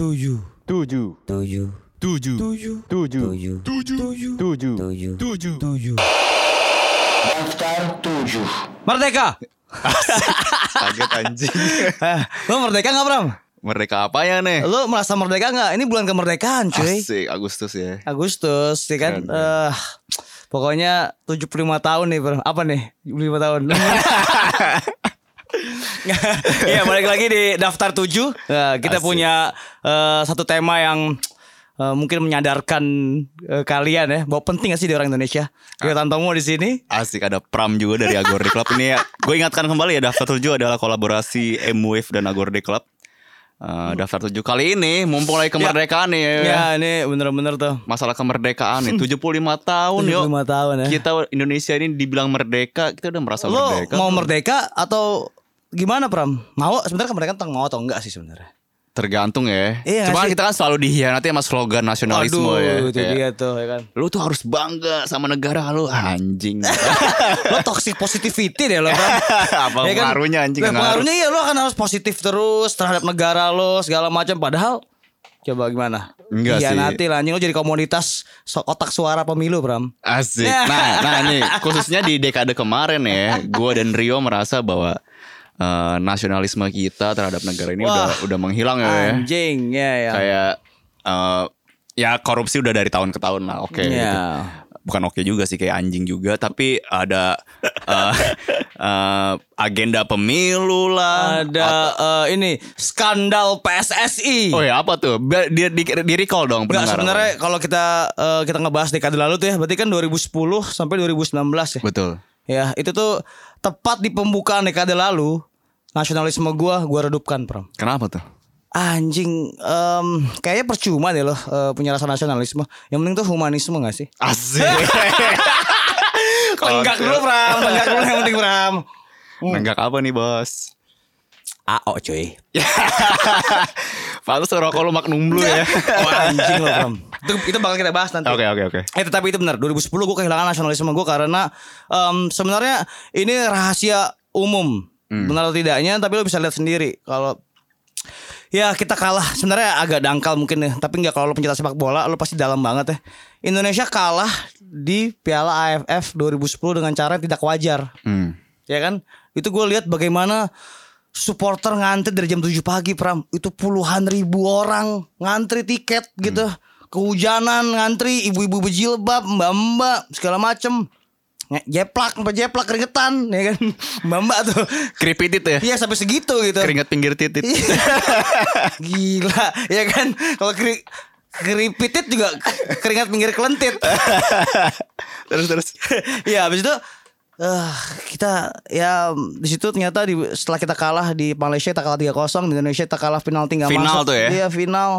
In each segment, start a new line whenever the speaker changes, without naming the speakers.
tujuh
tujuh
tujuh
tujuh
tujuh
tujuh
tujuh
tujuh tujuh
tujuh
tujuh
tujuh
Daftar 7.
Merdeka.
kaget anjing
Eh, Lo merdeka nggak Bram?
mereka apa ya nih
Lo merasa merdeka nggak? Ini bulan kemerdekaan cuy.
asik Agustus ya
Agustus ya kan.
Keren,
Eh, pokoknya 75 tahun nih Bram. Apa nih? 75 tahun. Iya balik lagi di daftar 7 Kita
Asik.
punya eh, satu tema yang eh, mungkin menyadarkan eh, kalian ya bahwa penting gak sih di orang Indonesia. Kita Tantomo di sini.
Asik ada Pram juga dari Agorde Club ini ya. Gue ingatkan kembali ya daftar 7 adalah kolaborasi M-Wave dan Agorde Club. Eh, daftar 7 kali ini mumpung lagi kemerdekaan nih ya.
Ya ini bener-bener tuh.
Masalah kemerdekaan ya, nih 75 tahun
75
yo.
tahun ya.
Kita Indonesia ini dibilang merdeka, kita udah merasa
Lo
merdeka.
mau merdeka atau gimana Pram? Mau sebenarnya kemerdekaan tuh mau atau enggak sih sebenarnya?
Tergantung ya.
Iya,
Cuman
asik.
kita kan selalu dihianati sama slogan nasionalisme
Aduh,
ya.
itu
Kayak,
dia tuh ya kan.
Lu tuh harus bangga sama negara lu anjing.
lo toxic positivity deh lo kan.
Apa pengaruhnya, anjing,
Nah,
pengaruh.
pengaruhnya ya lo akan harus positif terus terhadap negara lo segala macam padahal coba gimana?
Enggak sih.
nanti lah anjing lo jadi komoditas so- otak suara pemilu Bram.
Asik.
Ya.
Nah, nah nih khususnya di dekade kemarin ya, gua dan Rio merasa bahwa eh, nasionalisme kita terhadap negara ini
Wah.
udah udah menghilang ya.
Anjing ya ya.
Kayak eh, ya korupsi udah dari tahun ke tahun lah, oke.
Ya.
gitu. Bukan oke juga sih kayak anjing juga, tapi ada eh, eh, agenda pemilu lah.
Ada eh, ini skandal PSSI.
Oh ya apa tuh? Biar Di, di, di recall dong
Enggak
pendengar.
sebenarnya kalau kita eh, kita ngebahas dekade lalu tuh ya, berarti kan 2010 sampai 2019 ya.
Betul.
Ya, itu tuh tepat di pembukaan dekade lalu, nasionalisme gua gua redupkan, Pram.
Kenapa tuh?
Anjing, em, kayaknya percuma deh loh eh, punya rasa nasionalisme. Yang penting tuh humanisme gak sih?
Asik.
Penggak dulu, Pram. Penggak dulu yang penting, Pram.
Nenggak apa nih, Bos?
AO, cuy.
Pantes rokok lu Magnum Blue ya.
Oh, anjing lo, Pram. Itu, itu bakal kita bahas nanti.
Oke oke oke.
Eh tetapi itu benar 2010 gue kehilangan nasionalisme gue karena em, sebenarnya ini rahasia umum benar atau tidaknya tapi lo bisa lihat sendiri kalau ya kita kalah sebenarnya agak dangkal mungkin ya tapi nggak kalau lo pencinta sepak bola lo pasti dalam banget ya Indonesia kalah di Piala AFF 2010 dengan cara yang tidak wajar
Hmm.
ya kan itu gue lihat bagaimana supporter ngantri dari jam 7 pagi pram itu puluhan ribu orang ngantri tiket gitu kehujanan ngantri ibu-ibu berjilbab mbak-mbak segala macem Nge- jeplak mbak jeplak keringetan ya kan mbak-mbak tuh
Kripitit ya.
iya sampai segitu gitu
Keringat pinggir titit.
Gila, ya kan? Kalau keri keripitit juga keringat pinggir kelentit. terus terus. ya, habis itu eh, kita ya di situ ternyata di, setelah kita kalah di Malaysia kita kalah 3-0, di Indonesia kita kalah penalti nggak masuk.
Final tuh ya?
Iya, final.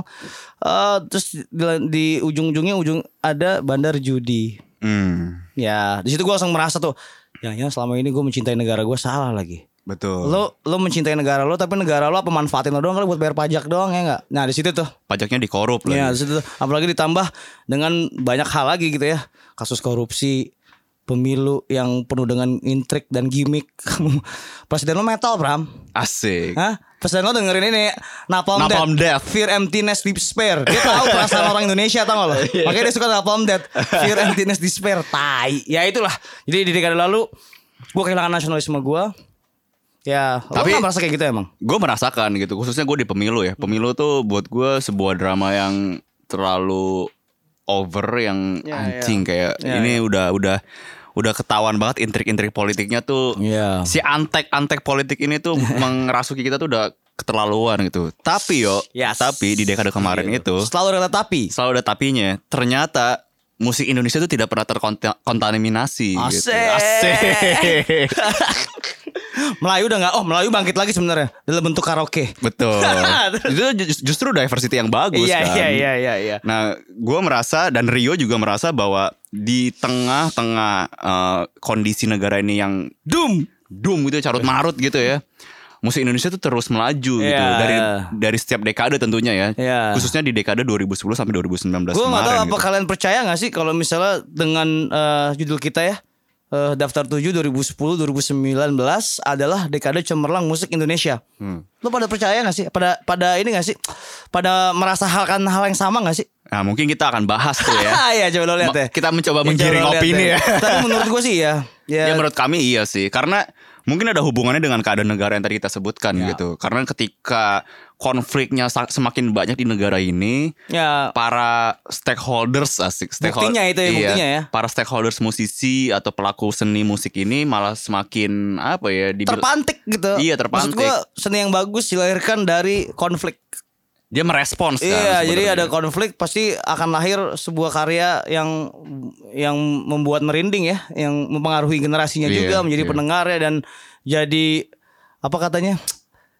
Eh, terus di, di ujung-ujungnya ujung ada bandar judi.
Hmm.
Ya, di situ gua langsung merasa tuh, jangan-jangan selama ini gue mencintai negara gue salah lagi
Betul.
lo lo mencintai negara lo tapi negara lo apa manfaatin lo doang kali buat bayar pajak doang ya nggak nah di situ tuh
Pajaknya dikorup
ya
lagi.
di situ tuh. apalagi ditambah dengan banyak hal lagi gitu ya kasus korupsi pemilu yang penuh dengan intrik dan gimmick presiden lo metal pram
Asik.
Hah? Presiden lo dengerin ini Napalm,
Napalm Death.
Fear Emptiness Despair Dia tahu perasaan orang Indonesia tau gak lo
Iya.
Makanya dia suka Napalm Death Fear Emptiness Despair Tai Ya itulah Jadi di dekade lalu Gue kehilangan nasionalisme gue Ya
Tapi-
Lo gak merasa kayak gitu emang?
Gue merasakan gitu, khususnya gue di pemilu ya. Pemilu tuh buat gue sebuah drama yang terlalu over yang
Ya,
anjing kayak
Ya,
ini udah udah udah ketahuan banget intrik-intrik politiknya tuh.
Iya.
Si antek-antek politik ini tuh mengerasuki kita tuh udah keterlaluan gitu. Tapi yo,
Yes.
tapi di dekade kemarin
Iya.
itu
Selalu ada tapi
selalu ada tapinya. Ternyata musik Indonesia itu tidak pernah terkontaminasi. Gitu.
Asik.
Asik.
Melayu udah gak Oh Melayu bangkit lagi sebenarnya Dalam bentuk karaoke
Betul. itu ju- justru diversity yang bagus kan.
iya iya
Nah, gue merasa dan Rio juga merasa bahwa di tengah-tengah eh, kondisi negara ini yang doom, doom gitu carut marut gitu ya. Musik Indonesia tuh terus melaju gitu
Iya.
dari dari setiap dekade tentunya ya.
Iya.
Khususnya di dekade 2010 sampai
Gue gak
2019 kemarin.
tahu apa
gitu.
kalian percaya gak sih kalau misalnya dengan eh, judul kita ya eh, daftar 7 2010 2019 adalah dekade cemerlang musik Indonesia.
Hmm.
Lo pada percaya gak sih? Pada pada ini gak sih? Pada merasa hal kan hal yang sama gak sih?
Nah, mungkin kita akan bahas tuh ya.
Ah iya coba lo lihat
Ma-
deh.
Kita mencoba
Ya, coba
menggiring
lo lihat
opini
deh.
ya.
Tapi menurut gue sih ya.
Ya
Ya,
menurut kami iya sih karena mungkin ada hubungannya dengan keadaan negara yang tadi kita sebutkan
Iya.
gitu. Karena ketika konfliknya sa- semakin banyak di negara ini
ya
para stakeholders asik stakeholder
Buktinya itu ya,
iya,
buktinya ya.
para stakeholders musisi atau pelaku seni musik ini malah semakin apa ya dibil-
terpantik gitu.
Iya,
Maksud
terpantik.
gue seni yang bagus dilahirkan dari konflik.
dia merespons kan
Iya, jadi
sebenarnya.
ada konflik pasti akan lahir sebuah karya yang yang membuat merinding ya, yang mempengaruhi generasinya
Iya,
juga menjadi
iya.
pendengarnya dan jadi apa katanya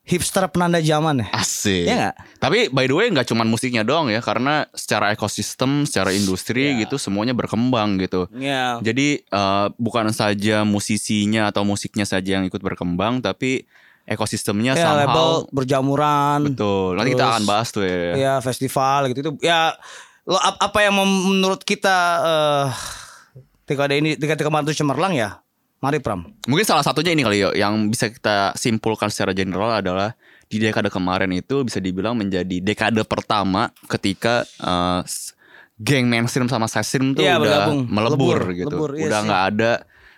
hipster penanda zaman ya.
Asik.
Iya nggak?
Tapi by the way nggak cuman musiknya doang ya karena secara ekosistem, secara industri gitu semuanya berkembang gitu.
Iya.
Jadi eh, bukan saja musisinya atau musiknya saja yang ikut berkembang tapi ekosistemnya
Ya,
somehow
label berjamuran.
betul. Nanti kita
Terus,
akan bahas tuh ya.
Ya festival gitu itu ya lo ap- apa yang mem- menurut kita eh ketika ada ini ketika kemarin itu cemerlang ya mari pram
Mungkin salah satunya ini kali yo yang bisa kita simpulkan secara general adalah di dekade kemarin itu bisa dibilang menjadi dekade pertama ketika eh, s- geng mainstream sama sessim tuh
Iya,
udah
bergabung.
melebur
Lebur,
gitu.
lebur, iya
udah
sih.
nggak ada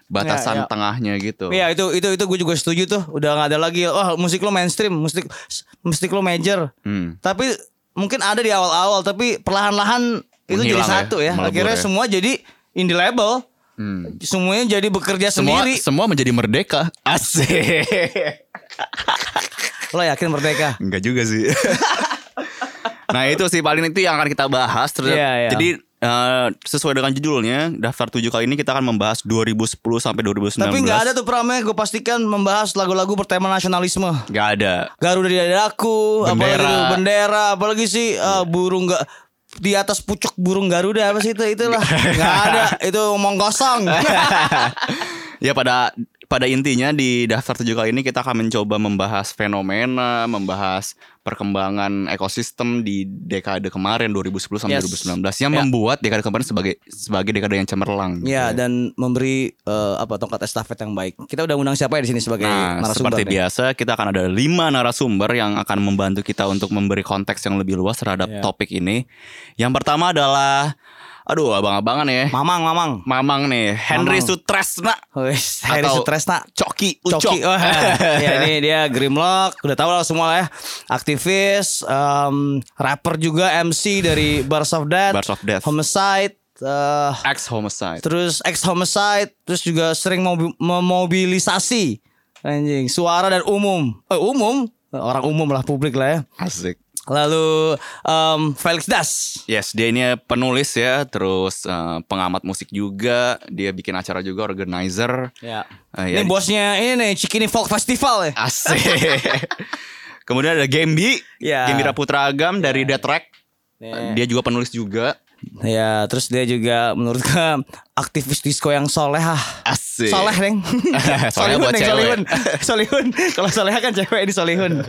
batasan
Iya, iya.
tengahnya gitu.
Iya itu itu itu gue juga setuju tuh udah nggak ada lagi wah musik lo mainstream musik musik lo major
Hmm.
tapi mungkin ada di awal-awal tapi perlahan-lahan itu jadi
Menghilang ya,
satu ya,
melebur
akhirnya
ya.
semua jadi indie label
Hmm.
semuanya jadi bekerja
Semua
sendiri
semua menjadi merdeka. Asik.
lo yakin merdeka
Enggak juga sih. nah itu sih paling itu yang akan kita bahas. Terus-
Iya, iya.
Jadi eh, sesuai dengan judulnya daftar 7 kali ini kita akan membahas 2010 sampai 2019.
tapi nggak ada tuh pramnya gue pastikan membahas lagu-lagu bertema nasionalisme
Nggak ada.
Garuda di dadaku, apalagi
Bendera. Iya.
tuh, bendera, apalagi sih eh, burung nggak di atas pucuk burung Garuda apa sih itu itulah nggak ada itu omong kosong
ya pada pada intinya di daftar 7 kali ini kita akan mencoba membahas fenomena, membahas perkembangan ekosistem di dekade kemarin 2010 sampai
Yes.
2019
Ya.
yang membuat dekade kemarin sebagai sebagai dekade yang cemerlang. gitu
ya dan memberi eh, apa tongkat estafet yang baik kita udah undang siapa ya di sini sebagai
Nah,
narasumber
seperti
nih?
biasa kita akan ada lima narasumber yang akan membantu kita untuk memberi konteks yang lebih luas terhadap
Iya.
topik ini. Yang pertama adalah, aduh abang-abangan ya,
Mamang Mamang
Mamang nih, Henry
Mamang.
Sutresna,
Wis, Harry
Atau-
Sutresna
Coki Ucok.
Coki Wah, ya ini dia Grimlock udah tau lah semua lah ya aktivis em, rapper juga MC dari Bars of Death,
Bars of Death.
Homicide eh,
Ex homicide.
terus ex homicide terus juga sering mobi- memobilisasi anjing suara dan umum eh, umum orang umum lah publik lah ya
Asik.
lalu em, Felix Das
Yes, dia ini penulis ya, terus eh, pengamat musik juga, dia bikin acara juga, organizer.
ya
Eh, ya,
ini bosnya ini nih Cikini Folk Festival ya
Asik. Kemudian ada Gembi,
Ya.
Gembi Putra Agam dari The Track. Eh,
Ya.
Dia juga penulis juga.
ya terus dia juga menurut gue aktivis disco yang soleh ah
Asik.
Soleh Neng
Soleh buat
Neng,
cewek.
Solihun Solihun Kalau Soleh kan cewek ini Solihun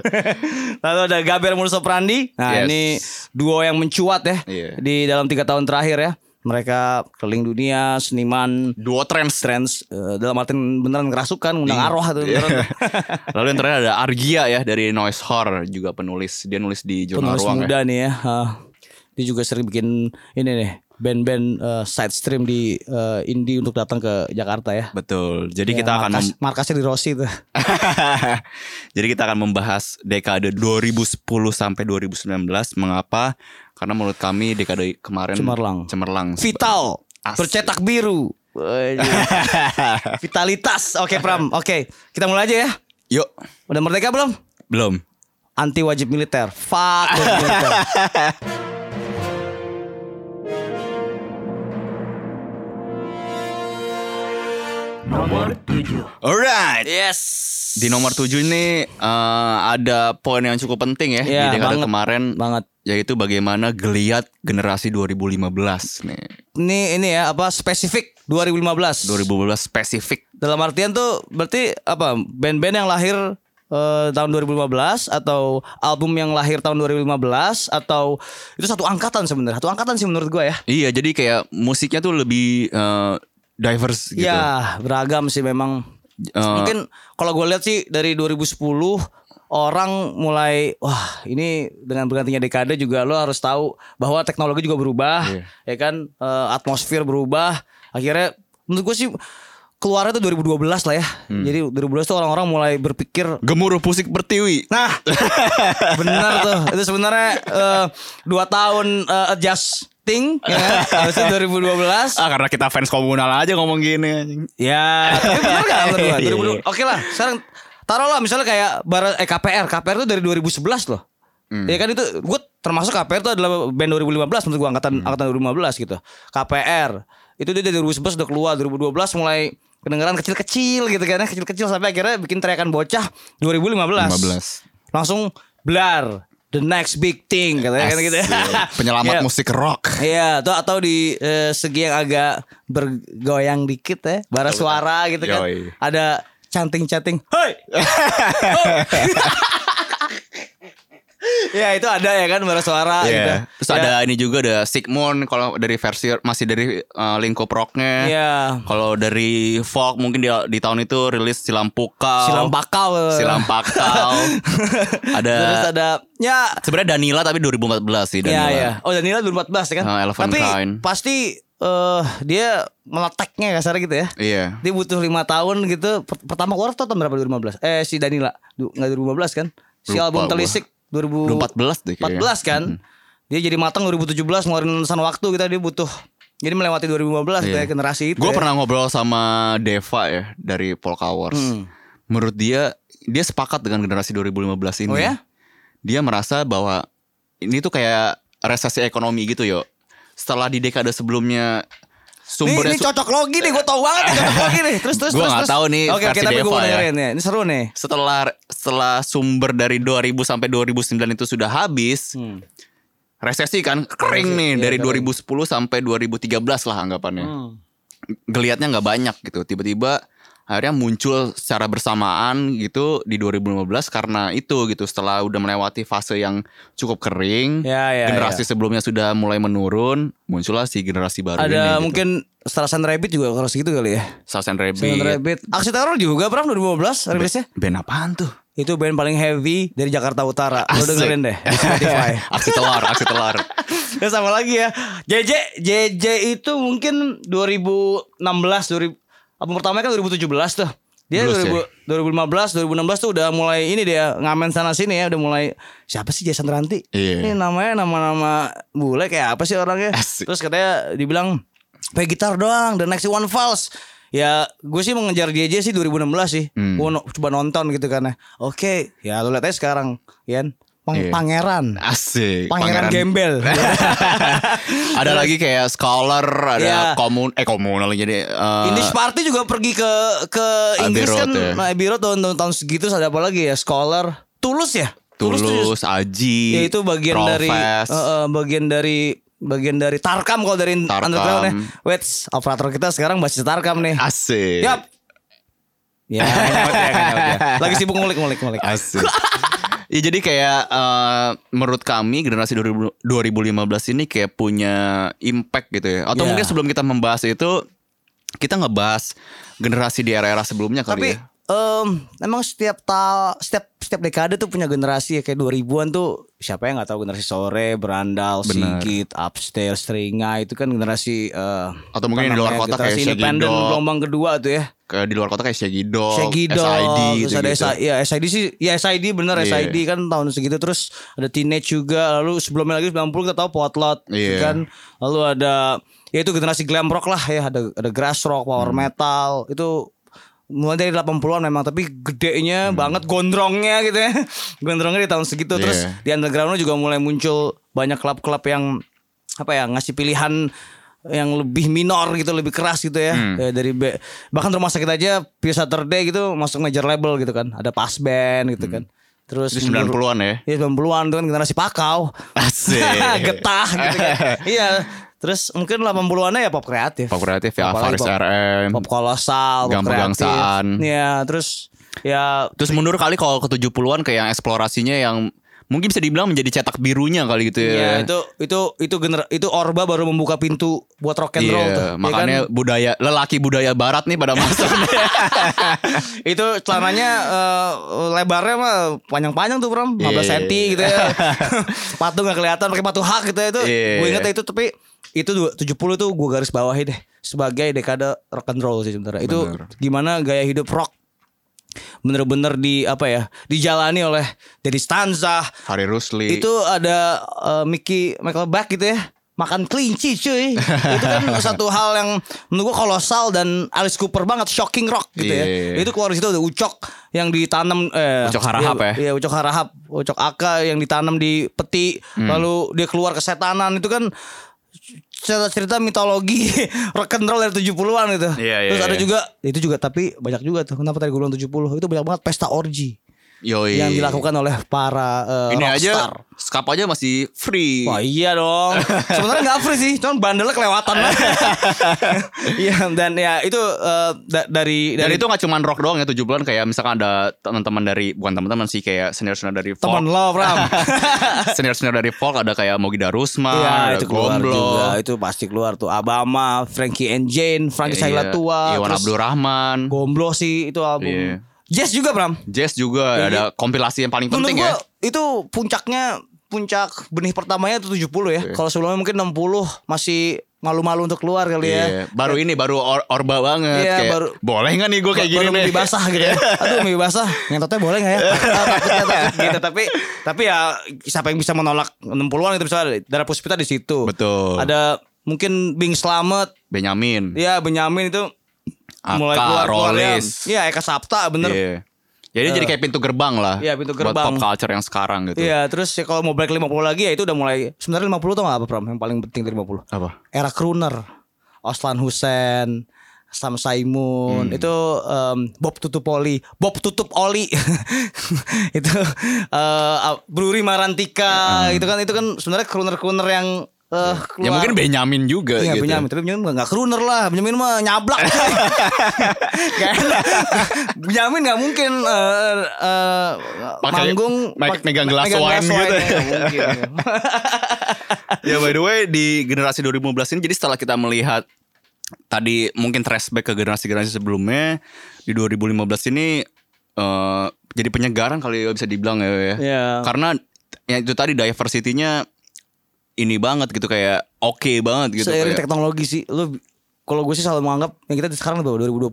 Lalu ada Gaber Murso Prandi Nah
Yes.
ini duo yang mencuat ya
Iya.
Di dalam tiga tahun terakhir ya Mereka keliling dunia Seniman
Duo trends.
Trends eh, Dalam artian beneran kerasukan Undang arwah tuh beneran
Lalu yang terakhir ada Argia ya dari Noise Horror juga penulis. Dia nulis di jurnal
Penulis
ruang ya.
muda nih ya Ah, Dia juga sering bikin Ini nih Band-band eh, side stream di eh, Indie untuk datang ke Jakarta ya
Betul. Jadi kita akan
Markas-
mem-
Markasnya di Rossi tuh
Jadi kita akan membahas dekade 2010 sampai 2019 mengapa? Karena menurut kami dekade kemarin
Cemerlang.
Cemerlang.
vital,
Asli.
bercetak biru. Vitalitas. Oke, Pram. Oke, kita mulai aja ya.
Yuk.
Udah merdeka belum?
Belum.
Anti wajib militer. Fuck wajib militer.
Alright.
Yes.
Di nomor 7 ini eh, ada poin yang cukup penting ya,
Iya,
di dekade
banget.
kemarin
banget.
yaitu bagaimana geliat generasi 2015 nih.
Ini ini ya apa spesifik 2015.
2015 spesifik
Dalam artian tuh berarti apa band-band yang lahir eh, tahun 2015 atau album yang lahir tahun 2015 atau itu satu angkatan sebenarnya. Satu angkatan sih menurut gua ya.
Iya, jadi kayak musiknya tuh lebih eh, diverse gitu.
Ya beragam sih memang.
Eh,
Mungkin kalau gue lihat sih dari 2010 orang mulai wah ini dengan bergantinya dekade juga lo harus tahu bahwa teknologi juga berubah
Iya.
ya kan Eh, atmosfer berubah akhirnya menurut gue sih keluarnya tuh 2012 lah ya
Hmm.
jadi 2012 tuh orang-orang mulai berpikir
Gemuruh pusik pertiwi.
Nah, benar tuh. Itu sebenarnya eh, dua tahun eh, adjusting, ya kan? Habis itu 2012.
Ah karena kita fans komunal aja ngomong gini. anjing.
Ya, tapi benar nggak menurut gua?
Iya, iya.
2012. Oke lah, sekarang taruhlah misalnya kayak bara eh, KPR, KPR tuh dari 2011 loh.
Hmm.
Ya kan itu gue termasuk KPR itu adalah band 2015 menurut gue angkatan
Hmm.
angkatan 2015 gitu. KPR itu dia dari 2011 udah keluar 2012 mulai kedengeran kecil-kecil gitu kan ya, kecil-kecil sampai akhirnya bikin teriakan bocah 2015 langsung blar the next big thing
ya
katanya kan gitu.
Asik. Penyelamat
Iya.
musik rock.
Iya, atau atau di eh, segi yang agak bergoyang dikit ya, bara suara gitu kan.
Yoi.
Ada canting-canting. Hoi. Ho! ya, itu ada ya kan bara suara
Iya.
gitu.
Terus ada ini juga ada Sigmund kalau dari versi masih dari eh, lingkup rocknya.
Iya.
Kalau dari folk mungkin di, di tahun itu rilis Silam Pukau.
Oh. Silam pakau.
Silam Pakau. ada,
Terus ada ya
sebenarnya Danila tapi 2014 sih
Iya,
Danila.
iya. Oh, Danila 2014 ya kan?
Ah, Elephant
Tapi
Kind.
pasti eh dia meleteknya kasarnya gitu ya.
Iya.
Dia butuh lima tahun gitu. Per- Pertama keluar tuh tahun berapa 2015? Eh si Danila Du- nggak 2015 kan? Si
Lupa
album
gua.
Telisik
2014 deh kayaknya.
2014 kan? Dia jadi matang 2017 ngeluarin lulusan waktu kita dia butuh. Jadi melewati 2015 gitu
Iya.
ya, generasi itu.
Gue
ya.
pernah ngobrol sama Deva ya dari Polka Wars.
Hmm.
Menurut dia dia sepakat dengan generasi 2015
Oh
ini.
ya?
Dia merasa bahwa ini tuh kayak resesi ekonomi gitu yo. Setelah di dekade sebelumnya
Nih, ini
sumbernya
cocok logi nih, gue tau banget nih cocok logi nih. Terus terus
Gua
terus.
nggak
terus.
tahu nih
Oke, oke,
versi
tapi gue
Deva
mau
ya.
dengerin ya. Ini seru nih.
setelah setelah sumber dari 2000 sampai 2009 itu sudah habis.
Hmm.
Resesi kan kering nih
iya,
dari 2010 sampai 2013 lah anggapannya.
Hmm.
Geliatnya nggak banyak gitu. Tiba-tiba akhirnya muncul secara bersamaan gitu di 2015 karena itu gitu setelah udah melewati fase yang cukup kering
Ya, ya,
generasi sebelumnya sudah mulai menurun muncullah si generasi baru ini
Ada
gitu.
mungkin Star Sun Rabbit juga harus gitu kali ya.
Saus and
Sand
Rabbit
Rabbit. Aksi Teror juga Bram 2015 rilisnya.
band apaan tuh
Itu band paling heavy dari Jakarta Utara. Lo
Asik.
dengerin deh di Spotify.
aksi telur aksi telur
Dan sama lagi ya. JJ JJ itu mungkin 2016 2000 album pertamanya kan 2017 tuh. Dia
Blues ya?
2000, 2015 2016 tuh udah mulai ini dia ngamen sana sini ya udah mulai siapa sih Jason Ranti?
Iya.
Ini namanya nama-nama bule kayak apa sih orangnya?
Asik.
Terus katanya dibilang play gitar doang The Next One Falls. Ya gue sih mengejar JJ sih 2016 sih.
Hmm.
Gue no- coba nonton gitu karena oke ya lu lihat aja sekarang Yan Pang-
Iya.
pangeran.
asik
Pangeran, gembel.
ada lagi kayak scholar, ada
Iya.
komun eh komunal jadi eh,
English Party juga pergi ke ke
Abbey
Inggris
Road
kan
ya.
nah, Abbey Road tahun, tahun tahun segitu ada apa lagi ya Scholar Tulus ya
Tulus,
tuh
Aji,
ya itu bagian dari
Profes.
eh, eh, bagian dari bagian dari Tarkam kalau dari
Tarkam.
underground ya wait operator kita sekarang basis Tarkam nih
asik.
yap ya nyaut ya, nyaut ya. lagi sibuk ngulik ngulik ngulik
Asik. ya jadi kayak eh, menurut kami generasi 2000 2015 ini kayak punya impact gitu ya. Atau
Iya.
mungkin sebelum kita membahas itu kita ngebahas generasi di era-era sebelumnya
tapi
kali ya.
em, emang setiap tal setiap setiap dekade tuh punya generasi ya kayak 2000-an tuh siapa yang nggak tahu generasi sore berandal
Bener.
sigit upstairs stringa itu kan generasi eh,
Atau mungkin
apa
di luar
namanya,
kota kayak
generasi
Shaggy
independen
Dog.
gelombang kedua tuh ya
Ke- Di luar kota kayak Shaggy Dog,
Shaggy Dog,
SID
terus ada
gitu-gitu.
SID, ya SID sih, ya SID bener
Iya.
SID kan tahun segitu terus ada Teenage juga, lalu sebelumnya lagi 90 kita tahu Potlot gitu
Iya.
kan, lalu ada ya itu generasi glam rock lah ya, ada ada grass rock,
Hmm.
power metal itu mulai dari 80-an memang tapi gedenya banget gondrongnya gitu ya. gondrongnya di tahun segitu terus
Hmm. Iya.
di underground juga mulai muncul banyak klub-klub yang apa ya ngasih pilihan yang lebih minor gitu lebih keras gitu ya
Hmm.
Eh, dari B- bahkan rumah sakit aja Pure Saturday gitu masuk major label gitu kan ada pas band
Hmm.
gitu kan terus
Itu 90-an ya.
ya 90-an tuh kan generasi pakau
Asik.
getah gitu kan iya terus mungkin 80-an ya pop kreatif
Pop kreatif ya,
Apalagi
Faris
pop-
RM.
pop kolosal pop
Gambar
kreatif
bangsaan.
ya terus ya
Terus mundur kali kalau ke 70-an kayak yang eksplorasinya yang mungkin bisa dibilang menjadi cetak birunya kali gitu ya.
Iya, itu itu itu gener itu Orba baru membuka pintu buat rock and
Iya,
roll tuh. ya
makanya
kan?
budaya lelaki budaya barat nih pada masa
itu celananya eh, lebarnya mah panjang-panjang tuh, Bro. 15
Iya.
cm gitu ya. sepatu nggak kelihatan pakai sepatu hak gitu ya itu.
Iya.
Gue inget ya itu tapi itu dua- 70 tuh gue garis bawahi deh sebagai dekade rock and roll sih sebenarnya. Itu
Bener.
gimana gaya hidup rock bener-bener di apa ya dijalani oleh Deddy Stanza
Hari Rusli.
itu ada eh, Mickey Michael Buck gitu ya makan kelinci cuy itu kan satu hal yang menurut gua kolosal dan Alice Cooper banget shocking rock gitu
Iya.
ya itu keluar di situ ada ucok yang ditanam eh,
Ucok Harahap
iya,
ya?
iya ucok harahap ucok aka yang ditanam di peti
Hmm.
lalu dia keluar kesetanan itu kan cerita-cerita mitologi rock and roll dari 70-an gitu.
Iya, iya,
Terus ada
iya.
juga itu juga tapi banyak juga tuh. Kenapa tadi gue bilang 70? Itu banyak banget pesta orgy
Yoi.
yang dilakukan oleh para eh,
Iya, Ini aja
rockstar.
skap aja masih free.
Wah iya dong. Sebenarnya nggak free sih, cuman bandelnya kelewatan lah. Iya dan ya itu eh, da- dari
Dan
dari
itu gak cuman rock doang ya tujuh bulan kayak misalkan ada teman-teman dari bukan teman-teman sih kayak senior-senior dari
teman
folk.
lo Ram.
senior-senior dari folk ada kayak Mogi Darusman,
Iya
ada
itu keluar
Gomblo.
juga, itu pasti keluar tuh. Abama, Frankie and Jane, Frankie
Iya,
Saila Tua,
Iwan
terus
Abdul Rahman.
Gomblo sih itu album.
Iya.
Jazz juga Bram.
Jazz juga
Jadi-
ada kompilasi yang paling
Menurut
penting
gua
ya.
itu puncaknya puncak benih pertamanya itu 70 ya.
Iya.
Kalau sebelumnya mungkin 60 masih malu-malu untuk keluar kali ya.
Iya, baru ini baru or- orba banget
Iya,
kayak,
baru-
boleh nggak nih gue kayak gini
baru
nih
mie basah gitu ya. Aduh mie basah Ngentotnya boleh gak ya Ah, takutnya, takut gitu Tapi Tapi ya Siapa yang bisa menolak 60an gitu misalnya Darah Puspita di situ
Betul.
Ada Mungkin Bing Slamet
Benyamin
Ya Benyamin itu
Aka,
Mulai keluar-keluar ya.
Rolis.
Iya Eka Sapta bener Eh.
Iya. Jadi jadi kayak pintu gerbang lah.
Iya, pintu
Buat
gerbang.
pop culture yang sekarang gitu.
Iya terus ya kalau mau balik 50 lagi ya itu udah mulai Sebenarnya 50 tuh gak apa Pram Yang paling penting dari 50
Apa? Ya
era crooner Oslan Hussein Sam
Hmm.
Saimun itu em, Bob tutup oli Bob tutup oli itu eh Bruri Marantika gitu kan itu kan sebenarnya crooner crooner yang eh keluar.
ah. Ya mungkin Benyamin juga
Iya
gitu.
Benyamin Tapi Benyamin gak crooner lah Benyamin mah nyablak Gak enak Benyamin gak mungkin eh, eh,
Pakai-
Manggung
pakai
pak-
megang gelas wine gitu.
Gak mungkin Iya.
Ya by the way di generasi 2015 ini jadi setelah kita melihat tadi mungkin flashback ke generasi-generasi sebelumnya di 2015 ini eh jadi penyegaran kali ya bisa dibilang ya. ya.
Iya.
Karena ya itu tadi diversity-nya ini banget gitu kayak oke banget gitu
seiring
kayak.
teknologi sih lu kalau gue sih selalu menganggap yang kita di sekarang tuh 2020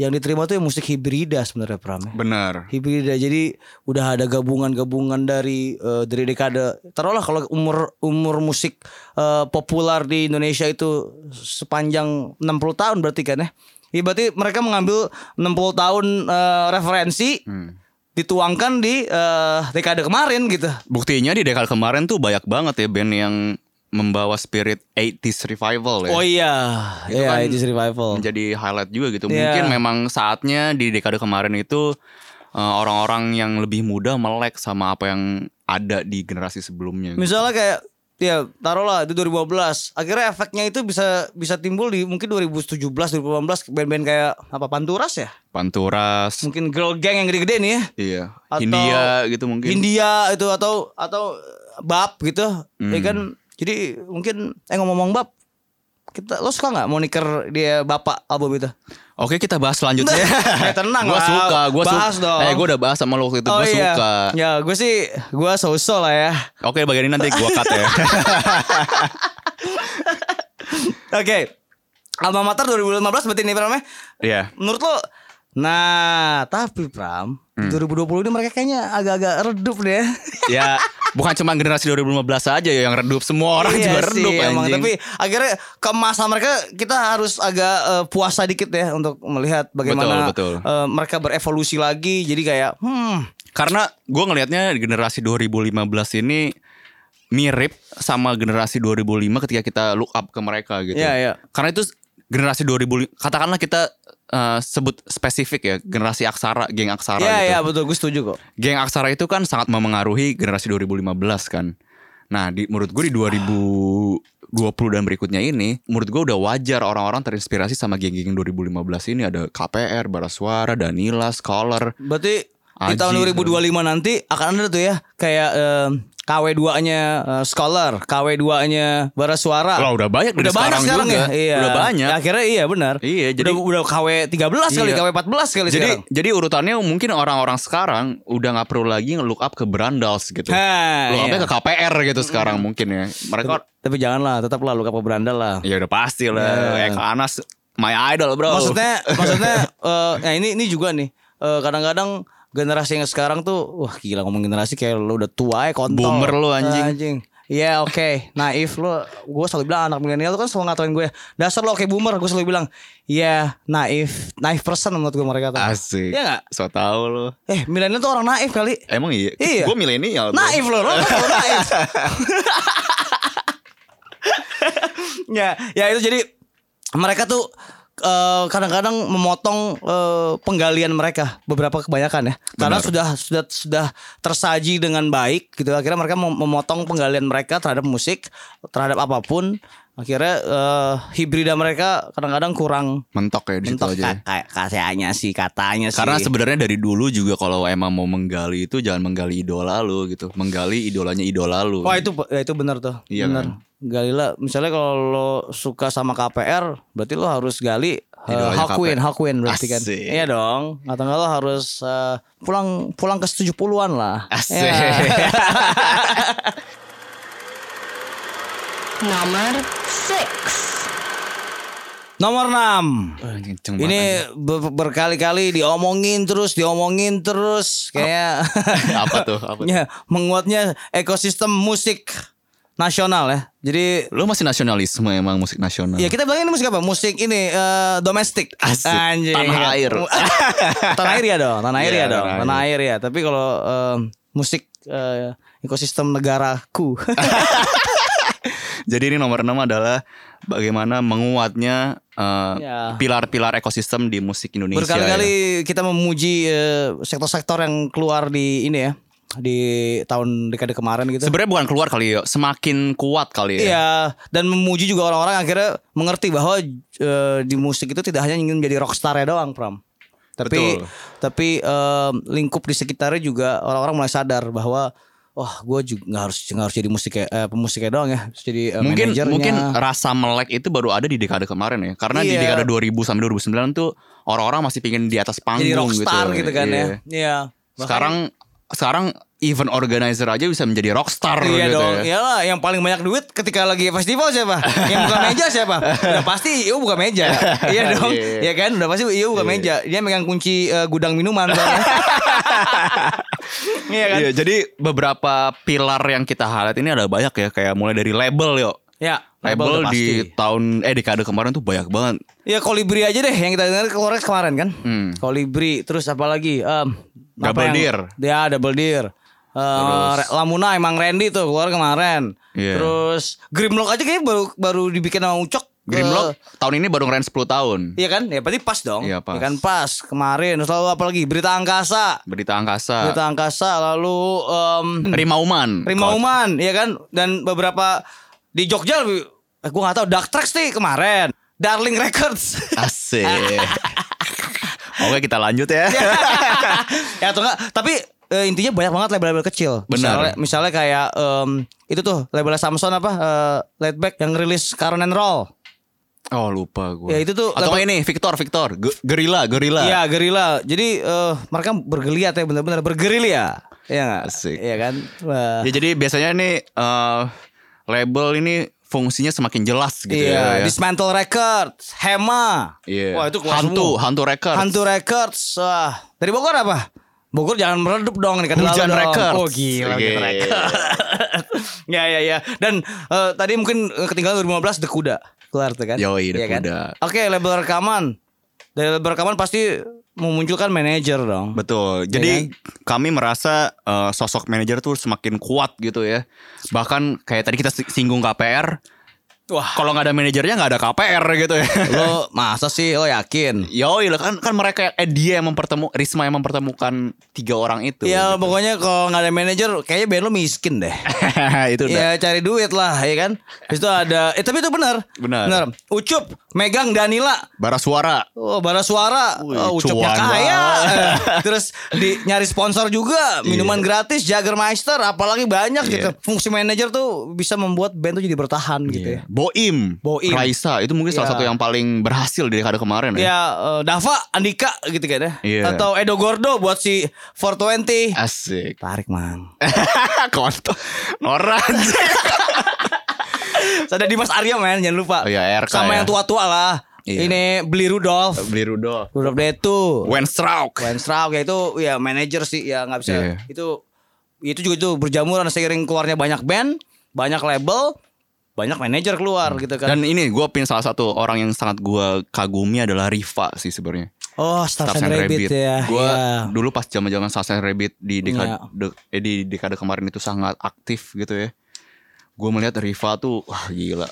yang diterima tuh yang musik hibrida sebenarnya Pram ya.
Bener.
hibrida jadi udah ada gabungan-gabungan dari eh, dari dekade taruhlah kalau umur umur musik eh, populer di Indonesia itu sepanjang 60 tahun berarti kan ya Ya, berarti mereka mengambil 60 tahun eh, referensi
Hmm.
dituangkan di eh, dekade kemarin gitu
Buktinya di dekade kemarin tuh banyak banget ya band yang membawa spirit 80s revival ya.
oh iya
Itu
iya
kan
itu revival
menjadi highlight juga gitu.
Iya.
Mungkin memang saatnya di dekade kemarin itu eh, orang-orang yang lebih muda melek sama apa yang ada di generasi sebelumnya. gitu.
Misalnya kayak ya taruhlah itu 2012 akhirnya efeknya itu bisa bisa timbul di mungkin 2017 2018 band-band kayak apa Panturas ya
Panturas,
mungkin girl gang yang gede-gede nih ya
iya,
Atau-
Hindia gitu mungkin.
India itu atau atau bab gitu
Hmm.
ya kan jadi mungkin eh ngomong-ngomong bab kita lo suka nggak moniker dia bapak album itu
Oke, kita bahas selanjutnya.
Eh, tenang
gua
lah.
suka, gua suka.
Bahas dong.
Eh, gua udah bahas sama lo waktu itu, gua
iya
suka.
ya gue sih gue so-so lah ya
Oke, bagian ini nanti gua cut ya.
oke alma mater 2015 berarti ini namanya
Iya.
menurut lo nah tapi Pram
Hmm.
di 2020 ini mereka kayaknya agak-agak redup deh
Ya, bukan cuma generasi 2015 aja ya yang redup, semua orang juga redup
Iya emang.
anjing.
tapi akhirnya kemasan mereka kita harus agak eh, puasa dikit ya untuk melihat bagaimana
Betul, betul.
eh, mereka berevolusi lagi jadi kayak hmm
Karena gue ngelihatnya generasi 2015 ini mirip sama generasi 2005 ketika kita look up ke mereka gitu.
Iya, iya.
Karena itu generasi 2005 katakanlah kita eh, sebut spesifik ya generasi aksara, geng aksara
ya
gitu.
ya betul gue setuju kok
Geng aksara itu kan sangat memengaruhi generasi 2015 kan. Nah, di, menurut gue di 2020 dan berikutnya ini, menurut gue udah wajar orang-orang terinspirasi sama geng-geng 2015 ini ada KPR, Bara Suara, Danila, Scholar.
berarti di tahun
Aji,
2025 nanti akan ada tuh ya kayak em, KW2-nya eh, Scholar, KW2-nya Bara Suara.
Lah, udah banyak dari
udah banyak sekarang,
sekarang juga.
ya. Iya.
Udah banyak.
Ya, akhirnya iya benar.
Iya, jadi-
udah, udah KW 13 kali,
Iya.
KW 14 kali
Jadi
sekarang.
jadi urutannya mungkin orang-orang sekarang udah nggak perlu lagi nge-look up ke Brandals gitu.
Ha,
look upnya
iya.
ke KPR gitu sekarang mungkin ya. Mereka
Tapi janganlah, tetaplah luka peberandal lah.
ya udah pasti lah.
Iya.
Eka Anas my idol bro.
Maksudnya maksudnya eh, nah ini ini juga nih. eh, kadang-kadang generasi yang sekarang tuh wah gila ngomong generasi kayak lu udah tua ya kontol.
Boomer lu, anjing.
Iya oke Naif lu Gue selalu bilang anak milenial tuh kan selalu ngatain gue Dasar lu oke boomer Gue selalu bilang Iya naif Naif person menurut gue mereka tuh
asik.
Iya nggak?
So tau lo.
Eh milenial tuh orang naif kali
Emang iya.
Iya.
Gue milenial. bro.
Naif loh, lo kalau naif. ya, ya itu jadi mereka tuh eh, kadang-kadang memotong eh, penggalian mereka beberapa kebanyakan ya karena
Benar.
sudah sudah sudah tersaji dengan baik gitu akhirnya mereka mem- memotong penggalian mereka terhadap musik terhadap apapun akhirnya eh, hibrida mereka kadang-kadang kurang
Mentok ya di situ
mentok
aja. ya.
Ka- kayak katanya sih katanya sih
Karena sebenarnya dari dulu juga kalau emang mau menggali itu jangan menggali idola lu gitu. Menggali idolanya idola lu.
Wah itu ya itu benar tuh.
Iya
benar.
kan?
Gali lah. Misalnya kalau lo suka sama KPR, berarti lo harus gali uh,
Idolanya
Hawkwind,
KPR.
Hawkwind berarti kan.
Asik.
Iya dong. Atau enggak lo harus uh, pulang pulang ke 70-an lah.
Asik.
Ya.
Number six.
Nomor 6.
Wah, kenceng banget anjing.
Ini ber- berkali-kali diomongin terus, diomongin terus kayak
Apa tuh? Apa tuh?
Ya, menguatnya ekosistem musik nasional ya. Jadi
Lu masih nasionalisme emang musik nasional.
Ya kita bilang ini musik apa? Musik ini eh, domestik.
Asik. Tanah air.
tanah air ya dong. Tanah air ya
Iya,
dong.
tanah
Tanah air ya. Tapi kalau em, musik eh, ekosistem negaraku.
Jadi ini nomor 6 adalah bagaimana menguatnya eh,
Ya.
pilar-pilar ekosistem di musik Indonesia. ya.
Berkali-kali kita memuji eh, sektor-sektor yang keluar di ini ya di tahun dekade kemarin gitu.
Sebenarnya bukan keluar kali ya, semakin kuat kali ya.
Iya, dan memuji juga orang-orang akhirnya mengerti bahwa eh, di musik itu tidak hanya ingin menjadi rockstar ya doang, Pram. Tapi
Betul.
tapi em, lingkup di sekitarnya juga orang-orang mulai sadar bahwa wah, gue juga nggak harus nggak harus jadi musik kayak eh, pemusik kayak doang ya, harus jadi eh,
Mungkin
manajernya.
mungkin rasa melek itu baru ada di dekade kemarin ya. Karena di
Iya.
dekade 2000 sampai 2009 tuh orang-orang masih pingin di atas panggung
jadi rockstar
gitu,
gitu, kan
Iya.
ya. Iya.
Sekarang sekarang event organizer aja bisa menjadi rockstar
Iya
gitu
dong,
ya.
iyalah yang paling banyak duit ketika lagi festival siapa? Yang buka meja siapa? Udah pasti IO buka meja. Iya dong,
Iya.
iya kan? Udah pasti IO buka meja. Dia megang kunci eh, gudang minuman. soalnya. Iya kan?
Iya, jadi beberapa pilar yang kita highlight ini ada banyak ya, kayak mulai dari label yo.
Ya,
Label,
udah
di
pasti.
tahun eh dekade kemarin tuh banyak banget.
Ya kolibri aja deh yang kita dengar keluar kemarin kan.
Hmm.
Kolibri, terus apa lagi? Em, apa
Double
yang-
Deer.
Ya, Double Deer. Eh, Re- Lamuna emang Randy tuh keluar kemarin.
Iya.
Terus Grimlock aja kayaknya baru baru dibikin sama Ucok. Eh,
Grimlock tahun ini baru ngeren 10 tahun.
Iya kan? Ya berarti pas dong.
Iya, pas. Ah.
Ya kan pas kemarin. Terus lalu apalagi Berita Angkasa.
Berita angkasa.
Berita Angkasa lalu em
Rimauman.
Rimauman, ya kan? Dan beberapa di Jogja lebih eh, gua nggak tahu Dark Tracks nih kemarin. Darling Records.
Asik. Oke kita lanjut ya.
Iya. ya atau enggak, tapi eh, intinya banyak banget label-label kecil. Misalnya,
Benar.
misalnya kayak em, itu tuh label Samson apa? Eh, Laid Back yang rilis Caron and Roll.
Oh lupa gue.
Ya, itu tuh
Atau nggak ini Victor Victor Ge- Gerila Gerila.
Iya, gerila. Jadi eh, mereka bergeliat ya benar-benar bergerilya. Iya enggak?
Asik.
Iya kan? Wah.
Ya jadi biasanya ini eh, label ini fungsinya semakin jelas gitu
iya,
ya. ya.
Dismantle Records, Hema.
Iya.
Wah, itu keluar
hantu
semua.
hantu record.
Hantu Records. Wah. Dari Bogor apa? Bogor jangan meredup dong nih kata lalu
Hujan
dong.
Records. Iya.
Oh gila
Oke.
Hujan Records. ya ya ya. Dan eh, tadi mungkin eh, ketinggalan 2015 The Kuda keluar tuh kan.
Yoi, The
Iya kan?
Kuda.
Oke, label rekaman. Dari label rekaman pasti memunculkan manajer dong.
Betul.
kan?
Jadi kami merasa eh, sosok manajer tuh semakin kuat gitu ya. Bahkan kayak tadi kita si- singgung KPR,
Wah.
Kalau nggak ada manajernya nggak ada KPR gitu ya.
Lo masa sih lo yakin?
Yoi lah, kan kan mereka eh, dia yang mempertemu Risma yang mempertemukan tiga orang itu.
Ya
gitu.
pokoknya kalau nggak ada manajer kayaknya band lo miskin deh.
itu
Ya
udah.
cari duit lah ya kan. Habis itu ada eh tapi itu benar.
Benar.
Benar. Ucup megang Danila.
Bara suara.
Oh, bara suara,
Wih,
oh, ucapnya
cuan
kaya.
banget. Iya.
Eh, Terus di nyari sponsor juga, minuman gratis, Jagermeister, apalagi banyak gitu. Fungsi manajer tuh bisa membuat band tuh jadi bertahan gitu
Iya,
ya.
Boim,
Boim.
Raisa itu mungkin
Iya.
salah satu yang paling berhasil dari dekade kemarin ya.
Ya, eh, Dava, Andika gitu kan ya.
Iya.
Atau Edo Gordo buat si 420.
Asik.
Tarik, Mang.
Kontol. Noran.
Terus Ada Dimas Arya, men, jangan lupa.
Oh iya, RK
Sama
ya.
yang tua-tua lah.
Iya.
Ini beli Rudolf.
Beli Rudolf.
Rudolf Detu.
Wenstrauk.
Wen Straub ya itu ya manajer sih ya nggak bisa
Iya.
itu itu juga itu berjamuran seiring keluarnya banyak band, banyak label, banyak manajer keluar gitu kan.
Hmm. Dan ini gue pin salah satu orang yang sangat gue kagumi adalah Riva sih sebenarnya.
oh, Stars and Rabbit ya.
Gue
Iya.
dulu pas zaman zaman Stars and Rabbit di dekade,
Iya.
de- eh, di dekade kemarin itu sangat aktif gitu ya. Gue melihat Riva tuh wah gila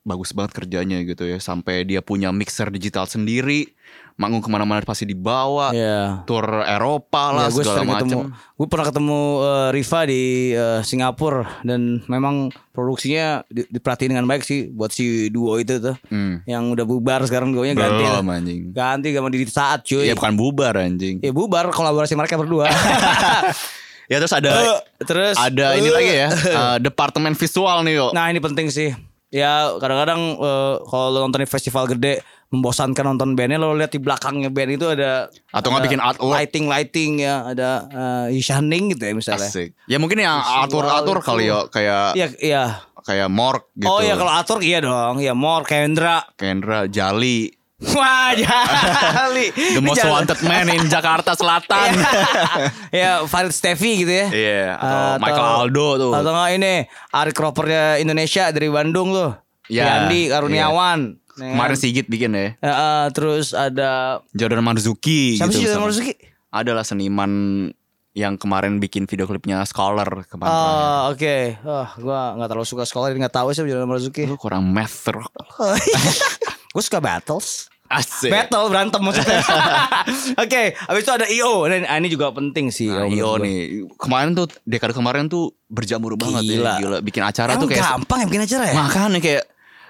bagus banget kerjanya gitu ya sampai dia punya mixer digital sendiri manggung kemana-mana pasti dibawa
Iya.
tur Eropa lah
gue
segala
sering ketemu.
macam
Gue pernah ketemu eh, Riva di eh, Singapura dan memang produksinya di- diperhatiin dengan baik sih buat si duo itu tuh.
Hmm.
Yang udah bubar sekarang duonya ganti.
belum anjing
Ganti sama Didi Saat cuy.
ya bukan bubar anjing
Ya bubar kolaborasi mereka berdua.
ya terus ada
Eh, Terus
ada
eh,
ini lagi ya eh, departemen visual nih yo
Nah ini penting sih. Ya kadang-kadang eh, kalau lo nonton di festival gede membosankan nonton bandnya lo lihat di belakangnya band itu ada
Atau nggak
ada
bikin artwork.
lighting lighting ya ada eh, shining gitu ya misalnya.
Asik. Ya mungkin yang atur-atur
itu.
kali ya kayak
Iya iya.
kayak Mork gitu.
Oh ya kalau atur iya dong. Ya Mor Kendra.
Kendra Jali
Wah jali. Iya.
The most wanted man in Jakarta Selatan.
ya Farid Steffi gitu ya.
Iya, atau
Eh,
Michael Aldo tuh.
Atau nggak ini Ari Croppernya Indonesia dari Bandung loh.
Ya,
Yandi Karuniawan. Ya kan?
Kemarin Sigit bikin ya.
Eh, eh, terus ada
Jordan Marzuki
Siapa sih
gitu.
Jordan
sama-
Marzuki?
Adalah seniman yang kemarin bikin video klipnya Scholar kemarin. terakhir.
Oh, oke. Oh, gua nggak terlalu suka sekolah jadi nggak tahu sih Jordan Marzuki.
Lu kurang math rock. iya.
gua suka battles.
Asik.
Battle berantem maksudnya. Oke, habis itu ada IO. Nah, ini- ah, ini juga penting sih.
Nah,
menurut
Io
gua.
nih kemarin tuh dekade kemarin tuh berjamur banget
Gila.
ya, gila bikin acara
Emang
tuh kayak
gampang ya bikin acara ya?
makanya kayak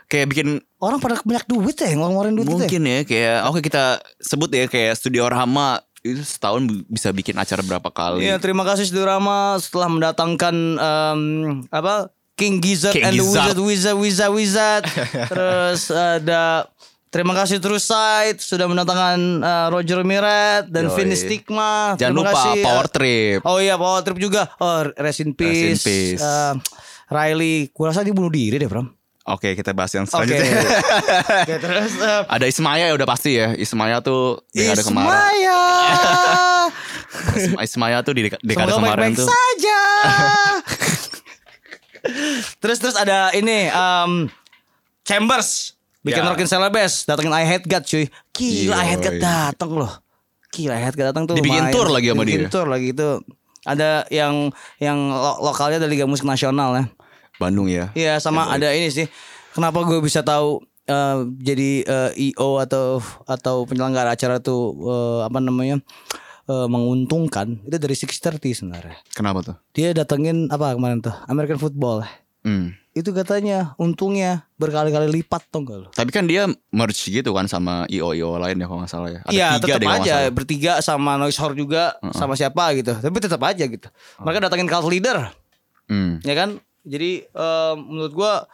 kayak bikin
Orang pada banyak duit ya, ngeluarin duit itu.
Mungkin ya kayak oke kita sebut ya kayak Studio Rahma itu setahun bi- bisa bikin acara berapa kali.
Iya, terima kasih Sudurama setelah mendatangkan em, apa King Gizzard
King
and
Gizzard.
the Wizard Wizard Wizard Wizard. Terus ada terima kasih True Sight sudah mendatangkan eh, Roger Miret dan
Yoi.
Vinny Stigma.
Jangan
Terima
lupa
kasih, eh,
Power Trip.
Oh iya Power Trip juga. Oh Rest in Peace.
Rest in Peace.
Eh, Riley, gua rasa dia bunuh diri deh, Bram.
Oke, kita bahas yang
Oke.
selanjutnya.
Oke, terus eh,
Ada Ismaya ya udah pasti ya. Ismaya tuh dekade Iya, kemarin.
Ismaya.
Isma- Ismaya tuh di deka- dekade
Semoga
kemarin
baik-baik
tuh.
saja. terus terus ada ini em, Chambers bikin
Ya.
Rockin Celebes datengin I Hate God cuy. Gila I Hate God
Yoi.
dateng loh. Gila I Hate God dateng tuh.
Dibikin
lumayan.
tour lagi sama
Dibikin
dia.
tour lagi itu. Ada yang yang lo- lokalnya dari Liga Musik Nasional ya.
Bandung ya.
Iya sama ada ini sih. Kenapa gue bisa tahu eh, jadi eh, IO atau atau penyelenggara acara tuh eh, apa namanya eh, menguntungkan itu dari 630 sebenarnya.
Kenapa tuh?
Dia datengin apa kemarin tuh American football.
Hmm.
Itu katanya untungnya berkali-kali lipat tau gak lo?
Tapi kan dia merge gitu kan sama IO IO lain ya kalau nggak salah ya. Ada
Iya
tiga
tetap
deh kalau nggak
aja
salah.
bertiga sama Noise Horror juga sama siapa gitu. Tapi tetap aja gitu. Mereka datengin cult leader.
Hmm.
ya kan jadi em, menurut gua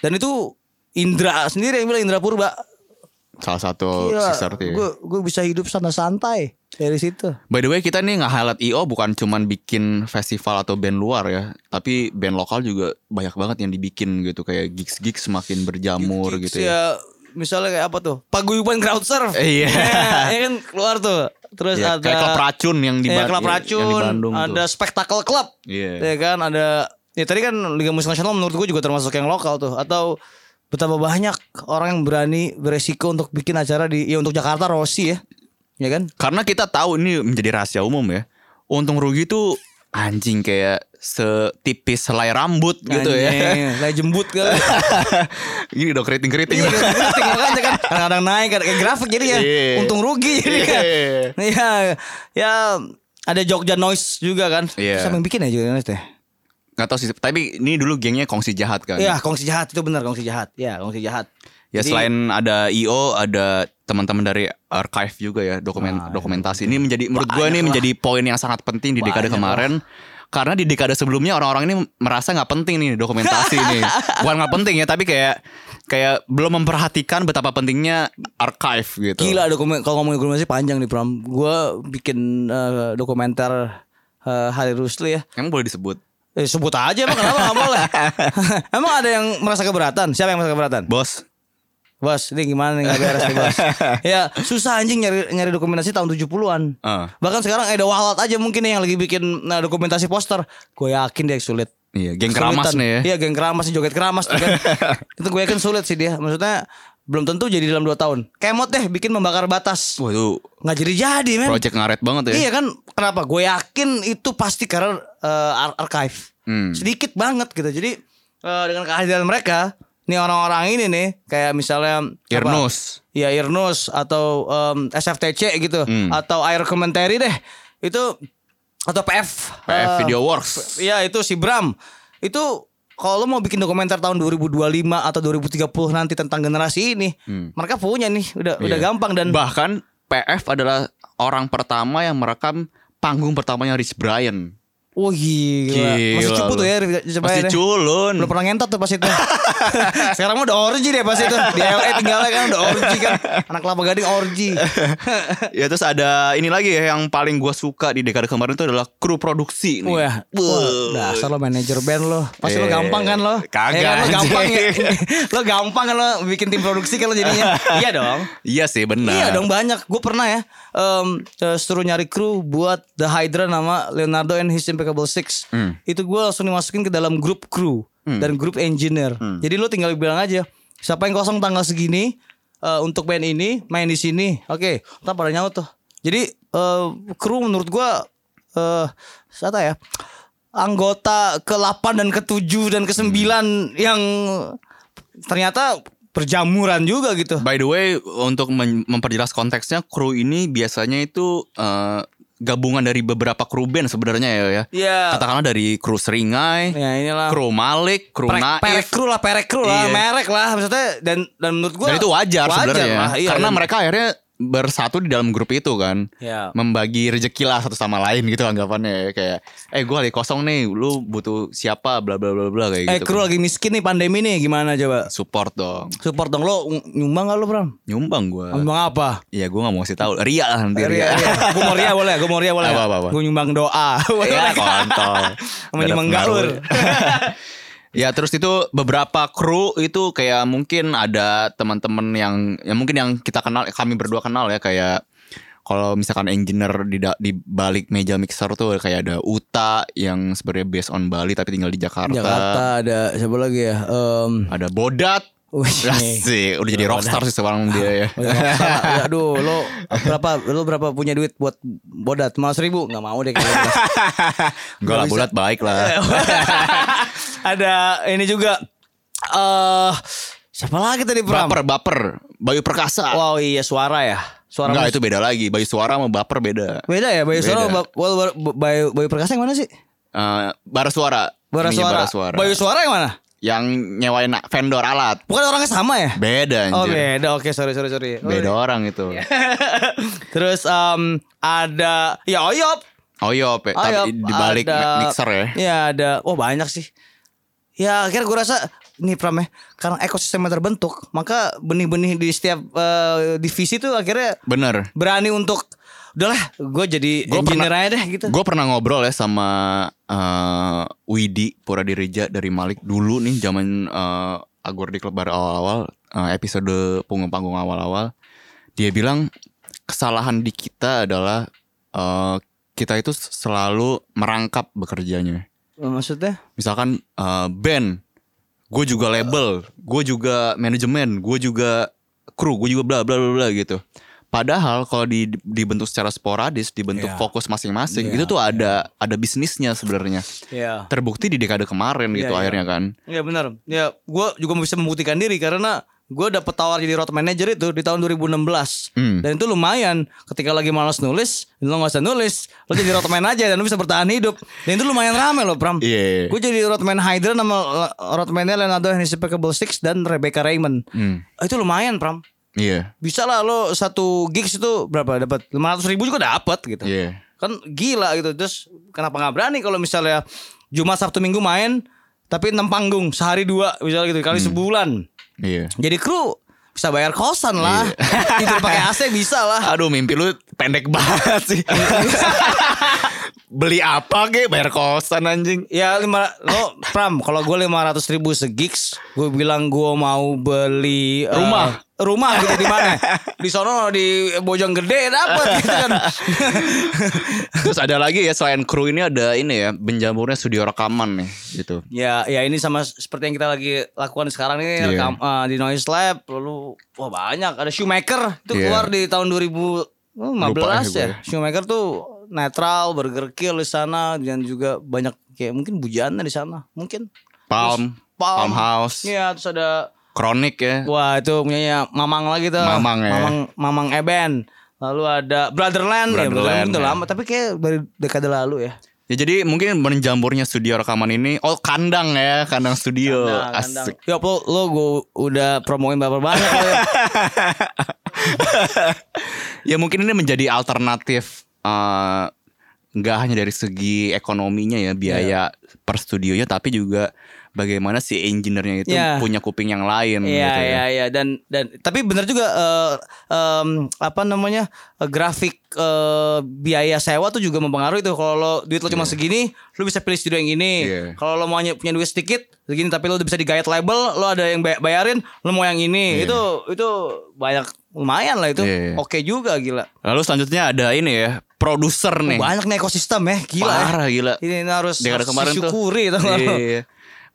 dan itu Indra sendiri yang bilang Indra Purba
Salah satu
Gila,
sister tuh ya.
gua gua bisa hidup santai-santai dari situ
By the way kita nih nge-highlight IO bukan cuman bikin festival atau band luar ya Tapi band lokal juga banyak banget yang dibikin gitu Kayak gigs-gigs semakin berjamur gitu
ya
ya
misalnya kayak apa tuh paguyuban crowd surf
Iya.
Ya, ya kan keluar tuh terus
Iya,
ada
kayak klub racun yang di,
Iya,
Ba- ya,
klub
yang di
racun
Bandung tuh.
ada spektakel club
Iya.
ya kan ada ya tadi kan Liga Musik Nasional menurut gua juga termasuk yang lokal tuh atau betapa banyak orang yang berani beresiko untuk bikin acara di ya untuk Jakarta Rossi ya ya kan
Karena kita tahu ini menjadi rahasia umum ya Untung rugi tuh anjing kayak setipis selai rambut gitu ya.
Anjing, Saya jembut kan.
Gini dong keriting-keriting.
Iya, keriting makanya kan kadang-kadang naik kadang grafik jadi ya
Iya.
untung rugi jadi kan. Iya, ya ada Jogja Noise juga kan.
Iya.
Siapa yang bikin ya Jogja Noise deh?
Gak tau sih, tapi ini dulu gengnya kongsi jahat kan.
Iya, kongsi jahat itu benar kongsi jahat. Iya, kongsi jahat.
Ya
Jadi-
selain ada IO, ada teman-teman dari archive juga ya dokumen dokumentasi. Ini menjadi menurut gue
iya. Banyak
ini
lah.
menjadi poin yang sangat penting di dekade
Banyak
kemarin. Karena di dekade sebelumnya orang-orang ini merasa nggak penting nih dokumentasi ini. Bukan nggak penting ya, tapi kayak kayak belum memperhatikan betapa pentingnya archive gitu.
Gila dokumen kalau ngomongin dokumentasi panjang nih Pram. Gua bikin eh, dokumenter eh, Hari Rusli ya.
Emang boleh disebut.
Eh, sebut aja emang kenapa nggak boleh? emang ada yang merasa keberatan? Siapa yang merasa keberatan?
Bos,
Bos, ini gimana nih nggak beres nih, Bos. ya, susah anjing nyari nyari dokumentasi tahun 70-an.
Ah.
Bahkan sekarang ada walat aja mungkin nih yang lagi bikin nah, dokumentasi poster. Gue yakin dia sulit.
Iya, geng keramas
Kesulitan.
nih ya.
Iya, geng keramas nih, joget keramas tuh kan. itu gue yakin sulit sih dia. Maksudnya belum tentu jadi dalam 2 tahun. Kemot deh bikin membakar batas.
wah itu
Nggak jadi-jadi, men.
project ngaret banget ya.
Iya kan kenapa? Gue yakin itu pasti karena eh, ar- archive
Hmm.
sedikit banget gitu. Jadi eh, dengan kehadiran mereka, nih orang-orang ini nih kayak misalnya apa?
Irnus.
ya Irnus atau em, SFTC gitu
Hmm.
atau Air Commentary deh itu atau PF
PF
eh,
Video Works.
Iya itu si Bram Itu kalau lo mau bikin dokumenter tahun 2025 atau 2030 nanti tentang generasi ini Mereka punya nih Udah udah
Hmm. Iya.
gampang dan
bahkan PF adalah orang pertama yang merekam panggung pertamanya Rich Brian.
Wah gila. Masih
Gila
cupu
lu.
tuh ya
Masih
ya.
culun.
Belum pernah ngentot tuh pas itu Sekarang mah udah orgy deh pas itu Di LA tinggalnya kan udah orgy kan Anak kelapa gading orgy
Ya terus ada ini lagi ya yang paling gua suka di dekade kemarin itu adalah kru produksi nih.
Wah, wah, dasar lo manajer band lo. Pasti lo
Eh,
gampang kan lo?
kagak,
Ya kan, lo gampang ya.
anjing.
lo gampang kan lo bikin tim produksi kan lo jadinya. Iya dong.
Iya sih benar.
Iya dong banyak. Gue pernah ya em, eh, suruh nyari kru buat The Hydra nama Leonardo and His Impeccable Six. Itu gue langsung dimasukin ke dalam grup kru dan grup engineer. Jadi lo tinggal bilang aja siapa yang kosong tanggal segini eh, untuk band ini main di sini. Oke, ntar pada nyaut tuh. Jadi eh, kru menurut gue eh siapa ya anggota ke-8 dan ke-7 dan ke-9 yang ternyata berjamuran juga gitu.
By the way untuk men- memperjelas konteksnya kru ini biasanya itu eh, gabungan dari beberapa kru band sebenarnya ya ya.
Iya.
Katakanlah dari kru Seringai,
Ya inilah
kru Malik, kru
perek, perek
Naif.
kru lah, perek kru lah,
Nah, Iya.
merek lah maksudnya dan dan menurut gua
Dan itu wajar, sebenarnya
lah, iya,
karena
dan-
mereka akhirnya bersatu di dalam grup itu kan.
Iya.
Membagi rezeki lah satu sama lain gitu anggapannya ya. kayak eh gua lagi kosong nih, lu butuh siapa bla bla bla bla kayak
eh
gitu.
kru lagi miskin nih pandemi nih gimana coba?
support dong.
Support dong lo ng- nyumbang gak lo
Eh.
Bram?
Nyumbang gua.
Nyumbang apa?
Iya gua nggak mau kasih tahu. Ria lah nanti Ria.
Gue mau ria boleh, gue mau ria boleh.
Iya, Apa, apa, apa.
Gue nyumbang doa.
Ya kontol.
Sama nyumbang
Gak ada
gaur.
pengaruh. Ya terus itu beberapa kru itu kayak mungkin ada teman-teman yang ya mungkin yang kita kenal kami berdua kenal ya kayak kalau misalkan engineer di da- di balik meja mixer tuh kayak ada Uta yang sebenarnya based on Bali tapi tinggal di Jakarta.
Jakarta ada siapa lagi ya? Em,
Ada Bodat.
Wih.
Lah sih, udah jadi rockstar sih sekarang dia
Oh,
ya.
ya, Rockstar. Ya, aduh lo berapa lo berapa punya duit buat bodat mau seribu nggak mau deh kayaknya.
Enggak lah,
bisa.
Bodat baik lah.
ada ini juga eh siapa lagi tadi Pram?
Baper, baper. Bayu Perkasa.
Wow iya suara ya suara
Ah. Enggak
musik.
itu beda lagi Bayu suara sama baper beda
beda ya Bayu suara
Beda.
ba- Wal- Wal- Bayu Bayu Perkasa yang mana sih?
Eh, Bara suara
Bara
Ininya
suara.
Bara suara
Bayu suara yang mana?
Yang nyewain vendor alat
Bukan orangnya sama ya?
Beda
Oh
anjir
beda oke Iya. sorry sorry sorry.
Beda orang itu
Terus em, ada ya Oyop.
Oh iya Pe. Tapi
Oyop,
dibalik
ada-
mixer ya
Iya ada. Wah banyak sih. Ya akhirnya gue rasa nih Pram ya karena ekosistemnya terbentuk maka benih-benih di setiap eh, divisi tuh akhirnya
Bener
berani untuk udahlah gue jadi
Gua
engineer
pernah-
aja deh gitu
Gue pernah ngobrol ya sama eh, Widi Puradireja dari Malik Dulu nih zaman eh, Agor di klub baru awal-awal eh, Episode punggung-panggung awal-awal Dia bilang Kesalahan di kita adalah eh, Kita itu selalu merangkap bekerjanya
maksudnya
misalkan eh, band, gue juga label, gue juga manajemen, gue juga kru, gue juga bla bla bla bla gitu. Padahal kalau di, dibentuk secara sporadis, dibentuk
Iya.
fokus masing-masing,
Iya,
itu tuh ada ada bisnisnya sebenarnya.
Iya.
Terbukti di dekade kemarin
Iya,
gitu
iya.
akhirnya kan.
Iya benar. Ya, gue juga bisa membuktikan diri karena gue dapet tawar jadi road manager itu di tahun 2016.
Hmm.
Dan itu lumayan. Ketika lagi malas nulis, lo nggak usah nulis, lo jadi roadman aja dan lo bisa bertahan hidup. Dan itu lumayan rame loh, Pram.
Iya.
Gue jadi roadman Hydra nama uh, roadmannya Leonardo and His Impeccable Six dan Rebecca Raymond.
Hmm.
Itu lumayan, Pram.
Iya.
Bisa lah lo satu gigs itu berapa dapat? 500 ribu juga dapat gitu.
Iya.
Kan gila gitu. Terus kenapa nggak berani kalau misalnya Jumat Sabtu Minggu main tapi 6 panggung sehari dua misalnya gitu
Hmm.
kali sebulan.
Iya.
Jadi kru bisa bayar kosan lah. Tidur pakai AC bisa lah.
Aduh mimpi lu pendek banget sih. Beli apa ge bayar kosan anjing.
Ya lima lo Pram kalau gue lima ratus ribu segigs gue bilang gue mau beli eh,
Rumah.
rumah gitu di mana di sono di Bojonggede dapat gitu kan
Terus ada lagi ya selain kru ini ada ini ya benjamurnya studio rekaman nih gitu.
ya ya ini sama seperti yang kita lagi lakukan sekarang ini
Iya.
rekam, eh, di Noise Lab lalu wah banyak ada Shoemaker itu
Iya.
keluar di tahun 2015
Lupa
ya
ya gue.
Shoemaker tuh netral Burger Kill di sana dan juga banyak kayak mungkin bujana di sana mungkin
Palm, Palm, House,
Iya terus ada
Chronic ya.
Wah itu punyanya Mamang lagi tuh.
Mamang ya.
Mamang, Mamang Eben. Lalu ada Brotherland, ya,
Brotherland,
Brotherland udah
ya.
lama tapi kayak dari dekade lalu ya.
Ya jadi mungkin menjamurnya studio rekaman ini oh kandang ya, kandang studio.
Nah,
Asik.
kandang. Yop, lo, lo gue udah promoin baper banget lo ya.
Ya mungkin ini menjadi alternatif eh, nggak hanya dari segi ekonominya ya
Iya.
biaya per studionya tapi juga bagaimana si engineer-nya itu
Iya.
punya kuping yang
Iya
lain gitu ya.
iya iya dan dan tapi benar juga eh, em, apa namanya eh, grafik eh, biaya sewa tuh juga mempengaruhi tuh kalau lo duit lo cuma segini lo bisa pilih studio yang ini
Iya.
kalau lo mau ny- punya duit sedikit segini tapi lo udah bisa digayat label lo ada yang bay- bayarin lo mau yang ini itu itu banyak lumayan lah itu
Iya.
oke juga gila
Lalu selanjutnya ada ini ya, produser nih.
banyak nih ekosistem ya gila ya.
Parah gila.
ini, ini harus,
Dekade
harus
kemarin tuh.
disyukuri tuh
Iya, iya, iya.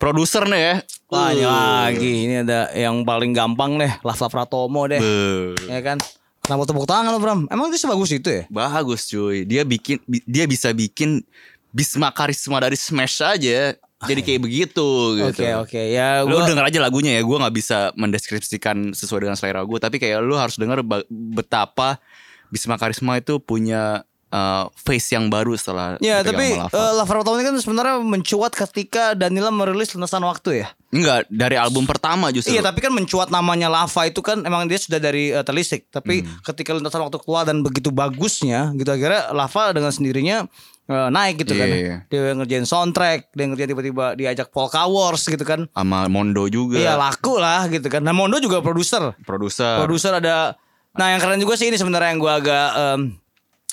Produser nih ya.
banyak lagi ini ada yang paling gampang deh Laf Laf Pratomo deh
Beuh.
ya kan kenapa tepuk tangan lo Bram emang itu sebagus itu ya
Bagus cuy. Dia bikin bi- dia bisa bikin Bisma Karisma dari Smash aja. Jadi kayak begitu
oke
gitu.
oke ya
Lu
gua
denger aja lagunya ya. Gue nggak bisa mendeskripsikan sesuai dengan selera gue. Tapi kayak lu harus denger ba- betapa Bisma Karisma itu punya eh, face yang baru setelah
ya
dipegang
tapi
sama Lava.
eh, Laf Laf Pratomo ini kan sebenarnya mencuat ketika Danila merilis Lenasan Waktu ya
enggak dari album pertama justru.
Iya tapi kan mencuat namanya Lava itu kan emang dia sudah dari eh, Telisik tapi
Hmm.
ketika lintasan waktu keluar dan begitu bagusnya gitu akhirnya Lava dengan sendirinya eh, naik gitu
Iya, iya.
kan dia yang ngerjain soundtrack dia yang ngerjain tiba-tiba diajak Polka Wars gitu kan
sama Mondo juga.
iya laku lah gitu kan nah Mondo juga produser
produser.
produser ada nah yang keren juga sih ini sebenarnya yang gua agak em,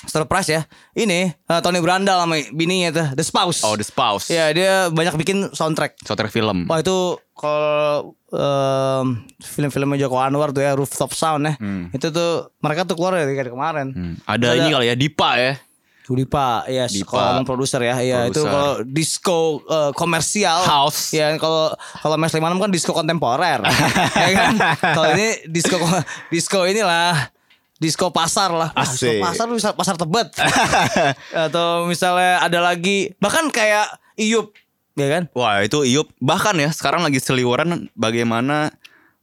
surprise ya ini eh, Tony Brandal sama bininya tuh The Spouse
oh, The Spouse.
ya dia banyak bikin soundtrack
Soundtrack film.
wah itu kalau em, film-filmnya Joko Anwar tuh ya Rooftop Sound ya itu tuh mereka tuh keluar dari kemarin
Hmm. Ada, ini kali ya Dipa ya.
Dipa, ya yes,
Dipa.
kalau ngomong produser ya, ya itu
Produser.
kalau disco eh, komersial,
House.
ya kalau kalau Mas Limanam kan disco kontemporer, ya kan? Kalau ini disco disco inilah disco pasar lah, Wah, disco
Asik.
pasar bisa pasar tebet, atau misalnya ada lagi bahkan kayak Iyup, ya kan?
Wah itu Iup bahkan ya sekarang lagi seliweran bagaimana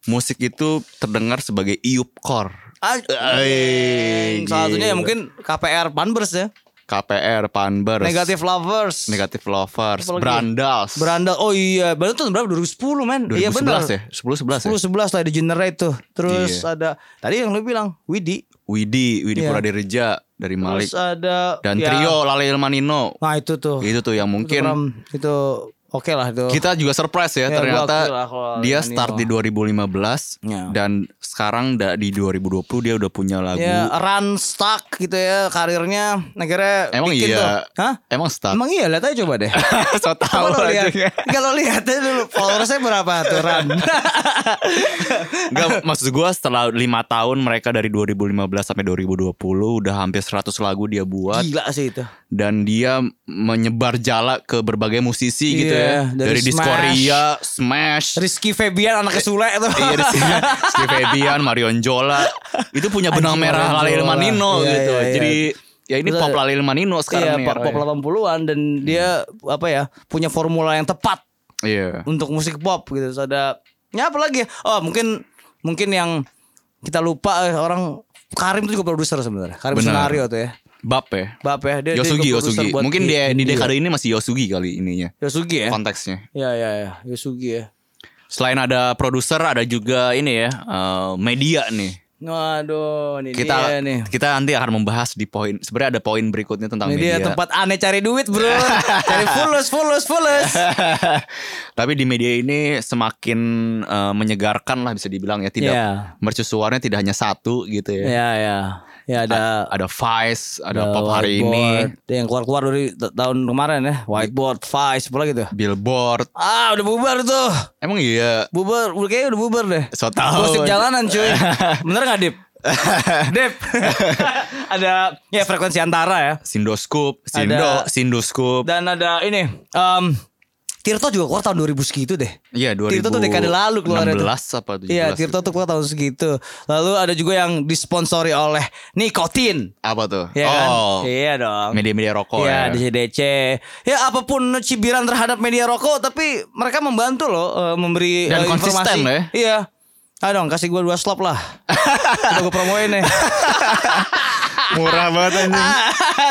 musik itu terdengar sebagai Iup core.
Anjing.
Anjing.
Ah, Salah satunya ya mungkin KPR Panbers ya,
KPR, Panbers,
Negative Lovers,
Negative Lovers,
Apalagi?
Brandals.
Berandal, oh iya, berandal tuh berapa? 2010 men, iya
2011
benar.
ya, 10 11 ya.
10 11 lah di generate tuh. Terus
Iya.
ada tadi yang lu bilang Widi.
Widi, Widi
Iya.
Puradireja dari Malik
Terus eh, ada
dan
ya,
trio Lalil Manino.
Nah, itu tuh.
Itu tuh yang
Itu Pram,
mungkin
itu oke lah itu.
kita juga surprise
Ya,
ya,
gua
ternyata
akui lah kalau
dia
Manino.
start di 2015
Ya.
dan sekarang da- di 2020 dia udah punya lagu.
ya run stuck gitu ya karirnya akhirnya
Emang
bikin
iya.
tuh. Hah?
Emang start.
Emang iya lihat aja coba deh.
so tau
Kalau
aja
lihat, kalau lihat aja dulu followersnya berapa tuh Ran?
Enggak maksud gue setelah 5 tahun mereka dari 2015 sampai 2020 udah hampir 100 lagu dia buat
Gila sih itu.
dan dia menyebar jala ke berbagai musisi gitu
Iya,
ya.
dari
Dari, Discoria,
Smash.
Smash.
Rizky Febian anaknya Sule itu.
Iya, Rizky, Rizky Febian, Marion Jola. Itu punya benang
Anjing,
merah
Marion
Lalil
Jola.
Manino
Iya,
gitu.
iya, iya.
Jadi ya ini
Betul.
pop Lalil Manino
Iya,
sekarang nih. ya. Hmm.
pop, pop
era-nya.
80-an dan dia apa ya, punya formula yang tepat
Iya.
untuk musik pop gitu. Terus ada ya apa lagi? ya? Oh, mungkin mungkin yang kita lupa eh, orang Karim itu juga produser sebenarnya. Karim
Benar.
Sunario tuh ya.
Bap ya.
Bap ya, dia, dia
Yosugi,
juga produser
Yosugi.
buat
Mungkin
i-
dia di
indie.
dekade ini masih Yosugi kali ininya.
Yosugi ya.
Konteksnya.
Ya ya ya, Yosugi ya.
Selain ada produser, ada juga ini ya eh, media nih.
Waduh, ini
Kita
dia Iya nih.
kita nanti akan membahas di poin. Sebenarnya ada poin berikutnya tentang
Ini dia
media.
tempat aneh cari duit, Bro. cari fulus, fulus, fulus.
Tapi di media ini semakin eh, menyegarkan lah bisa dibilang ya tidak
Iya.
mercusuarnya tidak hanya satu gitu ya.
ya ya. Ya ada
A- ada Vice,
ada
ada Pop hari ini,
whiteboard. yang keluar-keluar dari t- tahun kemarin ya, whiteboard, vice, apa lagi tuh?
Billboard.
Ah, udah bubar tuh.
Emang iya
Bubar, udah- kayaknya udah bubar deh.
so tau.
Gosip jalanan cuy. Bener gak Dip? Dip. ada ya frekuensi antara ya.
Sindoscoop,
Ada-
Sindo, Sindoscoop.
Dan ada ini em Tirto juga keluar tahun 2000 segitu deh.
Iya,
Tirto tuh dekade lalu keluar itu.
16 apa gitu. 17.
Iya, Tirto tuh keluar tahun segitu. Lalu ada juga yang disponsori oleh Nikotin.
Apa tuh?
Iya kan?
oh.
Iya dong.
Media-media rokok
Iya,
ya.
DCDC. Ya apapun cibiran terhadap media rokok tapi mereka membantu loh eh, memberi eh,
Dan
informasi.
konsisten loh ya.
Iya. Ayo dong kasih gua dua slop lah. Udah gue promoin nih.
Murah banget anjing.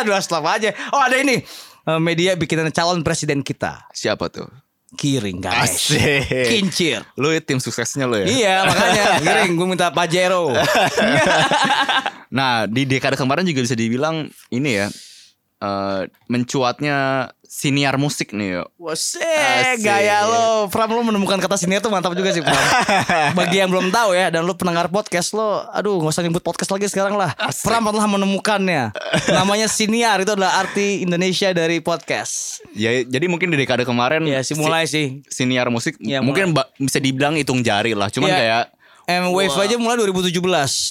dua slop aja. Oh, ada ini. Eh, media bikinan calon presiden kita.
Siapa tuh?
Kiring guys.
Asik.
Kincir.
Lu tim suksesnya lu ya.
Iya, makanya Kiring gue minta Pajero.
Nah di dekade kemarin juga bisa dibilang ini ya eh, mencuatnya siniar musik nih. Yo.
Wosek,
Asik.
gaya lo Pram lo menemukan kata senior tuh mantap juga sih Pram Bagi yang belum tahu ya Dan lo pendengar podcast lo Aduh gak usah nyebut podcast lagi sekarang lah Pram telah menemukannya Namanya senior itu adalah arti Indonesia dari podcast
Ya, jadi mungkin di dekade kemarin
Ya sih mulai sih
si- siniar musik
Ya,
mungkin ba- bisa dibilang hitung jari lah. Cuman
Ya.
kayak
M Wave aja mulai 2017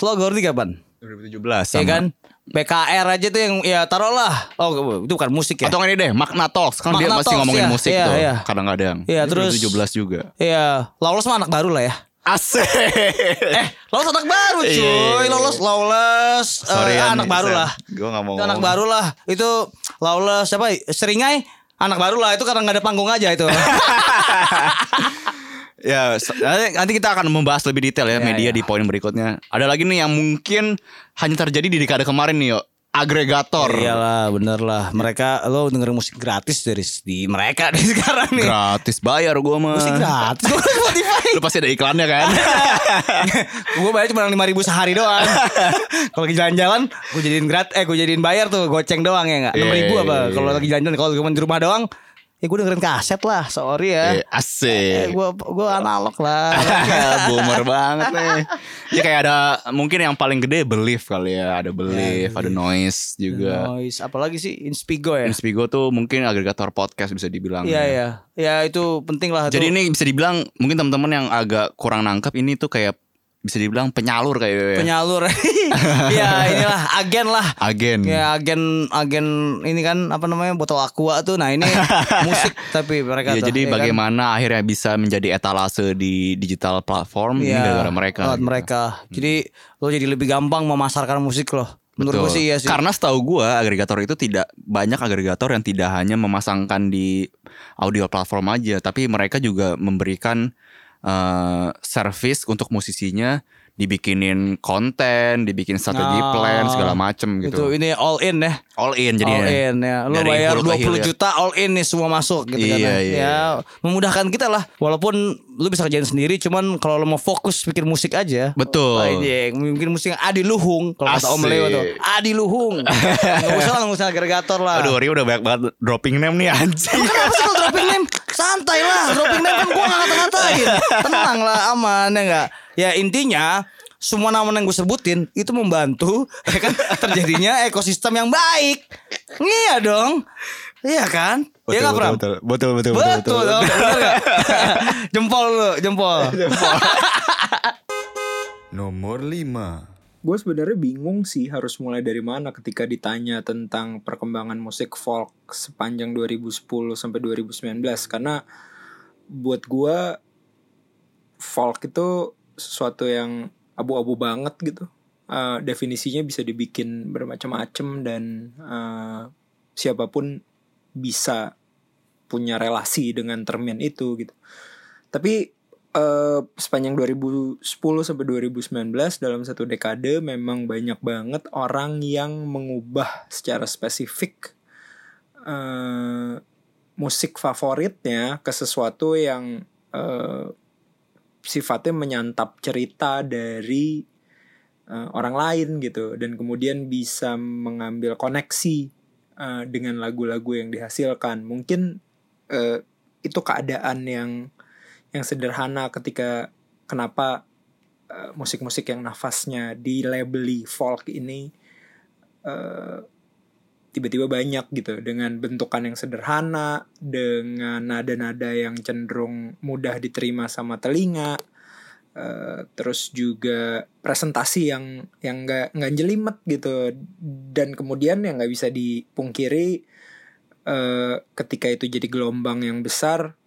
Lo Gordi kapan?
2017
Iya
sama.
kan? PKR aja tuh yang ya taruhlah Oh itu bukan musik ya
Atau nggak ini deh Makna Talks kan dia
Makna
masih
Talks,
ngomongin
ya,
musik
iya,
tuh
iya.
kadang-kadang.
Iya,
Ini
terus-
2017 juga.
Iya Lawless mah anak baru lah ya
Asik.
Eh, lolos anak baru
Iya, iya,
cuy,
iya.
lolos lolos
Sorry, Oh.
eh,
Yan,
anak baru
Sam.
lah.
Gua nggak mau
Itu anak
ngomong.
baru lah. Itu lolos siapa? Seringai anak baru lah itu karena nggak ada panggung aja itu.
Ya, se- nanti nanti kita akan membahas lebih detail ya,
Ya,
media
ya.
di poin berikutnya. Ada lagi nih yang mungkin hanya terjadi di dekade kemarin nih, yo. Agregator.
Iyalah, bener lah. Mereka lo dengerin musik gratis dari di mereka nih sekarang nih.
Gratis bayar gua mah.
Iya. musik gratis. Gue Spotify.
Lu pasti ada iklannya kan?
gue bayar cuma lima ribu sehari doang. kalau lagi jalan-jalan, gue jadiin grat, eh gue jadiin bayar tuh goceng doang ya nggak? Enam
Iya,
ribu apa?
iya,
Kalau
iya.
lagi jalan-jalan, kalau cuma di rumah doang, ya gue dengerin kaset lah. Sorry ya.
Eh,
Eh,
Asik.
gua gua analog lah.
Boomer banget nih. Ya kayak ada mungkin yang paling gede belief kali ya, ada belief, ada noise juga.
Noise apalagi sih Inspigo ya.
Inspigo tuh mungkin agregator podcast bisa dibilang.
Iya ya. Ya itu penting lah
Jadi
tuh.
ini bisa dibilang mungkin teman-teman yang agak kurang nangkep ini tuh kayak bisa dibilang penyalur kayak ya.
penyalur. ya inilah agen lah.
agen.
Ya agen agen ini kan apa namanya botol aqua tuh. Nah ini musik tapi mereka
Iya,
tuh,
jadi
ya kan?
bagaimana akhirnya bisa menjadi etalase di digital platform ini
Iya,
gara-gara mereka.
lewat
gitu.
mereka. Jadi lo jadi lebih gampang memasarkan musik lo. Menurut gue
Betul.
sih iya sih.
Karena setahu gua agregator itu tidak banyak agregator yang tidak hanya memasangkan di audio platform aja, tapi mereka juga memberikan eh service untuk musisinya dibikinin konten, dibikin strategi
Ah,
plan segala macem
Itu
gitu.
ini all in ya.
all in jadi
all in ya. Lo
Dari
bayar
hulu ke
20
hilir.
juta all in nih semua masuk gitu kan.
Iya,
Ya,
iya.
Ya, memudahkan kita lah. Walaupun lu bisa kerjain sendiri cuman kalau lo mau fokus bikin musik aja.
Betul.
Anjing, mungkin musik yang Adi Luhung kalau kata Om
Asik.
Leo tuh. Adi Luhung. Enggak usah lah nggak usah agregator lah.
Aduh, Rio udah banyak banget dropping name nih anjing.
Kenapa sih kalau dropping name? Santai lah, dropping name kan gue gak ngata-ngatain.
Iya.
Tenang lah, aman ya gak? Ya intinya, semua nama yang gue sebutin itu membantu ya kan terjadinya ekosistem yang baik. Iya dong. Iya kan? Iya gak Pram?
betul, betul, betul, betul,
Betul, dong, bener nggak? jempol lu, jempol.
Nomor 5
gue sebenarnya bingung sih harus mulai dari mana ketika ditanya tentang perkembangan musik folk sepanjang 2010 sampai 2019 karena buat gue folk itu sesuatu yang abu-abu banget gitu. Eh, definisinya bisa dibikin bermacam-macam dan eh, siapapun bisa punya relasi dengan termin itu gitu. Tapi eh, sepanjang 2010 sampai 2019 dalam satu dekade memang banyak banget orang yang mengubah secara spesifik eh, musik favoritnya ke sesuatu yang eh, sifatnya menyantap cerita dari eh, orang lain gitu dan kemudian bisa mengambil koneksi eh, dengan lagu-lagu yang dihasilkan mungkin eh, itu keadaan yang yang sederhana ketika kenapa eh, musik-musik yang nafasnya dilabeli folk ini eh, tiba-tiba banyak gitu dengan bentukan yang sederhana, dengan nada-nada yang cenderung mudah diterima sama telinga, eh, terus juga presentasi yang yang nggak nggak jelimet gitu, dan kemudian yang nggak bisa dipungkiri eh, ketika itu jadi gelombang yang besar,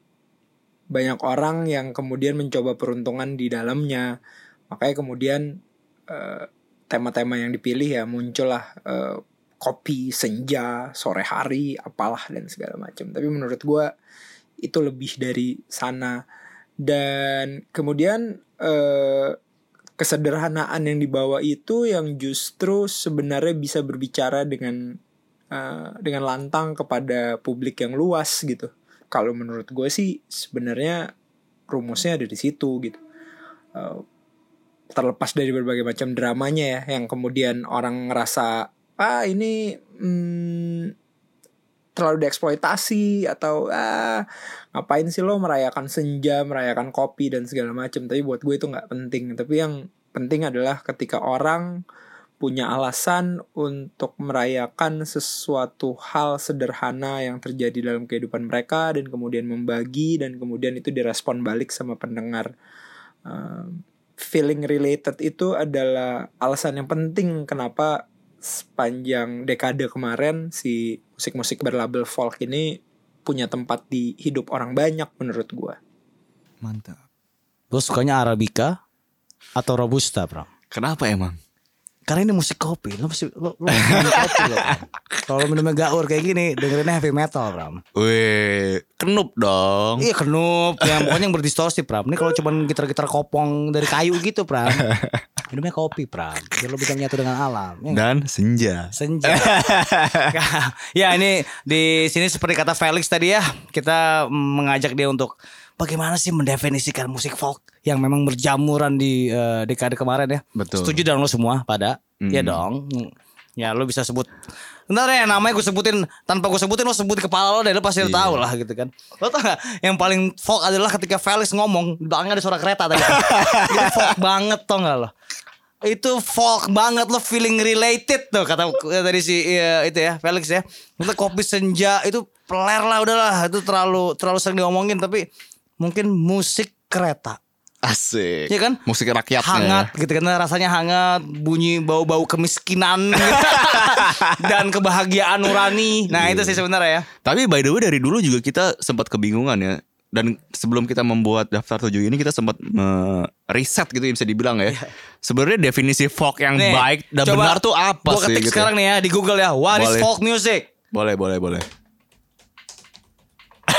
banyak orang yang kemudian mencoba peruntungan di dalamnya, makanya kemudian eh, tema-tema yang dipilih ya muncullah eh, kopi, senja, sore hari, apalah dan segala macam. Tapi menurut gua itu lebih dari sana. Dan kemudian eh, kesederhanaan yang dibawa itu yang justru sebenarnya bisa berbicara dengan eh, dengan lantang kepada publik yang luas gitu. Kalau menurut gue sih sebenarnya rumusnya ada di situ gitu. Eh, terlepas dari berbagai macam dramanya ya, yang kemudian orang ngerasa ah ini mm, terlalu dieksploitasi atau ah ngapain sih lo merayakan senja, merayakan kopi dan segala macam. Tapi buat gue itu nggak penting. Tapi yang penting adalah ketika orang punya alasan untuk merayakan sesuatu hal sederhana yang terjadi dalam kehidupan mereka dan kemudian membagi dan kemudian itu direspon balik sama pendengar. Um, feeling related itu adalah alasan yang penting kenapa sepanjang dekade kemarin si musik-musik berlabel folk ini punya tempat di hidup orang banyak menurut gua.
Mantap. Gue sukanya Arabica atau Robusta, Bro.
Kenapa emang?
Karena ini musik kopi, lo mesti lo, lo minum kopi lo. Bram. Kalau lo minumnya gaur kayak gini, dengerinnya heavy metal, Bram.
Weh, kenup dong.
Iya kenup, yang pokoknya yang berdistorsi, Pram. Ini kalau cuman gitar-gitar kopong dari kayu gitu, Pram. Minumnya kopi, Pram. Biar lo bisa menyatu dengan alam. Ya nggak?
Dan senja.
Senja. ya ini di sini seperti kata Felix tadi ya, kita mengajak dia untuk bagaimana sih mendefinisikan musik folk yang memang berjamuran di eh, dekade kemarin ya.
Betul. Hmm.
Setuju dan lo semua pada? Ya dong. Ya lo bisa sebut. Ntar ya namanya gue sebutin tanpa gue sebutin lo sebut di kepala lo deh lo pasti
Iya.
tahu lah gitu kan. Lo tau gak yang paling folk adalah ketika Felix ngomong belakangnya ada suara kereta tadi. Itu folk banget tau gak lo? Itu folk banget lo feeling related tuh kata kata tadi si ya, itu ya Felix ya. Itu kopi senja itu peler lah udahlah itu terlalu terlalu sering diomongin tapi mungkin musik kereta
Asik.
Iya kan?
Musik rakyatnya.
hangat gitu kan rasanya hangat bunyi bau-bau kemiskinan dan kebahagiaan nurani nah itu sih
Iya.
sebenarnya ya
Tapi by the way dari dulu juga kita sempat kebingungan ya. Dan sebelum kita membuat daftar tujuh ini kita sempat riset gitu yang bisa dibilang ya. Sebenarnya definisi folk yang
Iya. Nih,
baik dan
coba
benar tuh apa
gua
sih?
ketik
gitu.
sekarang nih ya di Google ya what is
Boleh.
folk music
Boleh, boleh, boleh.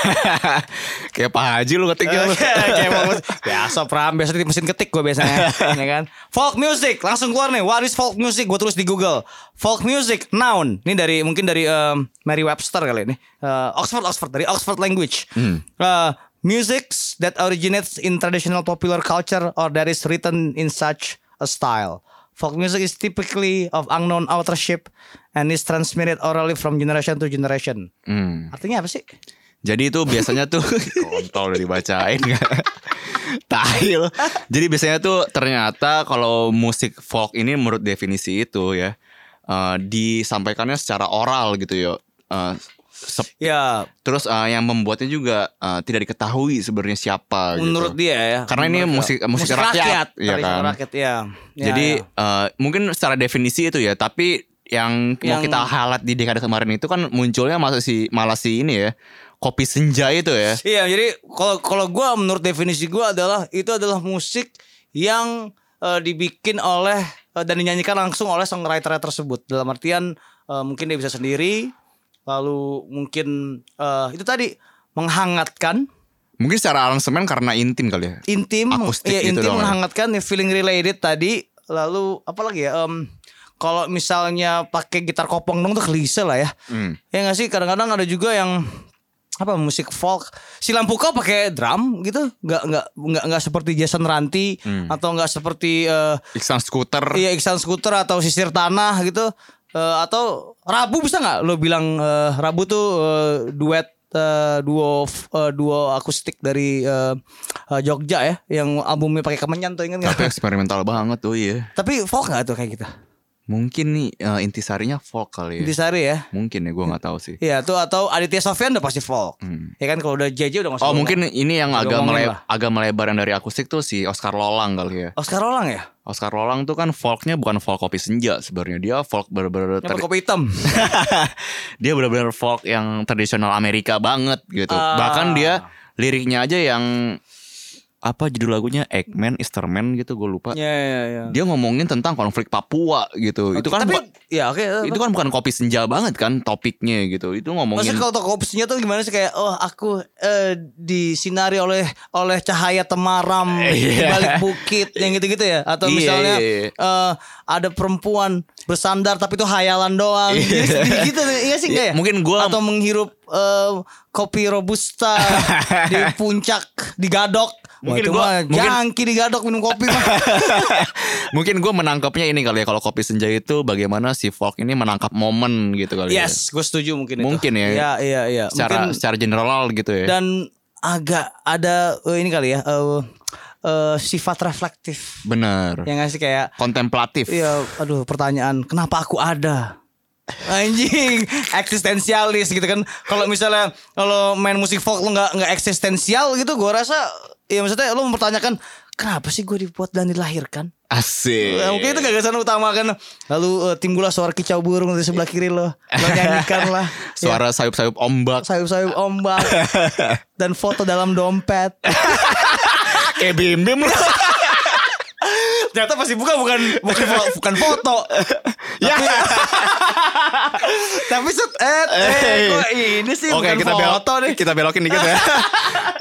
Kayak Pak Haji lu ketiknya lu.
Kayak mau mus- biasa pram biasa di mesin ketik gue biasanya ya kan folk music langsung keluar nih what is folk music gue tulis di Google folk music noun ini dari mungkin dari um, Mary Webster kali ini Uh, Oxford Oxford dari Oxford language Uh, music that originates in traditional popular culture or that is written in such a style Folk music is typically of unknown authorship and is transmitted orally from generation to generation.
Hmm.
Artinya apa sih?
Jadi itu biasanya tuh kontol udah dibacain nggak? Tai lo. Jadi biasanya tuh ternyata kalau musik folk ini menurut definisi itu ya eh, disampaikannya secara oral gitu ya. Eh, Sep-
Ya,
Terus eh, yang membuatnya juga eh, tidak diketahui sebenarnya siapa. gitu.
menurut dia ya.
Karena ini
Menurut-
musik- musik rakyat, iya
tradisional
kan?
rakyat, ya. Ya,
Jadi
ya.
eh, mungkin secara definisi itu ya, tapi yang, mau
Yang-
kita halat di dekade kemarin itu kan munculnya masih si malah si ini ya, kopi senja itu ya.
Iya, jadi kalau kalau gua menurut definisi gua adalah itu adalah musik yang eh, dibikin oleh eh, dan dinyanyikan langsung oleh songwriter tersebut. Dalam artian eh, mungkin dia bisa sendiri, lalu mungkin eh, itu tadi menghangatkan,
Mungkin secara aransemen karena intim kali ya.
intim,
Akustik
iya,
gitu
intim
dong ya.
menghangatkan, feeling related tadi, lalu apa lagi ya? em, kalau misalnya pakai gitar kopong dong tuh klise lah ya.
Hmm.
Ya nggak sih kadang-kadang ada juga yang apa musik folk si lampu kau pakai drum gitu nggak nggak nggak nggak seperti Jason Ranti
Hmm.
atau nggak seperti eh,
Iksan skuter.
iya Iksan Scooter atau sisir tanah gitu Eh, atau Rabu bisa nggak lo bilang eh, Rabu tuh eh, duet eh, duo f- eh, duo akustik dari eh, eh, Jogja ya yang albumnya pakai kemenyan tuh ingat
Tapi
nggak?
eksperimental banget tuh iya.
Tapi folk nggak tuh kayak gitu?
Mungkin nih eh, intisarinya folk kali ya.
Intisari ya?
Mungkin ya gue nggak tahu sih.
Iya tuh atau Aditya Sofyan udah pasti folk. Ya kan kalau udah JJ udah nggak usah
Hmm. Oh
ngomong.
mungkin ini yang agak
ngomongin
mele-
lah.
agak melebar yang dari akustik tuh si Oscar Lolang kali ya.
Oscar Rolang ya?
Oscar Lolang tuh kan folknya bukan folk kopi senja sebenarnya dia folk bener-bener
Yang
ter-
kopi hitam.
dia benar-benar folk yang tradisional Amerika banget gitu.
Ah.
Bahkan dia liriknya aja yang apa judul lagunya Eggman, Easterman gitu gue lupa.
Iya iya iya.
Dia ngomongin tentang konflik Papua gitu. Itu kan
tapi
bu-
ya oke.
itu kan bukan kopi senja banget kan topiknya gitu. Itu ngomongin
Maksudnya kalau toko opsinya tuh gimana sih kayak oh aku eh, disinari oleh oleh cahaya temaram di
Iya.
balik bukit yang gitu-gitu ya atau
Iya,
misalnya
iya, iya.
eh, ada perempuan bersandar tapi itu hayalan doang. Jadi sedih gitu iya sih enggak ya?
Ya, mungkin gua-
atau menghirup eh, kopi robusta di puncak digadok. Wah,
Mungkin
itu
gua-
mah
mungkin-
jangki digadok minum kopi mah.
Mungkin gue menangkapnya ini kali ya kalau kopi senja itu bagaimana si folk ini menangkap momen gitu kali ya.
Yes, gue setuju mungkin itu.
Mungkin ya.
Iya, iya, iya.
Secara
Mungkin-
secara general gitu ya.
dan agak ada eh, ini kali ya eh, eh, sifat reflektif
Bener.
yang ngasih kayak
Kontemplatif.
Ya. iya aduh pertanyaan kenapa aku ada anjing eksistensialis gitu kan kalau misalnya kalau main musik folk lu nggak nggak eksistensial gitu gua rasa ya maksudnya lu mempertanyakan kenapa sih gue dibuat dan dilahirkan
Asik.
Nah, mungkin itu gagasan utama kan lalu eh, timbullah suara kicau burung dari sebelah kiri lo lo nyanyikan lah Ya
Suara sayup-sayup ombak.
sayup-sayup ombak dan foto dalam dompet.
Kayak bim-bim lu.
Ternyata pasti buka bukan bukan fo- bukan foto.
Ya.
Tapi set eh, eh kok ini sih
Oke,
bukan
kita belok
foto nih.
Kita belokin dikit ya.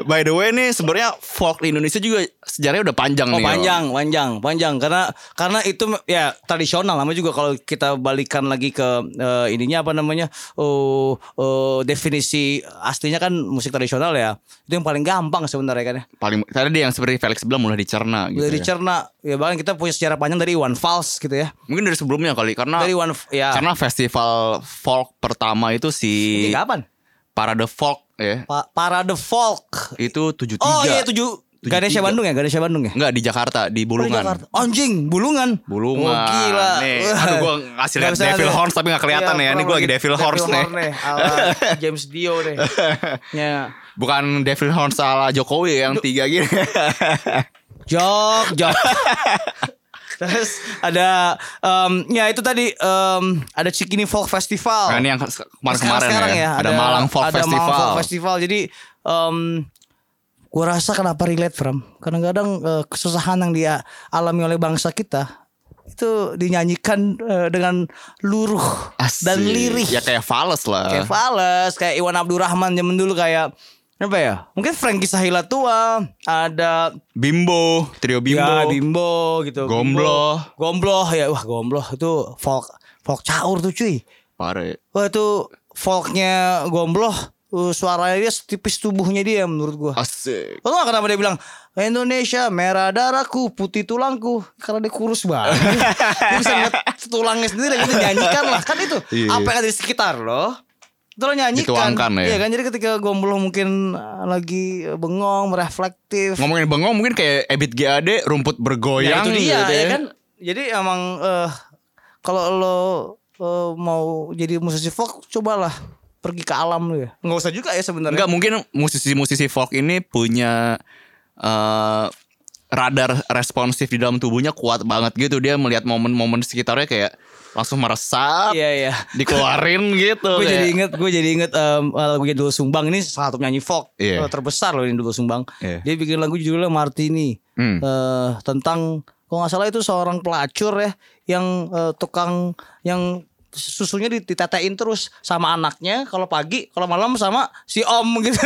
By the way nih sebenarnya folk di Indonesia juga sejarahnya udah panjang
Oh
nih.
panjang, panjang, panjang karena karena itu ya tradisional lama juga kalau kita balikan lagi ke eh, ininya apa namanya oh oh, definisi aslinya kan musik tradisional ya itu yang paling gampang sebenarnya kan ya
Paling tadi yang seperti Felix bilang mulai dicerna gitu.
Udah
ya.
dicerna ya bahkan kita punya sejarah panjang dari Iwan Fals gitu ya
Mungkin dari sebelumnya kali karena
dari Iwan ya
karena festival folk pertama itu si
Ini kapan?
Parade Folk ya.
Pa Parade Folk.
Itu 73.
Oh iya tujuh. Ganesha
73.
Bandung ya, Ganesha Bandung ya.
Enggak di Jakarta, di
Oh,
Bulungan.
Jakarta. Anjing, bulungan. Oh,
Bulungan.
gila.
Nih, aduh, gua ngasih lihat Devil Horns tapi nggak kelihatan
Iya,
ya. Ini gua lagi Devil Horns nih.
Ala James Dio deh. ya.
Bukan Devil Horns ala Jokowi yang tiga gini.
Oh. Jok, jok. Terus ada em, ya itu tadi em, ada Cikini Folk Festival.
Nah, ini yang kemarin-kemarin
Sekarang-sekarang
ya. Ada, Malang Folk
ada
Festival.
Malang Folk Festival. Jadi em gue rasa kenapa relate from kadang-kadang eh, kesusahan yang dia alami oleh bangsa kita itu dinyanyikan eh, dengan luruh
Asik.
dan lirih
Ya kayak fals lah.
kayak Fales, kayak Iwan Abdurrahman zaman dulu kayak apa ya? Mungkin Frankie Sahila tua, ada
Bimbo, trio Bimbo.
ya, Bimbo gitu.
Gombloh.
Bimbo. Gombloh ya, wah Gombloh itu folk folk caur tuh cuy.
Pare.
Wah itu folknya Gombloh, uh, suaranya dia setipis tubuhnya dia menurut gua.
Asik.
Lo gak kenapa dia bilang Indonesia merah darahku putih tulangku Karena dia kurus banget Dia bisa ngeliat tulangnya sendiri gitu Nyanyikan lah Kan itu
Iya,
Apa yang ada di sekitar lo Itu lo nyanyikan
Dituangkan ya.
Iya kan jadi ketika gombloh mungkin eh, Lagi eh, bengong Mereflektif
Ngomongin bengong mungkin kayak Ebit GAD rumput
Ya
bergoyang
itu dia
gitu
ya kan Jadi emang eh, Kalau lo eh, Mau jadi musisi folk Cobalah pergi ke alam lu ya? Enggak usah juga ya sebenarnya.
Enggak mungkin musisi-musisi folk ini punya eh, radar responsif di dalam tubuhnya kuat banget gitu dia melihat momen-momen sekitarnya kayak langsung meresap
Iya iya.
dikeluarin gitu
Gue
kayak.
jadi inget, gue jadi inget em, lagunya Dulu Sumbang ini salah satu penyanyi folk
Iya.
eh, terbesar loh ini Dulu Sumbang.
Iya.
Dia bikin lagu judulnya Martini
Hmm.
Eh, tentang kalau nggak salah itu seorang pelacur ya yang eh, tukang yang susunya ditetein terus sama anaknya kalau pagi kalau malam sama si om gitu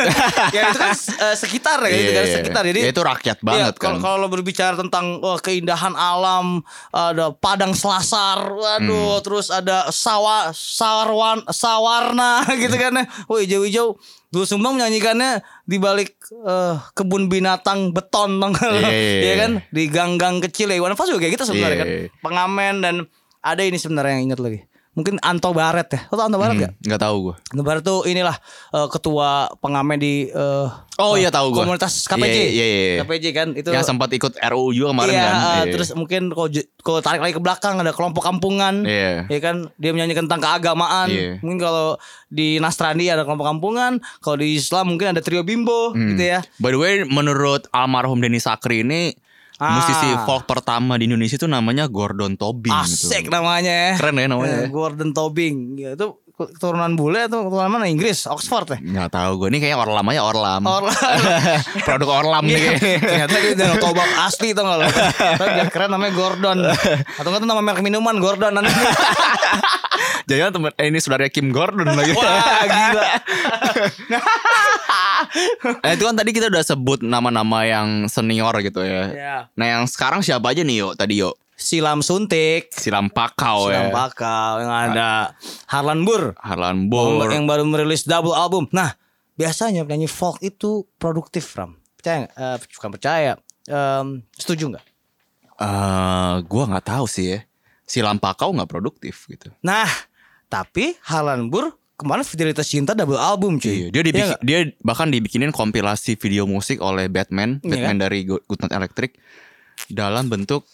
ya itu kan eh, sekitar ya
Iya,
itu kan
iya,
sekitar
iya.
jadi
Ya, itu rakyat banget
Iya, kalau-
kan.
kalau lo berbicara tentang wah, keindahan alam ada padang selasar waduh
Hmm.
terus ada sawah sawarwan sawarna gitu
Hmm.
kan oh hijau-hijau Dulu Sumbang menyanyikannya di balik eh, kebun binatang beton bang
Iya, iya,
Iya
iya.
kan di gang-gang kecil ya Iwan Fals juga kayak gitu sebenarnya
Iya,
kan
iya, iya.
pengamen dan ada ini sebenarnya yang ingat lagi mungkin Anto Baret ya lo tau Anto Baret
Hmm,
gak?
nggak tahu gue
Anto Baret tuh inilah eh, ketua pengamen di eh,
Oh,
eh,
iya, tahu gua.
komunitas KPJ
Iya, iya, iya, iya.
KPJ kan itu
yang sempat ikut RUU juga kemarin
Iya,
kan
eh,
Iya.
terus mungkin kalau ju- kalau tarik lagi ke belakang ada kelompok kampungan.
Iya.
Ya kan dia menyanyikan tentang keagamaan.
Iya.
Mungkin kalau di Nasrani ada kelompok kampungan, kalau di Islam mungkin ada trio bimbo
Hmm.
gitu ya.
By the way, menurut almarhum Denny Sakri ini
Ah.
musisi folk pertama di Indonesia itu namanya Gordon Tobing.
Asik
gitu.
namanya ya.
Keren ya namanya.
Eh, Gordon Tobing. Ya, itu keturunan bule atau keturunan mana? Inggris, Oxford ya.
Nggak tahu gue ini kayak orlam aja orlam. Iya.
Orang
Produk orlam nih.
Iya,
kayaknya.
Ternyata dia dari Toba asli tau gak lo Tapi biar keren namanya Gordon Atau gak tuh nama merek minuman Gordon nanti
Jangan temen eh, ini saudaranya Kim Gordon lagi.
Wah Ah, gila
Nah, itu kan tadi kita udah sebut nama-nama yang senior gitu ya.
Iya.
Nah yang sekarang siapa aja nih yo tadi yo?
Silam suntik
Silam Pakau
Silam
ya.
Pakau yang ada Harlan Bur
Harlan Bor.
Oh, yang baru merilis double album. Nah, biasanya penyanyi folk itu produktif, Ram. Percaya nggak? Eh, bukan percaya. Em, setuju nggak?
Eh, gue nggak tahu sih ya. Silam Pakau nggak produktif gitu.
Nah, tapi Harlan Bur kemarin Fidelitas Cinta double album
Iya,
cuy.
dia dibik-
Iya nggak?
dia bahkan dibikinin kompilasi video musik oleh Batman,
Iya
Batman dari Go- Good Night Electric dalam bentuk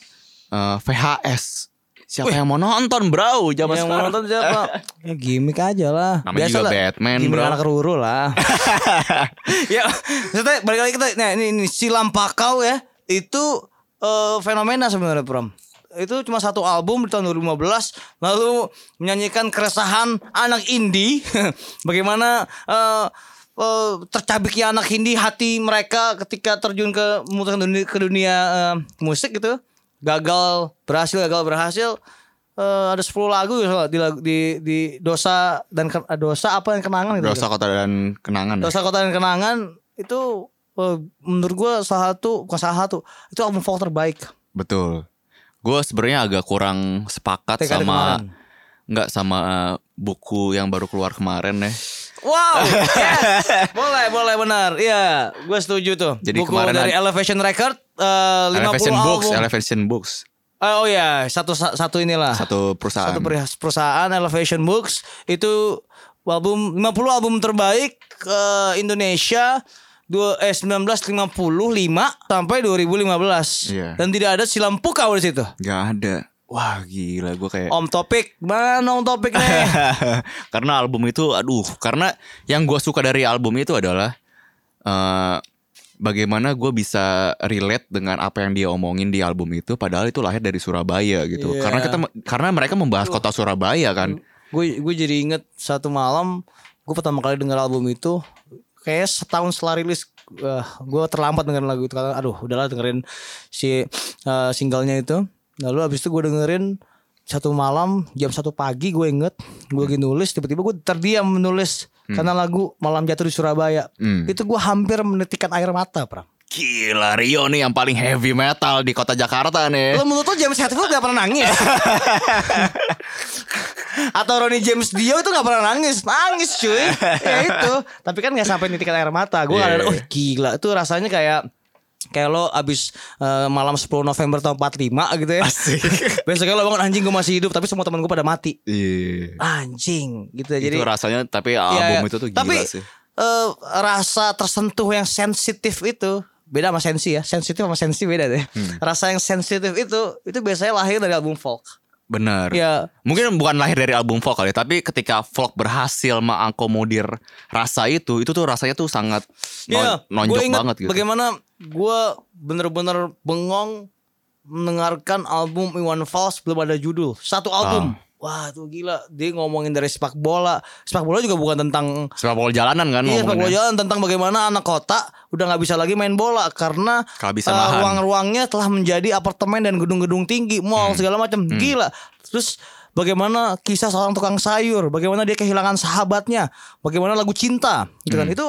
eh, VHS. Siapa yang mau nonton, Bro? Zaman
yang mau
sekarang.
nonton siapa? ya gimmick aja lah.
Namanya juga
lah,
Batman,
gimmick
bro.
anak ruru lah. ya, maksudnya balik lagi kita nah, ini, ini si Lampakau ya itu eh, fenomena sebenarnya, Pram. Itu cuma satu album di tahun 2015 lalu menyanyikan keresahan anak indie bagaimana eh, eh, tercabiknya anak indie hati mereka ketika terjun ke memutuskan dunia, ke dunia eh, musik gitu gagal berhasil gagal berhasil Eh, ada 10 lagu ya, soalnya di, lagu- di di dosa dan Ken- dosa apa yang kenangan gitu. itu
Dosa Kota dan Kenangan. ya?
dosa kota dan kenangan itu eh, menurut gua salah satu bukan salah satu itu album folk terbaik
Betul. Gue sebenarnya agak kurang sepakat
TKD
sama
kemarin.
nggak sama eh, buku yang baru keluar kemarin ya.
wow yes boleh boleh benar iya gua setuju tuh
Jadi
buku
kemarin
dari
ada-
Elevation Record eh, 50
Elevation
album
Books, Elevation Books.
Eh, oh ya satu satu inilah
Satu perusahaan.
satu perihas- perusahaan Elevation Books itu album 50 album terbaik eh, Indonesia dua eh 1955 sampai 2015
Iya.
dan tidak ada silam pukau di situ.
Gak ada. Wah gila gue kayak
Om Topik mana Om Topik nih?
karena album itu aduh karena yang gue suka dari album itu adalah eh bagaimana gue bisa relate dengan apa yang dia omongin di album itu padahal itu lahir dari Surabaya gitu
Iya.
karena kita karena mereka membahas kota Surabaya kan
gue gue jadi inget satu malam gue pertama kali dengar album itu kayak setahun setelah rilis eh, gue terlambat dengerin lagu itu karena aduh udahlah dengerin si eh, singlenya itu lalu abis itu gue dengerin satu malam jam satu pagi gue inget gue lagi nulis tiba-tiba gue terdiam menulis karena lagu malam jatuh di Surabaya
Hmm.
itu gue hampir menitikkan air mata pram
gila Rio nih yang paling heavy metal di kota Jakarta nih
Lo menurut lo James Hetfield gak pernah nangis? Atau Ronnie James Dio itu gak pernah nangis Nangis cuy Ya itu Tapi kan gak sampai nitikan air mata Gue
Iya,
ada
iya.
Oh gila Itu rasanya kayak Kayak lo abis eh, malam 10 November tahun 45 gitu ya
Asik.
Besoknya lo bangun anjing gue masih hidup Tapi semua teman gue pada mati
Iya.
Anjing gitu ya,
itu
Jadi
rasanya tapi
Iya, iya.
album itu tuh gila
Tapi,
sih
eh, rasa tersentuh yang sensitif itu beda sama
Hmm.
sensi ya. Sensitif sama sensi beda deh. Rasa yang sensitif itu itu biasanya lahir dari album folk.
Bener.
Ya.
Mungkin bukan lahir dari album folk kali, tapi ketika folk berhasil mengakomodir rasa itu, itu tuh rasanya tuh sangat non-
Iya,
nonjok
gua ingat
banget gitu.
Bagaimana gue bener-bener bengong mendengarkan album Iwan Fals belum ada judul. Satu album.
Ah.
Wah itu gila. Dia ngomongin dari sepak bola. Sepak bola juga bukan tentang
Sepak bola jalanan kan
Iya, sepak bola
ngomonginnya.
jalan tentang bagaimana anak kota udah nggak bisa lagi main bola karena
Kehabisan
eh,
lahan.
ruang-ruangnya telah menjadi apartemen dan gedung-gedung tinggi, mall
Hmm.
segala macam. Gila. Terus bagaimana kisah seorang tukang sayur, bagaimana dia kehilangan sahabatnya, bagaimana lagu cinta, gitu
Hmm.
kan. Itu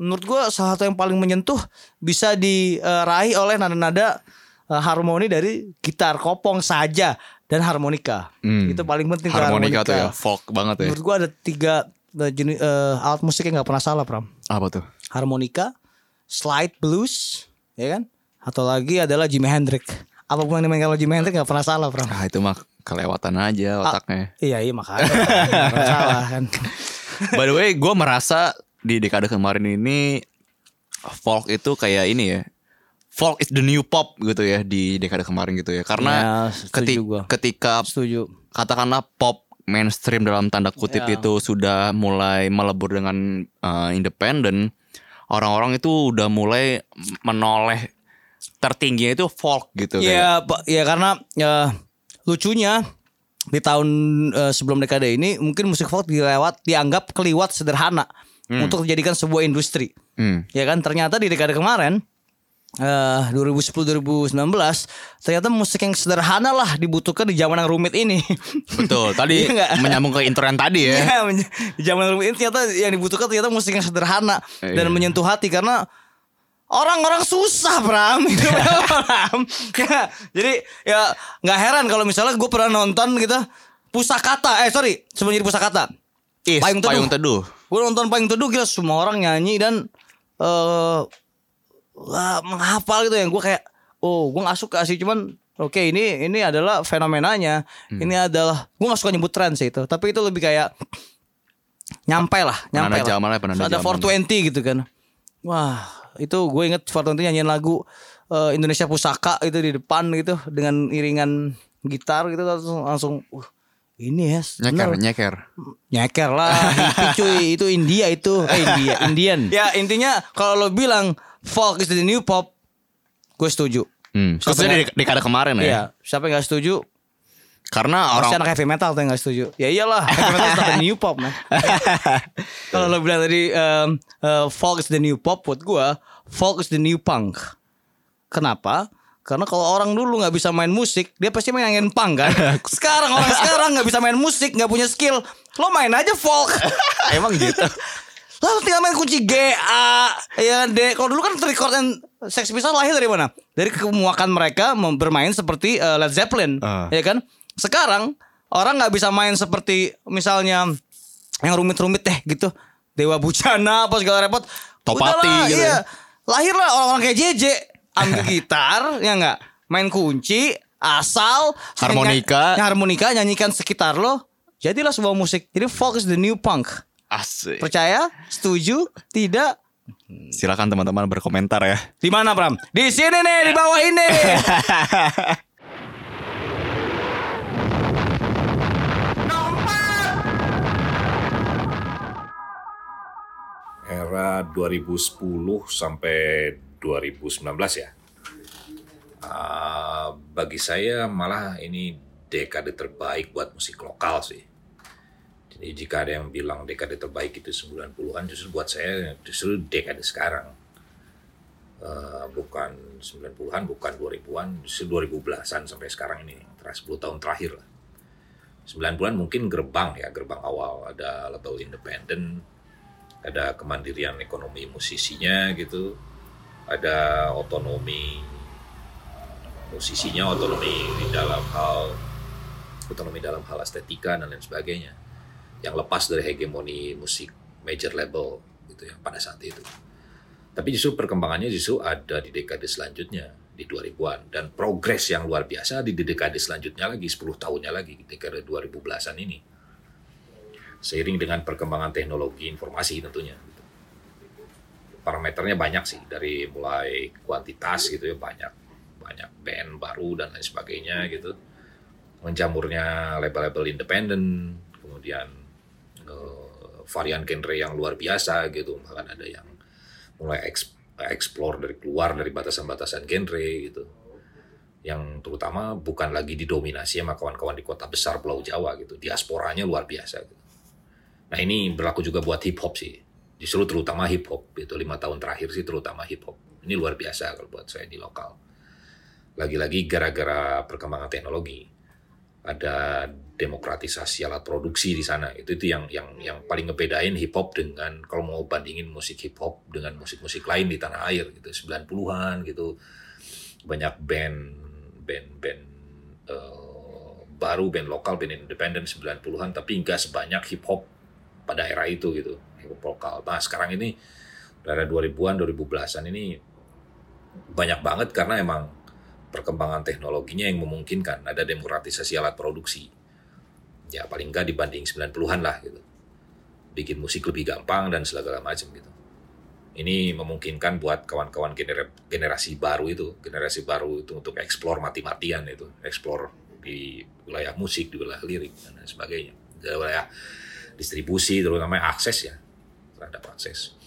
menurut gua salah satu yang paling menyentuh bisa diraih oleh nada-nada eh, harmoni dari gitar kopong saja dan harmonika.
Hmm.
Itu paling penting tuh
harmonika tuh ya, folk banget ya.
Menurut gua ada tiga eh, jenis eh, alat musik yang nggak pernah salah, Pram
Apa tuh?
harmonika, slide blues, ya kan? Atau lagi adalah Jimi Hendrix. Apapun yang dimainkan oleh Jimi Hendrix gak pernah salah, Pram.
Ah itu mah kelewatan aja otaknya.
Iya, iya makanya. Nggak pernah salah kan.
By the way, gue merasa di dekade kemarin ini folk itu kayak ini ya. Folk is the new pop gitu ya di dekade kemarin gitu ya. Karena
Ya, setuju
keti-
gua.
ketika
Setuju.
katakanlah pop mainstream dalam tanda kutip
Ya.
itu sudah mulai melebur dengan eh, independen, orang-orang itu udah mulai menoleh tertingginya itu folk gitu kayak.
Iya, Pak. Iya, karena ya, lucunya di tahun eh, sebelum dekade ini mungkin musik folk dilewat dianggap keliwat sederhana untuk dijadikan sebuah industri.
Hmm.
Ya kan ternyata di dekade kemarin eh 2010-2019 ternyata musik yang sederhana lah dibutuhkan di zaman yang rumit ini.
Betul. Tadi
Iya nggak?
menyambung ke intro yang tadi ya.
Ya, men- di zaman yang rumit ini ternyata yang dibutuhkan ternyata musik yang sederhana
Eh,
dan
iya.
menyentuh hati karena orang-orang susah Pram, Gitu, Pram. Ya, jadi ya nggak heran kalau misalnya gue pernah nonton gitu pusakata eh sorry sebelum jadi pusakata
Is,
Iya. Payung Teduh.
payung teduh.
Gue nonton Payung Teduh gila semua orang nyanyi dan eh wah, menghafal gitu ya. Gue kayak oh gue gak suka sih cuman oke ini ini adalah fenomenanya.
Hmm.
Ini adalah gue gak suka nyebut tren sih itu. Tapi itu lebih kayak nyampe lah, nyampe
Penanda
lah.
zaman lah, penanda
ada
zaman.
420 gitu kan. Wah itu gue inget 420 nyanyiin lagu eh, Indonesia Pusaka itu di depan gitu dengan iringan gitar gitu langsung langsung uh, ini ya
Nyeker,
bener
nyeker.
nyeker lah hippie cuy itu India itu eh India Indian ya intinya kalau lo bilang folk is the new pop gue setuju
Hmm. Khususnya di
Sampai-
dekade kemarin ya.
Iya, siapa yang gak setuju?
Karena
Pasti
orang
anak heavy metal tuh yang gak setuju. Ya iyalah, heavy metal is not the new pop, man. Kalau lo bilang tadi em, eh, folk is the new pop, buat gue folk is the new punk. Kenapa? Karena kalau orang dulu nggak bisa main musik, dia pasti mainin punk kan. Sekarang orang sekarang nggak bisa main musik, nggak punya skill, lo main aja folk.
emang gitu.
Lalu tinggal main kunci G A ya D. Kalau dulu kan record and Sex Pistols lahir dari mana? Dari kemuakan mereka mem- bermain seperti eh, Led Zeppelin,
Ah.
ya kan? Sekarang orang nggak bisa main seperti misalnya yang rumit-rumit deh gitu. Dewa Bujana apa segala repot.
Topati
Udahlah,
gitu
Iya. Lahirlah orang-orang kayak JJ ambil gitar ya nggak main kunci asal
Harmonika.
nyanyi- harmonika nyanyikan sekitar lo jadilah sebuah musik jadi folk is the new punk
Asik.
Percaya? Setuju? Tidak?
Silakan teman-teman berkomentar ya.
Di mana Pram? Di sini nih, di bawah ini.
era 2010 sampai 2019 ya. Ah, bagi saya malah ini dekade terbaik buat musik lokal sih. Jadi jika ada yang bilang dekade terbaik itu 90-an justru buat saya justru dekade sekarang. Eh, bukan 90-an, bukan 2000-an, justru 2010-an sampai sekarang ini, ter- 10 tahun terakhir lah. 90-an mungkin gerbang ya, gerbang awal ada Lato Independen, ada kemandirian ekonomi musisinya gitu ada otonomi musisinya otonomi di dalam hal otonomi dalam hal estetika dan lain sebagainya yang lepas dari hegemoni musik major label gitu ya pada saat itu tapi justru perkembangannya justru ada di dekade selanjutnya di 2000-an dan progres yang luar biasa di di dekade selanjutnya lagi 10 tahunnya lagi di dekade 2010-an ini seiring dengan perkembangan teknologi informasi tentunya. gitu. Parameternya banyak sih dari mulai kuantitas gitu ya banyak banyak band baru dan lain sebagainya gitu. menjamurnya label-label independen, kemudian eh, varian genre yang luar biasa gitu, bahkan ada yang mulai eks- explore dari keluar dari batasan-batasan genre gitu. Yang terutama bukan lagi didominasi sama kawan-kawan di kota besar Pulau Jawa gitu, diasporanya luar biasa gitu. Nah ini berlaku juga buat hip hop sih, justru terutama hip hop itu lima tahun terakhir sih terutama hip hop. Ini luar biasa kalau buat saya di lokal. Lagi-lagi gara-gara perkembangan teknologi, ada demokratisasi alat produksi di sana itu itu yang yang yang paling ngebedain hip hop dengan kalau mau bandingin musik hip hop dengan musik-musik lain di tanah air gitu 90-an gitu banyak band band band eh, baru band lokal band independen 90-an tapi nggak sebanyak hip hop pada era itu gitu hip hop lokal nah sekarang ini era 2000-an 2010-an ini banyak banget karena emang perkembangan teknologinya yang memungkinkan ada demokratisasi alat produksi. Ya paling nggak dibanding 90-an lah gitu. Bikin musik lebih gampang dan segala macam gitu. Ini memungkinkan buat kawan-kawan gener- generasi baru itu, generasi baru itu untuk eksplor mati-matian itu, eksplor di wilayah musik, di wilayah lirik dan lain sebagainya. Di wilayah distribusi terutama akses ya, terhadap akses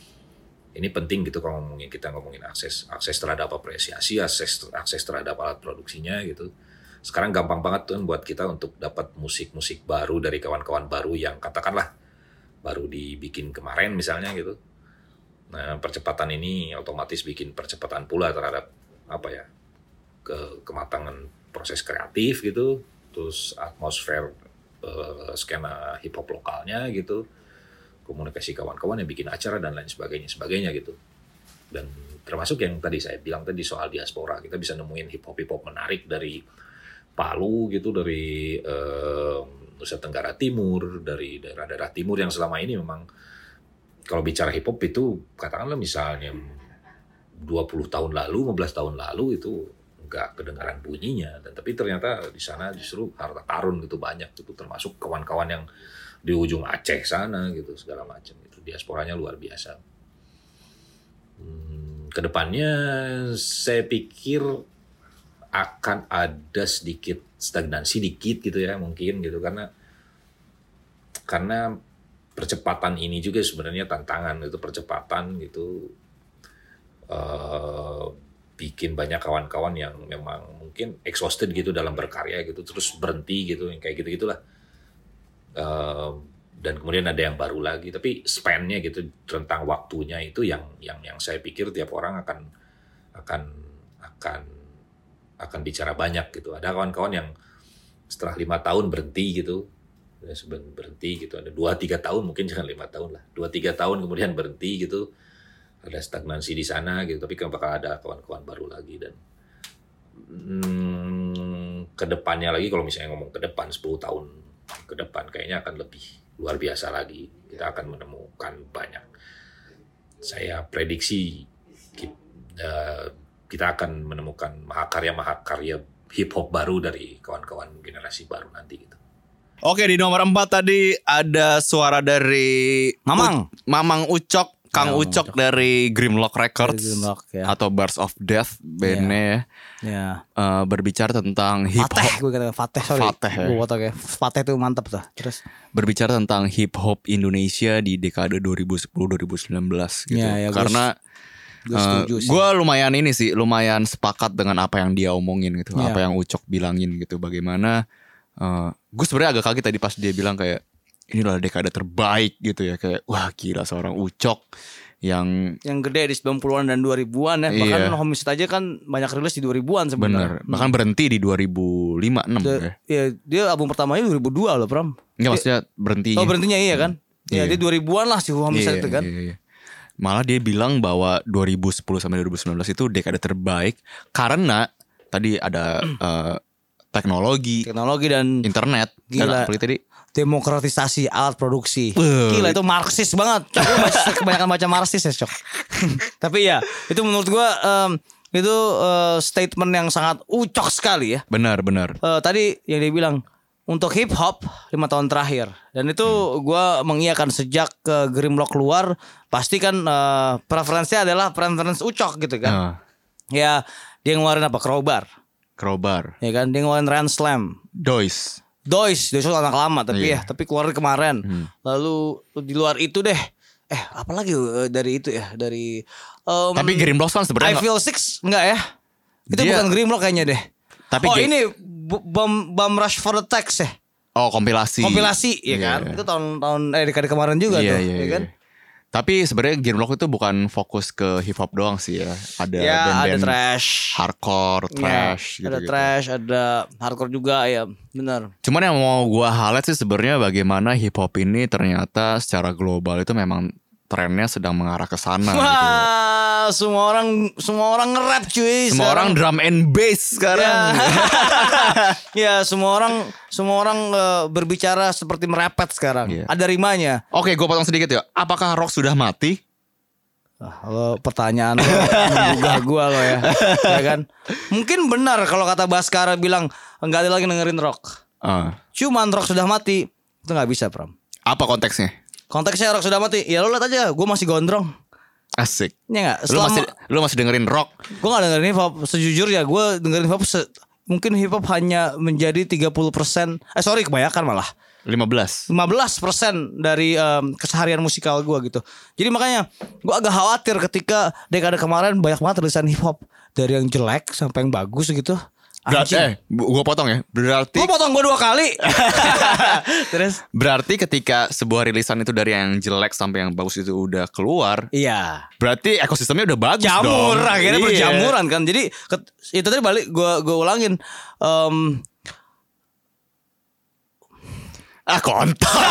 ini penting gitu kalau ngomongin kita ngomongin akses akses terhadap apresiasi akses akses terhadap alat produksinya gitu sekarang gampang banget tuh buat kita untuk dapat musik-musik baru dari kawan-kawan baru yang katakanlah baru dibikin kemarin misalnya gitu nah percepatan ini otomatis bikin percepatan pula terhadap apa ya ke kematangan proses kreatif gitu terus atmosfer eh, skena hip hop lokalnya gitu komunikasi kawan-kawan yang bikin acara dan lain sebagainya sebagainya gitu dan termasuk yang tadi saya bilang tadi soal diaspora kita bisa nemuin hip hop hip hop menarik dari Palu gitu dari eh, Nusa Tenggara Timur dari daerah-daerah timur yang selama ini memang kalau bicara hip hop itu katakanlah misalnya 20 tahun lalu 15 tahun lalu itu nggak kedengaran bunyinya dan tapi ternyata di sana justru harta karun gitu banyak gitu termasuk kawan-kawan yang di ujung Aceh sana gitu segala macam itu diasporanya luar biasa. Hmm, kedepannya saya pikir akan ada sedikit stagnansi dikit gitu ya mungkin gitu karena karena percepatan ini juga sebenarnya tantangan itu percepatan gitu eh, bikin banyak kawan-kawan yang memang mungkin exhausted gitu dalam berkarya gitu terus berhenti gitu yang kayak gitu gitulah Uh, dan kemudian ada yang baru lagi tapi spannya gitu rentang waktunya itu yang yang yang saya pikir tiap orang akan akan akan akan bicara banyak gitu ada kawan-kawan yang setelah lima tahun berhenti gitu ya, seben- berhenti gitu ada dua tiga tahun mungkin jangan lima tahun lah dua tiga tahun kemudian berhenti gitu ada stagnansi di sana gitu tapi kan bakal ada kawan-kawan baru lagi dan hmm, ke depannya lagi kalau misalnya ngomong ke depan 10 tahun ke depan kayaknya akan lebih luar biasa lagi. Kita akan menemukan banyak. Saya prediksi kita, kita akan menemukan mahakarya-mahakarya hip hop baru dari kawan-kawan generasi baru nanti gitu.
Oke di nomor 4 tadi ada suara dari
Mamang.
U- Mamang Ucok, Kang
Mamang
Ucok dari Grimlock Iya. Records
Dari Grimlock, ya.
atau Bars of Death bandnya
Ya.
ya, eh, berbicara tentang hip hop,
Fateh gue kata Fateh sorry.
Fateh, ya.
Gue kotak ya. Fateh tuh mantep tuh. Terus
berbicara tentang hip hop Indonesia di dekade 2010-2019 gitu.
Ya, ya, gua
Karena
gue setuju sih.
gue lumayan ini sih, lumayan sepakat dengan apa yang dia omongin gitu,
Iya.
apa yang Ucok bilangin gitu. Bagaimana gue sebenarnya agak kaget tadi pas dia bilang kayak inilah dekade terbaik gitu ya kayak wah gila seorang Ucok yang
yang gede di 90-an dan 2000-an ya. Bahkan
Iya.
Homicide aja kan banyak rilis di 2000-an sebenarnya.
bener bahkan berhenti di 2005 6 ya.
Dia- Ya, dia album pertamanya 2002 loh, Pram.
Enggak maksudnya berhenti.
Oh, berhentinya iya kan? Ya,
Iya.
dia 2000-an lah si Homicide itu kan.
iya, iya. Malah dia bilang bahwa 2010 sampai 2019 itu dekade terbaik karena tadi ada eh, teknologi,
Teknologi dan
internet dan
Gila.
apa lagi tadi?
demokratisasi alat produksi.
Wah.
Gila itu marxis banget. Cok, Lu baca- kebanyakan baca marxis ya, Cok. Tapi ya, itu menurut gua em, itu eh, statement yang sangat ucok sekali ya.
Benar, benar.
Eh, tadi yang dia bilang untuk hip hop lima tahun terakhir dan itu gua mengiakan sejak ke Grimlock keluar pasti kan eh, preferensinya adalah preference ucok gitu kan
Nah,
ya dia ngeluarin apa crowbar
crowbar.
ya kan dia ngeluarin Grand Slam
Dois.
Dois, Dois itu anak lama tapi
Iya.
ya, tapi keluar kemarin.
Hmm.
Lalu di luar itu deh, eh apalagi eh, dari itu ya dari. em,
Tapi Green Blocks
Oh, I
kan sebenarnya nggak-
Feel Six enggak ya? Itu
Dia-
bukan Grimlock kayaknya deh.
Tapi
oh
Ge-
ini B- Bum Bum Rush for the Text ya,
Oh kompilasi.
kompilasi ya
Iya.
kan? Itu tahun-tahun eh dekade kemarin juga
Iya,
tuh,
iya,
ya
iya.
kan?
Tapi sebenarnya Green Block itu bukan fokus ke hip hop doang sih ya. Ada
Ya ada
band-band
trash,
hardcore, trash
Ya, ada
gitu-gitu.
trash, ada hardcore juga ya, benar.
Cuman yang mau gua highlight sih sebenarnya bagaimana hip hop ini ternyata secara global itu memang trennya sedang mengarah ke sana gitu.
Wah, semua orang semua orang nge-rap cuy.
Semua orang drum and bass
Iya.
sekarang.
ya, semua orang semua orang eh, berbicara seperti merepet sekarang.
Iya.
Ada rimanya.
Oke, gue potong sedikit ya. Apakah rock sudah mati?
Ah, lo pertanyaan lo menggugah gua lo ya. ya kan? Mungkin benar kalau kata Baskara bilang enggak ada lagi dengerin rock.
Ah.
Cuman rock sudah mati. Itu nggak bisa, Pram.
Apa konteksnya?
Konteksnya rock sudah mati. Ya lo lihat aja, gua masih gondrong.
Asik.
Ya enggak?
Lu masih lu masih dengerin rock?
Gue gak dengerin hip hop Sejujurnya gue dengerin hip hop se- Mungkin hip hop hanya menjadi 30% Eh sorry kebanyakan malah
15.
15% dari em, keseharian musikal gue gitu Jadi makanya gue agak khawatir ketika dekade kemarin banyak banget tulisan hip hop Dari yang jelek sampai yang bagus gitu
Berarti eh, gue potong ya. Berarti
Gue potong gue dua kali Terus
berarti ketika sebuah rilisan itu dari yang jelek sampai yang bagus itu udah keluar,
Iya
berarti ekosistemnya udah bagus
jamur
dong.
akhirnya
Iya.
berjamuran kan jadi ket- itu tadi balik gue gue ulangin Em,
Ah, kontol.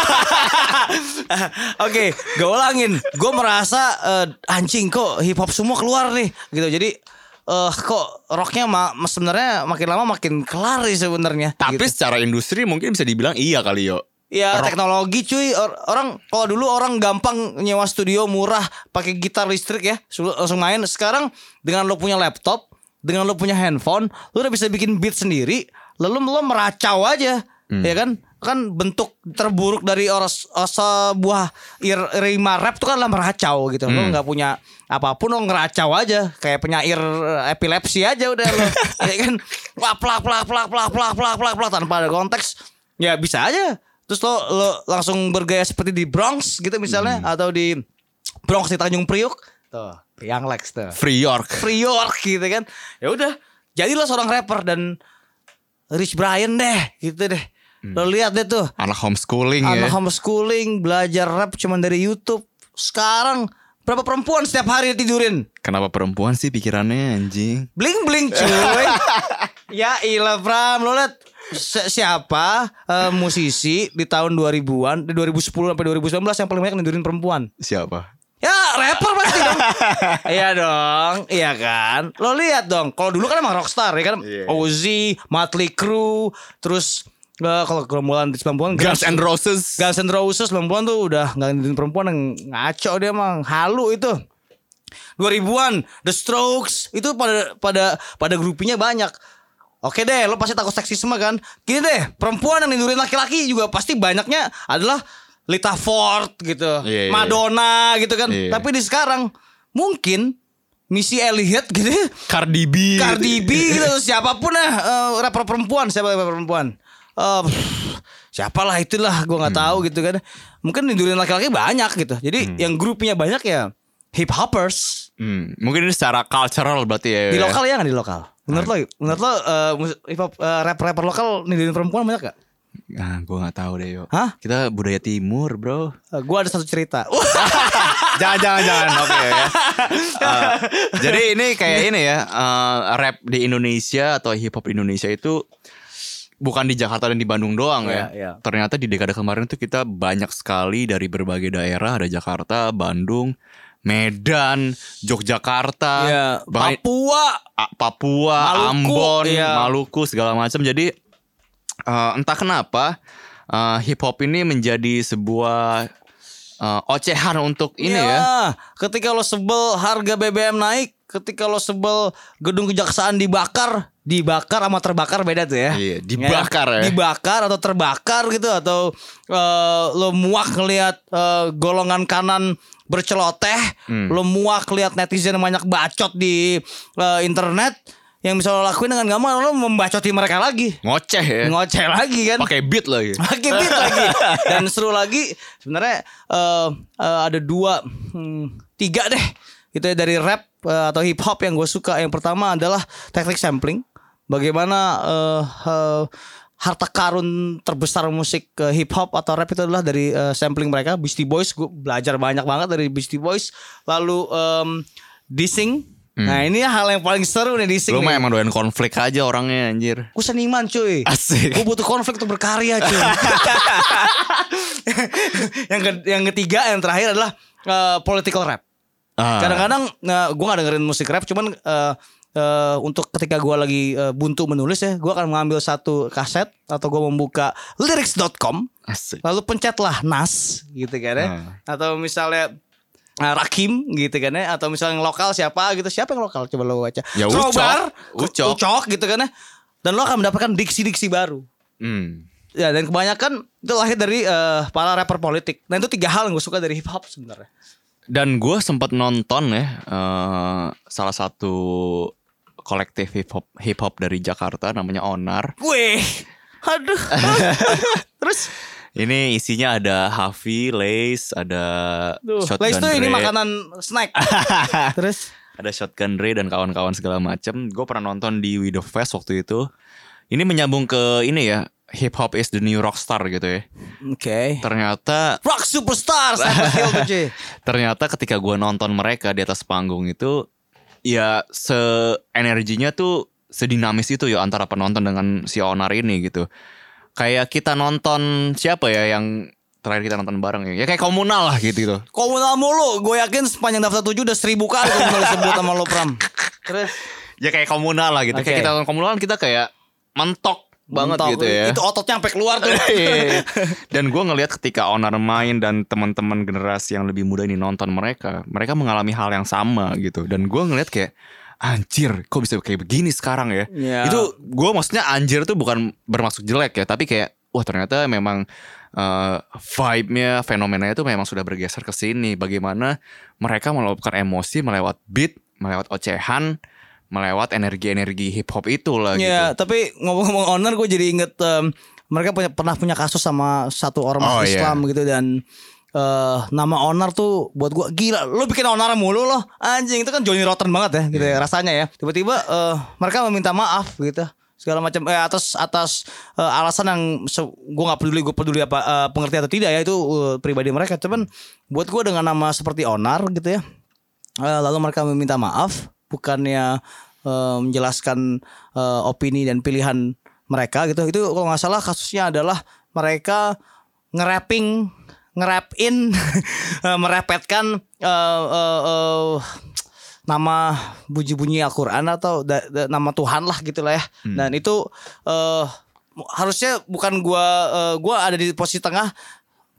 Oke, gue ulangin. Gue merasa eh, anjing kok hip hop semua keluar nih, gitu. Jadi eh kok rocknya ma- sebenarnya makin lama makin kelar sih sebenarnya.
Tapi
Gitu.
secara industri mungkin bisa dibilang iya kali yo.
ya
rock-
teknologi cuy Or- orang kalau dulu orang gampang nyewa studio murah pakai gitar listrik ya su- langsung main. Sekarang dengan lo punya laptop, dengan lo punya handphone, lo udah bisa bikin beat sendiri. Lalu lo meracau aja, ya kan? kan bentuk terburuk dari orang sebuah ir- irima rap itu kan lah meracau gitu. Lo nggak punya apapun lo ngeracau aja kayak penyair eh, epilepsi aja udah lo. ya kan wah plak plak plak plak plak plak plak plak tanpa ada konteks. Ya bisa aja. Terus lo, lo langsung bergaya seperti di Bronx gitu misalnya atau di Bronx di Tanjung Priuk. Tuh, yang Lex tuh.
Free York.
Free York gitu kan. Ya udah, jadilah seorang rapper dan Rich Brian deh gitu deh. Lo lihat deh tuh
Anak homeschooling ya.
anak homeschooling belajar rap cuman dari YouTube. Sekarang berapa perempuan setiap hari tidurin?
Kenapa perempuan sih pikirannya anjing?
Bling bling cuy. ya ilah Pram lo liat si- siapa eh, musisi di tahun 2000-an, di 2010 sampai 2019 yang paling banyak nidurin perempuan?
Siapa?
Ya rapper pasti dong Iya dong Iya kan Lo lihat dong Kalau dulu kan emang rockstar ya kan Ozzy Motley Crue Terus eh, Kalau gerombolan di 90-an
Guns and Roses.
Guns N' Roses 90-an tuh udah Gak ngeliatin perempuan yang ngaco dia emang Halu itu 2000-an The Strokes Itu pada pada pada grupinya banyak Oke deh, lo pasti takut seksisme kan? Gini deh, perempuan yang nidurin laki-laki juga pasti banyaknya adalah Lita Ford gitu,
Iya, iya, iya.
Madonna gitu kan.
Iya.
Tapi di sekarang mungkin Missy Elliott gitu, ya,
Cardi B.
Cardi B gitu, siapapun lah eh, rapper perempuan, siapa rapper perempuan? Eh, pff, siapalah itulah gua nggak tahu gitu kan. Mungkin nidurin laki-laki banyak gitu. Jadi yang grupnya banyak ya hip hoppers.
Hmm, mungkin ini secara cultural berarti ya.
Di lokal ya nggak di lokal? Menurut lo, menurut lo eh, mus- hip hop rap rapper lokal nidurin perempuan banyak gak?
Nah, gue nggak tahu deh yo.
Hah?
Kita budaya timur bro.
Eh, gua ada satu cerita.
jangan jangan jangan. Oke. ya. Eh, jadi ini kayak ini ya eh, rap di Indonesia atau hip hop Indonesia itu bukan di Jakarta dan di Bandung doang ya.
Iya, iya.
Ternyata di dekade kemarin tuh kita banyak sekali dari berbagai daerah ada Jakarta, Bandung, Medan, Yogyakarta, bahkan-
Iya, Papua.
A- Papua,
Maluku,
Ambon,
iya.
Maluku segala macam. Jadi eh, entah kenapa eh, hip hop ini menjadi sebuah eh, ocehan untuk ini
Iya,
ya.
Ketika lo sebel harga BBM naik, ketika lo sebel gedung kejaksaan dibakar, dibakar sama terbakar beda tuh ya.
Iya, dibakar ya.
Dibakar atau terbakar gitu atau eh, lo muak ngelihat eh, golongan kanan
Hmm.
berceloteh, lo muak lihat netizen yang banyak bacot di eh, internet. yang bisa lo lakuin dengan gampang lo membacoti mereka lagi
Ngoceh ya.
ngoceh lagi kan
Pakai beat lagi.
pakai beat lagi dan seru lagi sebenarnya eh, eh, ada dua hmm, tiga deh gitu ya dari rap eh, atau hip hop yang gue suka yang pertama adalah teknik sampling bagaimana eh, eh, harta karun terbesar musik eh, hip hop atau rap itu adalah dari eh, sampling mereka Beastie Boys gue belajar banyak banget dari Beastie Boys lalu em, dissing nah ini hal yang paling seru nih dissing
Lu mah
nih.
emang doyan konflik aja orangnya anjir.
Gue seniman cuy
Asik.
Gue butuh konflik untuk berkarya cuy yang, ke- yang ketiga yang terakhir adalah eh, Political rap
Ah.
Kadang-kadang gue gak dengerin musik rap Cuman eh, eh, untuk ketika gue lagi eh, buntu menulis ya Gue akan mengambil satu kaset Atau gue membuka lyrics.com
Asik.
Lalu pencetlah Nas gitu kan ya
Hmm.
Atau misalnya eh, Rakim gitu kan ya Atau misalnya yang lokal siapa gitu Siapa yang lokal coba lo baca
Ya, Ucok.
Crowbar,
Ucok.
Ucok gitu kan ya Dan lo akan mendapatkan diksi-diksi baru
Hmm.
Ya dan kebanyakan itu lahir dari eh, para rapper politik Nah itu tiga hal yang gue suka dari hip hop sebenarnya
Dan gue sempat nonton ya eh, salah satu kolektif hip hop hip hop dari Jakarta namanya Onar.
Weh Aduh Terus
Ini isinya ada Hafi, Lace, ada
Duh,
Shotgun
Lays tuh ini
Dre,
makanan snack Terus
ada Shotgun Dre dan kawan-kawan segala macem. Gue pernah nonton di We The Fest waktu itu. Ini menyambung ke ini ya, hip hop is the new rockstar gitu ya.
Oke
Ternyata
Rock Superstar Cypress Hill tuh, cuy.
ternyata ketika gue nonton mereka di atas panggung itu ya se energinya tuh sedinamis itu ya antara penonton dengan si onar ini gitu kayak kita nonton siapa ya yang terakhir kita nonton bareng ya, ya kayak komunal lah gitu gitu
Komunal mulu Gue yakin sepanjang daftar tujuh udah seribu kali Komunal disebut sama lo Pram Terus
ya kayak komunal lah gitu
Oke.
kayak kita nonton komunal kita kayak mentok banget
mentok.
gitu ya
Itu ototnya sampai keluar tuh
Iya. dan gue ngelihat ketika onar main dan teman-teman generasi yang lebih muda ini nonton mereka mereka mengalami hal yang sama gitu dan gue ngelihat kayak anjir kok bisa kayak begini sekarang ya
Iya.
itu gue maksudnya anjir tuh bukan bermaksud jelek ya tapi kayak wah ternyata memang eh, vibe-nya fenomenanya itu memang sudah bergeser ke sini bagaimana mereka melakukan emosi melewat beat melewat ocehan melewat energi-energi hip hop itulah
Iya,
gitu
tapi ngomong-ngomong owner gue jadi inget em, mereka punya pernah punya kasus sama satu
Oh,
ormas Islam gitu dan eh nama owner tuh buat gua gila lu bikin owner mulu loh anjing itu kan Johnny Rotten banget ya gitu
Iya.
ya rasanya ya tiba-tiba eh, mereka meminta maaf gitu segala macam eh atas atas eh, alasan yang se- gua nggak peduli gue peduli apa eh, pengerti atau tidak ya itu eh, pribadi mereka cuman buat gua dengan nama seperti owner gitu ya Eh, lalu mereka meminta maaf bukannya eh, menjelaskan eh, opini dan pilihan mereka gitu itu kalau nggak salah kasusnya adalah mereka ngerapping ngerapin eh, merepetkan eh, eh, eh, nama bunyi-bunyi Al-Quran atau da- da- nama Tuhan lah gitu lah ya dan itu eh, mu- harusnya bukan gua eh, gua ada di posisi tengah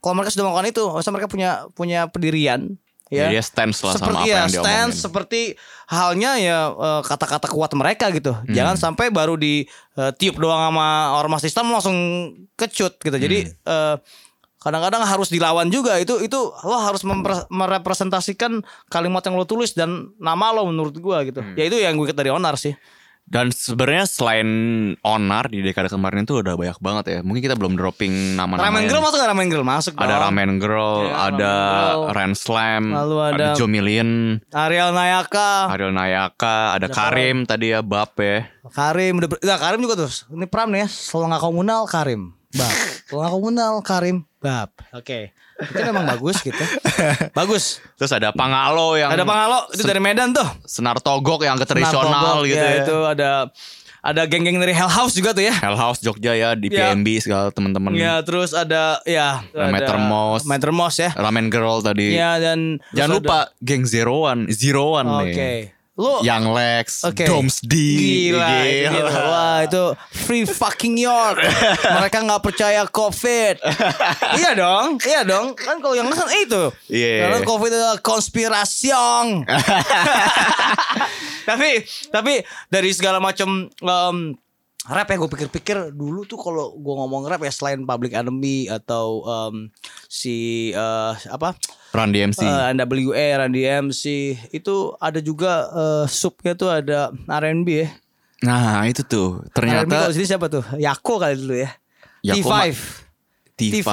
kalau mereka sudah melakukan itu harusnya mereka punya punya pendirian ya
jadi dia stance lah sama
seperti ya,
apa yang diomongin
stance seperti halnya ya eh, kata-kata kuat mereka gitu.
Hmm.
Jangan sampai baru di eh, tiup doang sama ormas Islam langsung kecut gitu. Jadi eh,
Hmm.
kadang-kadang harus dilawan juga itu itu lo harus mempre- merepresentasikan kalimat yang lo tulis dan nama lo menurut gua gitu.
Hmm.
Ya itu yang gue ikat dari onar sih.
Dan sebenarnya selain Onar di dekade kemarin itu udah banyak banget ya. Mungkin kita belum dropping
Ramen Girl
nama-namanya.
masuk gak Ramen Girl masuk.
Ada
dong.
Ramen Girl,
Ya,
ada
Ramen Girl.
Ren Slam,
Lalu ada- Ah.
Joe Million,
Ariel Nayaka,
Ariel Nayaka, ada Karim tadi ya Bap ya.
Karim udah ber- nah, Karim juga tuh. Ini Pram nih ya, selalu nggak komunal Karim. Bab. Selalu nggak komunal Karim. Bab. Oke. Itu memang bagus gitu. bagus.
Terus ada Pangalo yang
Ada Pangalo itu dari Medan tuh.
Senar Togok yang ketradisional
Narkobok,
gitu ya.
Itu ada ada geng-geng dari Hell House juga tuh ya.
Hell House Jogja ya di
Ya.
PMB segala teman-teman.
Ya, terus ada ya
Hmm. Ada Metermos.
Metermos ya.
Ramen Girl tadi.
Ya dan
Jangan
terus
lupa geng Zeroan, Zeroan
ada- Oke.
nih.
Lu
Yang Lex,
Oke.
Doms D,
Gila, itu
Gila.
dia. Wah itu free fucking York. Mereka nggak percaya COVID. iya dong, iya dong. Kan kalau yang kan eh, itu.
Iya.
Karena COVID adalah konspirasi. tapi tapi dari segala macam em, rap ya gue pikir-pikir dulu tuh kalau gue ngomong rap ya selain Public Enemy atau em, si eh, apa
Run DMC.
Eh, NWA, Run DMC itu ada juga eh, subnya tuh ada R&B ya.
Nah itu tuh
R&B
ternyata
kalau di sini siapa tuh? Yako kali dulu ya. T5.
Yako ma-
T5.
T5.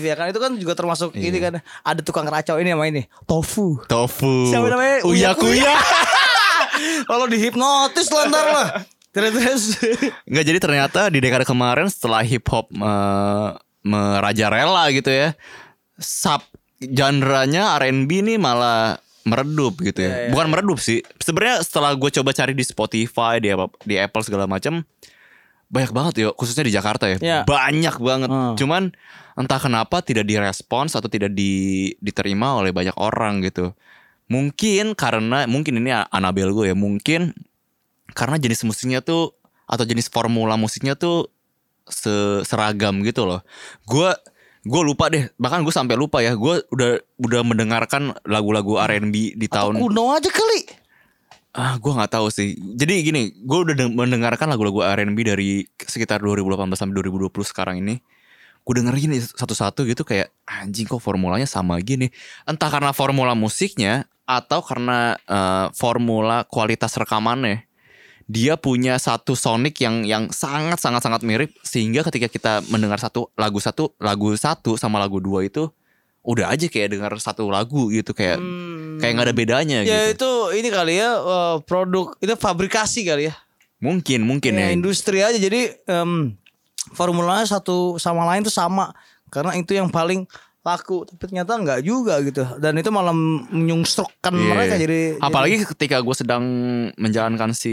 ya kan itu kan juga termasuk
Iya.
ini kan ada tukang racau ini yang main nih, Tofu.
Tofu
Siapa namanya?
Uya
Uya-Kuya.
Kuya
Kalau dihipnotis lantar lah. Terus
Nggak jadi ternyata di dekade kemarin setelah hip hop eh, merajarela gitu ya Sub genre-nya R&B nih malah meredup gitu
Iya,
ya. Bukan meredup sih. Sebenarnya setelah gue coba cari di Spotify, di apa- di Apple segala macam banyak banget ya khususnya di Jakarta ya.
Iya.
Banyak banget.
Hmm.
Cuman entah kenapa tidak direspons atau tidak di- diterima oleh banyak orang gitu. Mungkin karena mungkin ini Anabel gue ya, mungkin karena jenis musiknya tuh atau jenis formula musiknya tuh se- seragam gitu loh. Gue gue lupa deh, bahkan gue sampai lupa ya. Gue udah udah mendengarkan lagu-lagu R&B di tahun
Hmm. kuno aja kali.
ah gue nggak tahu sih. Jadi gini, gue udah deng- mendengarkan lagu-lagu R&B dari sekitar 2018 sampai 2020 sekarang ini. Gue dengerin satu-satu gitu kayak anjing kok formulanya sama gini. Entah karena formula musiknya atau karena eh, formula kualitas rekamannya. Dia punya satu sonic yang yang sangat sangat sangat mirip sehingga ketika kita mendengar satu lagu satu lagu satu sama lagu dua itu udah aja kayak dengar satu lagu gitu kayak kayak nggak ada bedanya gitu.
Ya itu ini kali ya eh, produk itu fabrikasi kali ya.
Mungkin, mungkin
Ya,
ya.
industri aja jadi em, formulanya satu sama lain tuh sama karena itu yang paling laku tapi ternyata nggak juga gitu dan itu malah menyungstrukkan
Iya.
mereka Hmm, jadi
Apalagi ketika gue sedang menjalankan si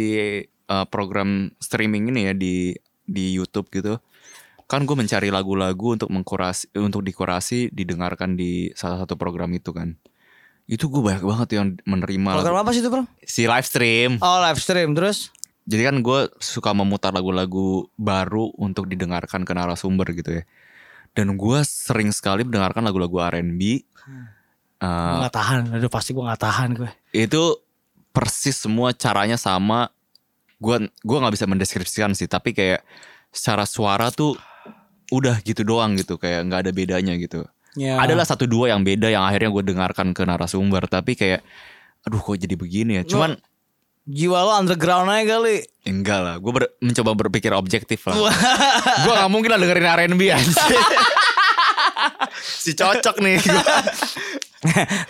uh, program streaming ini ya di di YouTube gitu. Kan gue mencari lagu-lagu untuk mengkurasi untuk dikurasi didengarkan di salah satu program itu kan. Itu gue banyak banget yang menerima
jadi, program
lagu-
apa sih itu bro?
si live stream.
Oh live stream terus
Jadi kan gue suka memutar lagu-lagu baru untuk didengarkan ke narasumber gitu ya. Dan gue sering sekali mendengarkan lagu-lagu R&B.
Gua
Uh,
nggak tahan, aduh pasti gue nggak tahan gue.
itu persis semua caranya sama gua gua nggak bisa mendeskripsikan sih tapi kayak secara suara tuh udah gitu doang gitu kayak nggak ada bedanya gitu
Ya.
adalah satu dua yang beda yang akhirnya gue dengarkan ke narasumber tapi kayak aduh kok jadi begini ya cuman
jiwa lo underground aja kali.
enggak lah gue mencoba berpikir objektif lah gue nggak mungkin lah dengerin R&B aja si cocok nih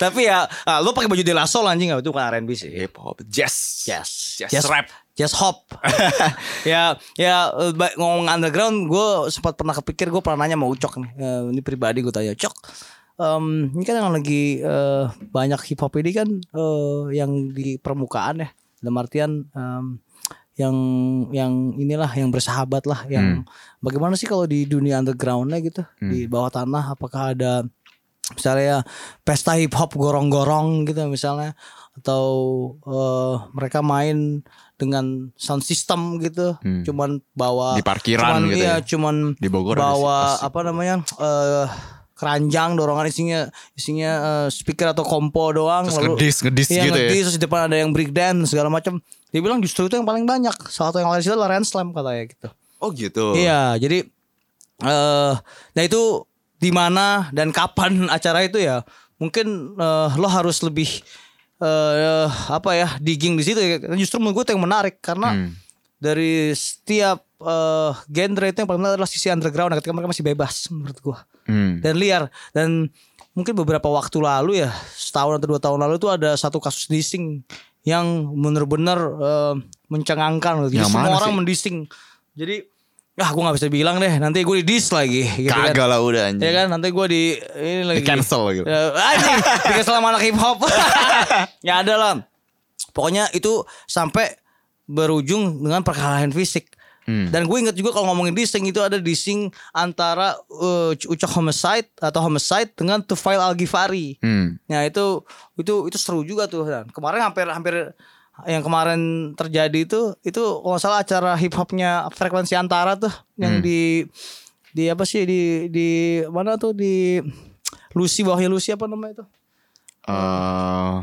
Tapi ya ah, lo pakai baju De La Soul anjing nggak? itu bukan R&B sih.
hip hop jazz
Yes,
jazz rap
Just hop. ya, ya eh, ba- ngomong underground, gue sempat pernah kepikir gue pernah nanya sama Ucok nih. Eh, ini pribadi gue tanya, Cok, em, ini kan yang lagi eh, banyak hip hop ini kan eh, yang di permukaan ya, dalam artian em, yang yang inilah yang bersahabat lah, yang
Hmm.
bagaimana sih kalau di dunia undergroundnya gitu, di bawah tanah, apakah ada misalnya ya, pesta hip hop gorong-gorong gitu misalnya atau eh, mereka main dengan sound system gitu
Hmm.
cuman bawa
Di parkiran
cuman,
gitu
iya,
ya.
cuman
Di Bogor ada
bawa
sih, pasti.
apa namanya eh, keranjang dorongan isinya isinya eh, speaker atau kompo doang
Terus ngedis, ngedis
Iya,
gitu ya.
ngedis, terus di depan ada yang break dance segala macam dia bilang justru itu yang paling banyak salah satu yang lain itu Laren Slam katanya gitu
oh gitu
Iya, jadi eh nah itu di mana dan kapan acara itu ya? Mungkin eh, lo harus lebih eh apa ya digging di situ. ya. Justru menurut gue itu yang menarik karena
Hmm.
dari setiap eh, genre itu yang paling menarik adalah sisi underground ketika mereka masih bebas menurut gue
Hmm.
dan liar dan mungkin beberapa waktu lalu ya setahun atau dua tahun lalu itu ada satu kasus dissing yang benar-benar eh, mencengangkan gitu. jadi
Yang
semua
mana
orang
sih?
mendissing jadi ah gue nggak bisa bilang deh nanti gue di diss lagi gitu kan.
Kagak lah udah anjing.
ya kan nanti gue di ini lagi
Di cancel gitu.
Ya, anjing di cancel sama anak hip hop ya ada lah pokoknya itu sampai berujung dengan perkelahian fisik
Hmm.
dan gue inget juga kalau ngomongin dissing itu ada dissing antara uh, ucok homicide atau homicide dengan Tufail Al Ghifari
Hmm.
Nah itu itu itu seru juga tuh dan kemarin hampir hampir yang kemarin terjadi itu itu kalau nggak salah acara hip hopnya frekuensi antara tuh yang di di apa sih di di mana tuh di Lucy bawahnya Lucy apa namanya itu
Eh,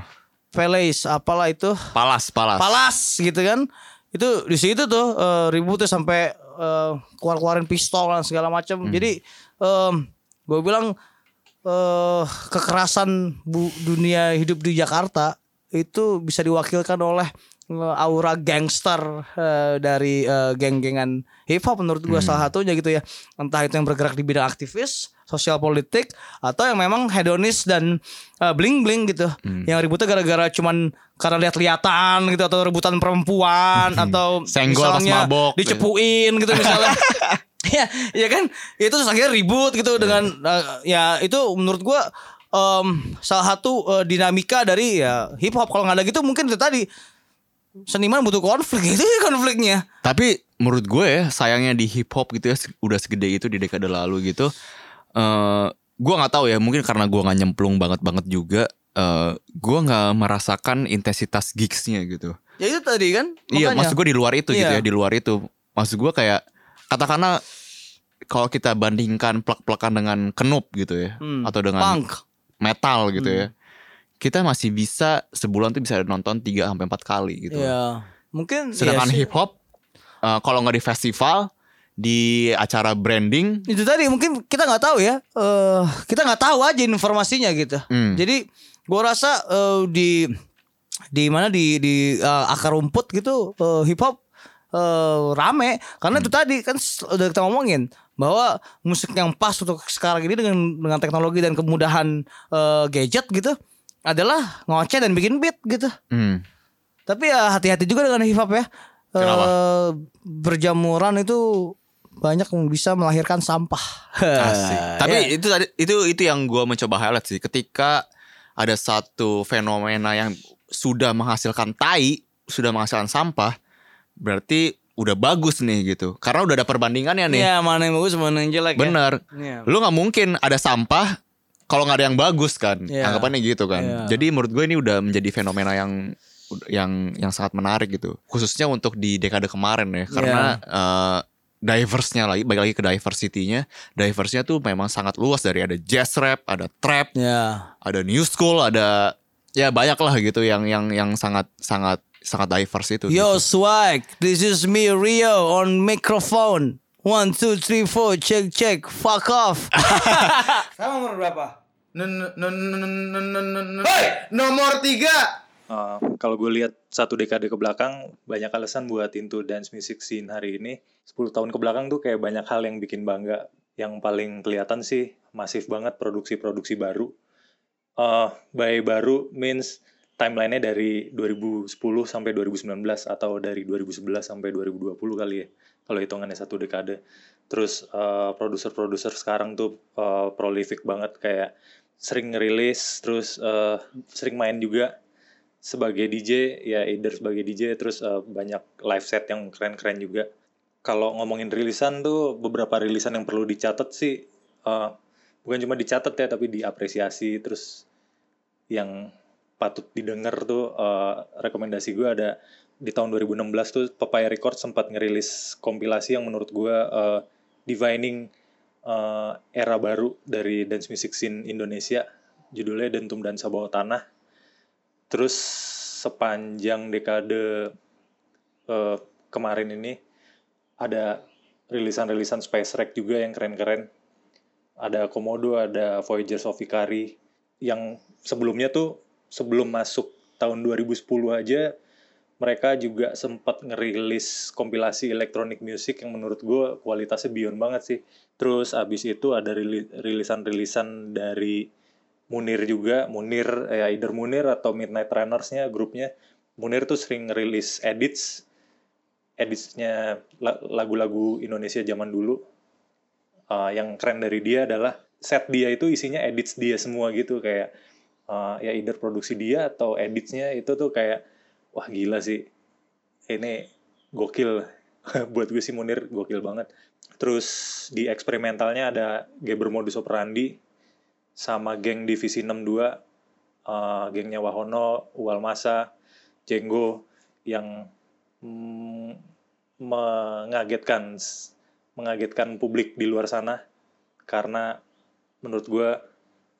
Palace apalah itu
palas, palas.
Palas gitu kan itu di situ tuh eh, ribut tuh sampai eh, keluar-keluarin pistol dan segala macam jadi gue bilang eh kekerasan bu- dunia hidup di Jakarta itu bisa diwakilkan oleh eh, aura gangster eh, dari eh, geng-gengan hip hop menurut gua salah satunya gitu ya. Entah itu yang bergerak di bidang aktivis, sosial politik atau yang memang hedonis dan bling-bling gitu.
Hmm.
Yang ributnya gara-gara cuman karena lihat-lihatan gitu atau rebutan perempuan atau
Hmm. Senggol pas
misalnya
mabok.
dicepuin gitu misalnya. Iya, iya kan? Itu terus akhirnya ribut gitu
Iya.
dengan eh, ya itu menurut gua em, salah satu eh, dinamika dari ya hip hop kalau nggak ada gitu mungkin itu tadi seniman butuh konflik itu konfliknya.
Tapi menurut gue ya sayangnya di hip hop gitu ya se- udah segede itu di dekade lalu gitu. eh gue nggak tahu ya mungkin karena gue nggak nyemplung banget banget juga. eh gue nggak merasakan intensitas gigsnya gitu.
Ya itu tadi kan.
Iya, maksud gue di luar itu gitu
Iya.
ya, di luar itu. Maksud gue kayak katakanlah kalau kita bandingkan plek-plekan dengan kenup gitu ya,
Hmm,
atau dengan
punk. Hmm.
metal gitu ya, kita masih bisa sebulan tuh bisa nonton 3 sampai empat kali gitu.
Iya. Mungkin
Sedangkan
iya sih.
hip hop eh, kalau nggak di festival, di acara branding,
itu tadi mungkin kita nggak tahu ya eh kita nggak tahu aja informasinya gitu
Hmm.
jadi gua rasa eh, di di mana di di eh, akar rumput gitu eh, hip hop eh, rame karena itu tadi kan s- udah kita ngomongin bahwa musik yang pas untuk sekarang ini dengan dengan teknologi dan kemudahan eh, gadget gitu adalah ngoceh dan bikin beat gitu
hmm,
tapi ya hati-hati juga dengan hip hop ya.
Kenapa?
Eh, berjamuran itu banyak yang bisa melahirkan sampah.
asik. Tapi
Ya.
itu tadi itu itu yang gue mencoba highlight sih. Ketika ada satu fenomena yang sudah menghasilkan tai, sudah menghasilkan sampah, berarti udah bagus nih gitu. Karena udah ada perbandingannya nih.
Iya, mana yang bagus mana yang jelek ya.
Bener.
Iya.
Lu nggak mungkin ada sampah kalau nggak ada yang bagus kan.
Iya.
Anggapannya gitu kan.
Iya.
Jadi menurut gue ini udah menjadi fenomena yang yang yang sangat menarik gitu. Khususnya untuk di dekade kemarin ya karena
Iya.
eh, diverse-nya lagi balik lagi ke diversity-nya. Diverse-nya tuh memang sangat luas dari ada jazz rap, ada trap,
Iya.
ada new school, ada ya banyak lah gitu yang yang yang sangat sangat sangat diverse itu.
Yo
gitu.
swag, this is me Rio on microphone. One, two, three, four, check, check, fuck off. Kamu umur berapa?
Nomor tiga.
Uh, kalau gue lihat satu dekade ke belakang banyak alasan buat into dance music scene hari ini 10 tahun ke belakang tuh kayak banyak hal yang bikin bangga yang paling kelihatan sih masif banget produksi-produksi baru uh, by baru means timelinenya dari 2010 sampai 2019 atau dari 2011 sampai 2020 kali ya kalau hitungannya satu dekade terus uh, produser-produser sekarang tuh uh, prolific banget kayak sering rilis terus uh, sering main juga sebagai DJ ya either sebagai DJ terus eh, banyak live set yang keren-keren juga. Kalau ngomongin rilisan tuh beberapa rilisan yang perlu dicatat sih eh, bukan cuma dicatat ya tapi diapresiasi terus yang patut didengar tuh eh, rekomendasi gue ada di tahun 2016 tuh Papaya Record sempat ngerilis kompilasi yang menurut gue eh, defining eh, era baru dari dance music scene Indonesia judulnya Dentum Dansa Bawah Tanah Terus sepanjang dekade eh, kemarin ini ada rilisan-rilisan Space Rack juga yang keren-keren. Ada Komodo, ada Voyagers of Ikari yang sebelumnya tuh sebelum masuk tahun 2010 aja mereka juga sempat ngerilis kompilasi electronic music yang menurut gue kualitasnya beyond banget sih. Terus abis itu ada rili- rilisan-rilisan dari Munir juga, Munir ya either Munir atau Midnight Runners-nya grupnya. Munir tuh sering rilis edits editsnya la- lagu-lagu Indonesia zaman dulu. Uh, yang keren dari dia adalah set dia itu isinya edits dia semua gitu kayak uh, ya either produksi dia atau editsnya itu tuh kayak wah gila sih ini gokil buat gue sih Munir gokil banget terus di eksperimentalnya ada Geber Modus Operandi sama geng divisi 62 eh, gengnya Wahono, Uwal Masa, Jenggo yang mm, mengagetkan s- mengagetkan publik di luar sana karena menurut gue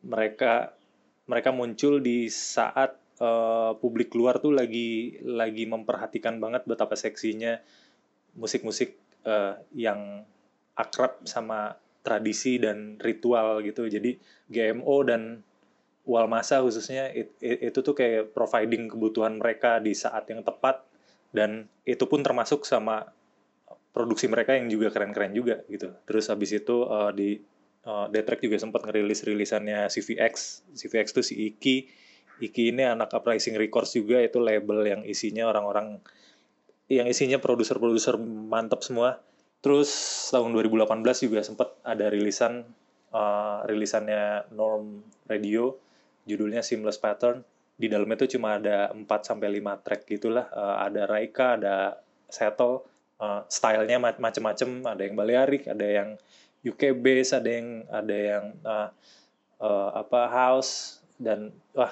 mereka mereka muncul di saat eh, publik luar tuh lagi lagi memperhatikan banget betapa seksinya musik-musik eh, yang akrab sama tradisi dan ritual gitu jadi GMO dan Walmasa khususnya it- it- itu tuh kayak providing kebutuhan mereka di saat yang tepat dan itu pun termasuk sama produksi mereka yang juga keren-keren juga gitu terus habis itu eh, di eh, Detrek juga sempat ngerilis rilisannya CVX CVX tuh si Iki Iki ini anak Uprising Records juga itu label yang isinya orang-orang yang isinya produser-produser mantap semua terus tahun 2018 juga sempat ada rilisan eh, rilisannya Norm Radio judulnya Seamless Pattern di dalamnya tuh cuma ada 4 sampai 5 track gitulah. Eh, ada Raika, ada Settle, eh, stylenya ma- macem-macem, ada yang Balearic, ada yang UK bass, ada yang ada yang eh, eh, apa house dan wah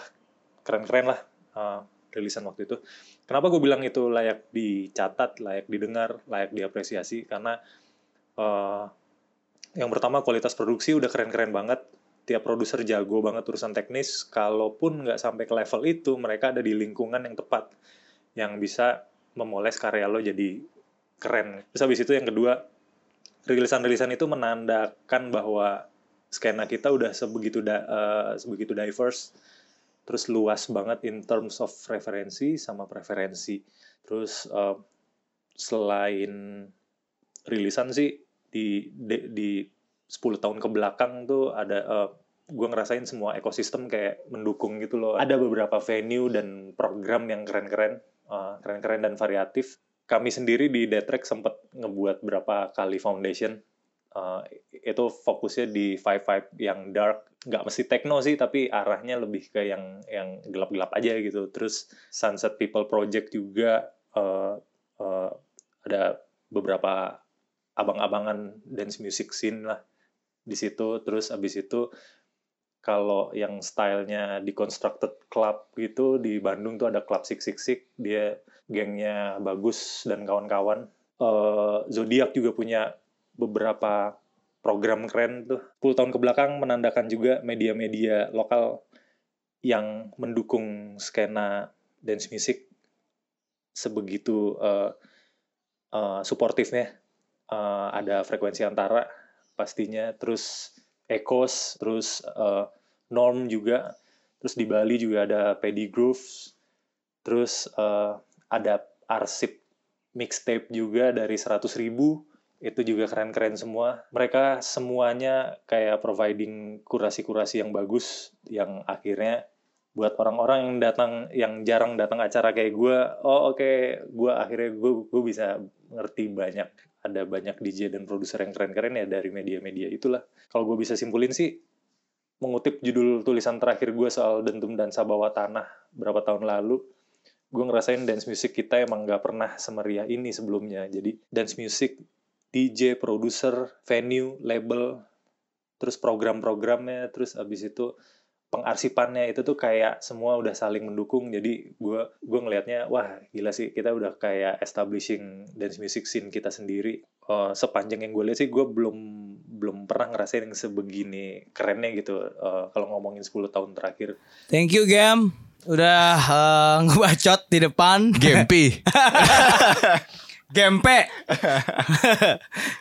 keren-keren lah eh, rilisan waktu itu. Kenapa gue bilang itu layak dicatat, layak didengar, layak diapresiasi karena eh, yang pertama kualitas produksi udah keren-keren banget tiap produser jago banget urusan teknis kalaupun nggak sampai ke level itu mereka ada di lingkungan yang tepat yang bisa memoles karya lo jadi keren terus habis itu yang kedua rilisan-rilisan itu menandakan bahwa skena kita udah sebegitu da- eh, sebegitu diverse terus luas banget in terms of referensi sama preferensi terus eh, selain rilisan sih di di, di 10 tahun ke belakang tuh ada eh, gua ngerasain semua ekosistem kayak mendukung gitu loh. Ada beberapa venue dan program yang keren-keren, eh, keren-keren dan variatif. Kami sendiri di Detrek sempat ngebuat berapa kali foundation. Eh, itu fokusnya di vibe vibe yang dark, nggak mesti techno sih, tapi arahnya lebih ke yang yang gelap-gelap aja gitu. Terus Sunset People Project juga eh, eh, ada beberapa abang-abangan dance music scene lah di situ terus abis itu kalau yang stylenya di constructed club gitu di Bandung tuh ada club six six six dia gengnya bagus dan kawan-kawan Eh, zodiak juga punya beberapa program keren tuh 10 tahun kebelakang menandakan juga media-media lokal yang mendukung skena dance music sebegitu eh eh, suportifnya Eh, ada frekuensi antara pastinya terus Ecos terus eh, Norm juga terus di Bali juga ada Paddy Grooves terus eh, ada arsip mixtape juga dari 100.000 ribu itu juga keren-keren semua mereka semuanya kayak providing kurasi-kurasi yang bagus yang akhirnya buat orang-orang yang datang yang jarang datang acara kayak gue oh oke gue akhirnya gue gue bisa ngerti banyak ada banyak DJ dan produser yang keren-keren ya dari media-media itulah. Kalau gue bisa simpulin sih, mengutip judul tulisan terakhir gue soal dentum dansa bawah tanah berapa tahun lalu, gue ngerasain dance music kita emang gak pernah semeriah ini sebelumnya. Jadi dance music, DJ, produser, venue, label, terus program-programnya, terus abis itu pengarsipannya itu tuh kayak semua udah saling mendukung jadi gue gue ngelihatnya wah gila sih kita udah kayak establishing dance music scene kita sendiri Eh, sepanjang yang gue lihat sih gue belum belum pernah ngerasain yang sebegini kerennya gitu eh, kalau ngomongin 10 tahun terakhir
Thank you Gem Udah eh, ngebacot di depan
Gempi.
Gempe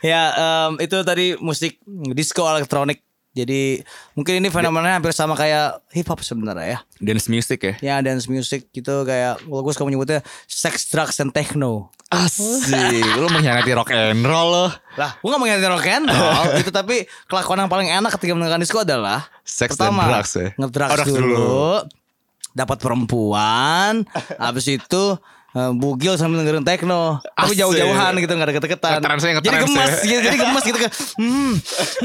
Ya em, itu tadi musik disco elektronik Jadi mungkin ini fenomenanya hampir sama kayak hip hop sebenarnya ya
Dance music ya.
Ya dance music gitu kayak Kalau gue suka menyebutnya sex, drugs, and techno
Asik. Lu mengkhianati rock and roll lo.
Lah, gue gak mengingatkan rock and roll gitu, tapi kelakuan yang paling enak ketika mendengarkan disco adalah
Sex
pertama,
dan drugs ya?
ngedrugs
Oh, drugs
dulu,
dulu.
dapat perempuan, habis itu eh, bugil sambil dengerin techno, tapi
Asik.
jauh-jauhan gitu nggak ada keteketan.
Ngetrans ya,
jadi
ngetrans
gemes,
ya.
gitu, jadi gemes gitu kayak, hmm,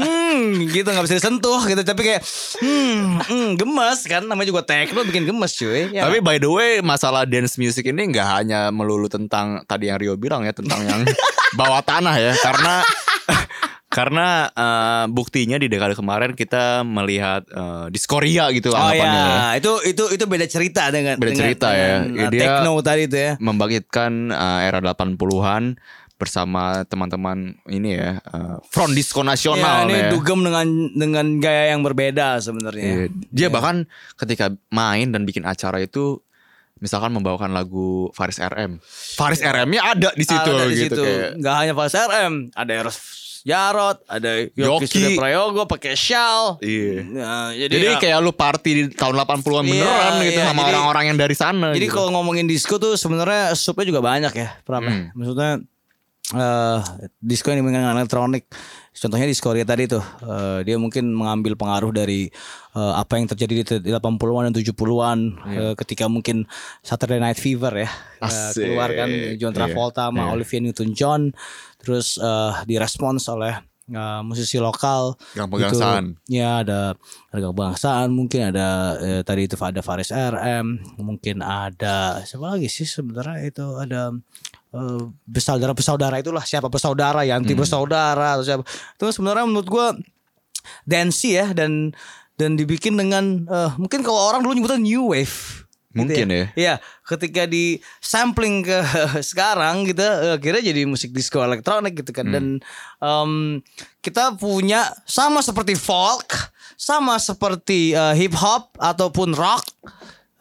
hmm, gitu nggak bisa disentuh gitu, tapi kayak, hmm, hmm, gemes kan, namanya juga techno bikin gemes cuy. Ya.
Tapi by the way masalah dance music ini nggak hanya melulu tentang tadi yang Rio bilang ya tentang yang bawah tanah ya karena karena eh, buktinya di dekade kemarin kita melihat eh, diskoria gitu
Oh
anggapannya ya.
ya, itu itu itu beda cerita dengan
Beda
dengan-
cerita ya.
dengan,
Ya,
eh,
dia-
techno tadi itu ya.
membangkitkan uh, era 80-an bersama teman-teman ini ya uh, Front Disco Nasional
Iya, ini ya.
ya.
dugem dengan dengan gaya yang berbeda sebenarnya.
Iya. Dia bahkan ketika main dan bikin acara itu misalkan membawakan lagu Faris RM. Faris RM-nya ada di situ
Ada di
gitu
situ.
kayak
Nggak hanya Fals RM, ada Eros Jarot, ada Yoki,
Yoki.
Sude Prayogo pakai shawl.
Iya.
Nah,
Jadi
ya-
kayak lu party di tahun 80-an beneran
Iya,
gitu
iya.
sama
Jadi-
orang-orang yang dari sana.
Jadi
gitu.
kalau ngomongin disco tuh sebenarnya subnya juga banyak ya, Pram.
Hmm.
ya. Maksudnya eh disco yang dengan elektronik. Contohnya di Korea tadi tuh, eh, dia mungkin mengambil pengaruh dari eh, apa yang terjadi di te- di 80-an dan 70-an
Iya.
eh, ketika mungkin Saturday Night Fever ya. Eh,
Asik. Iya.
keluar kan John Travolta sama Olivia Newton-John terus eh, direspons oleh eh, musisi lokal
Gampang
gitu.
Gangsaan.
Ya ada ada kebangsaan mungkin ada eh, tadi itu ada Faris RM, mungkin ada siapa lagi sih sebenarnya itu ada eh, bersaudara bersaudara itulah siapa bersaudara ya
Hmm.
anti bersaudara atau siapa. Itu sebenarnya menurut gua dancey ya dan dan dibikin dengan eh, mungkin kalau orang dulu nyebutnya new wave. gitu
Mungkin ya.
Iya, ketika di sampling ke sekarang gitu eh, akhirnya jadi musik disco elektronik gitu
Hmm.
kan dan em, kita punya sama seperti folk, sama seperti eh, hip hop ataupun rock.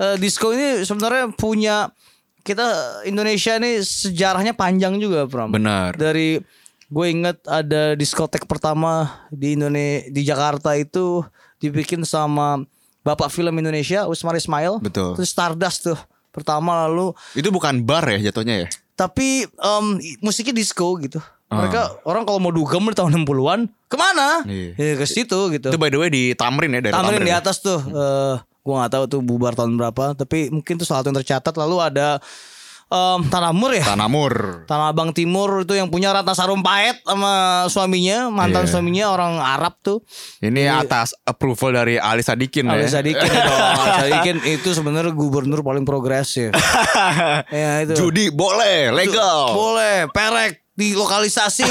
eh, disco ini sebenarnya punya kita Indonesia ini sejarahnya panjang juga, Pram.
Benar.
Dari gue inget ada diskotek pertama di Indonesia di Jakarta itu dibikin sama Bapak film Indonesia Usmar Ismail.
Betul.
Terus Stardust tuh pertama lalu
Itu bukan bar ya jatuhnya ya?
tapi em, i- musiknya disco gitu.
Ah.
Mereka orang kalau mau dugem di tahun 60-an kemana?
Iya.
Ya, ke situ gitu.
Itu by the way di Tamrin ya dari Tamrin.
Tamrin di
ya?
atas tuh. eh, gua nggak tahu tuh bubar tahun berapa, tapi mungkin tuh salah satu yang tercatat lalu ada em Tanamur ya.
Tanamur.
Tanah Abang Timur itu yang punya Ratna Sarumpait sama suaminya, mantan
Iya.
suaminya orang Arab tuh.
Ini atas approval dari Ali
Iya.
Sadikin
Ali
ya.
Sadikin dong. Ali Sadikin itu sebenarnya gubernur paling progresif. ya itu.
Judi boleh, legal.
Boleh, perek di lokalisasi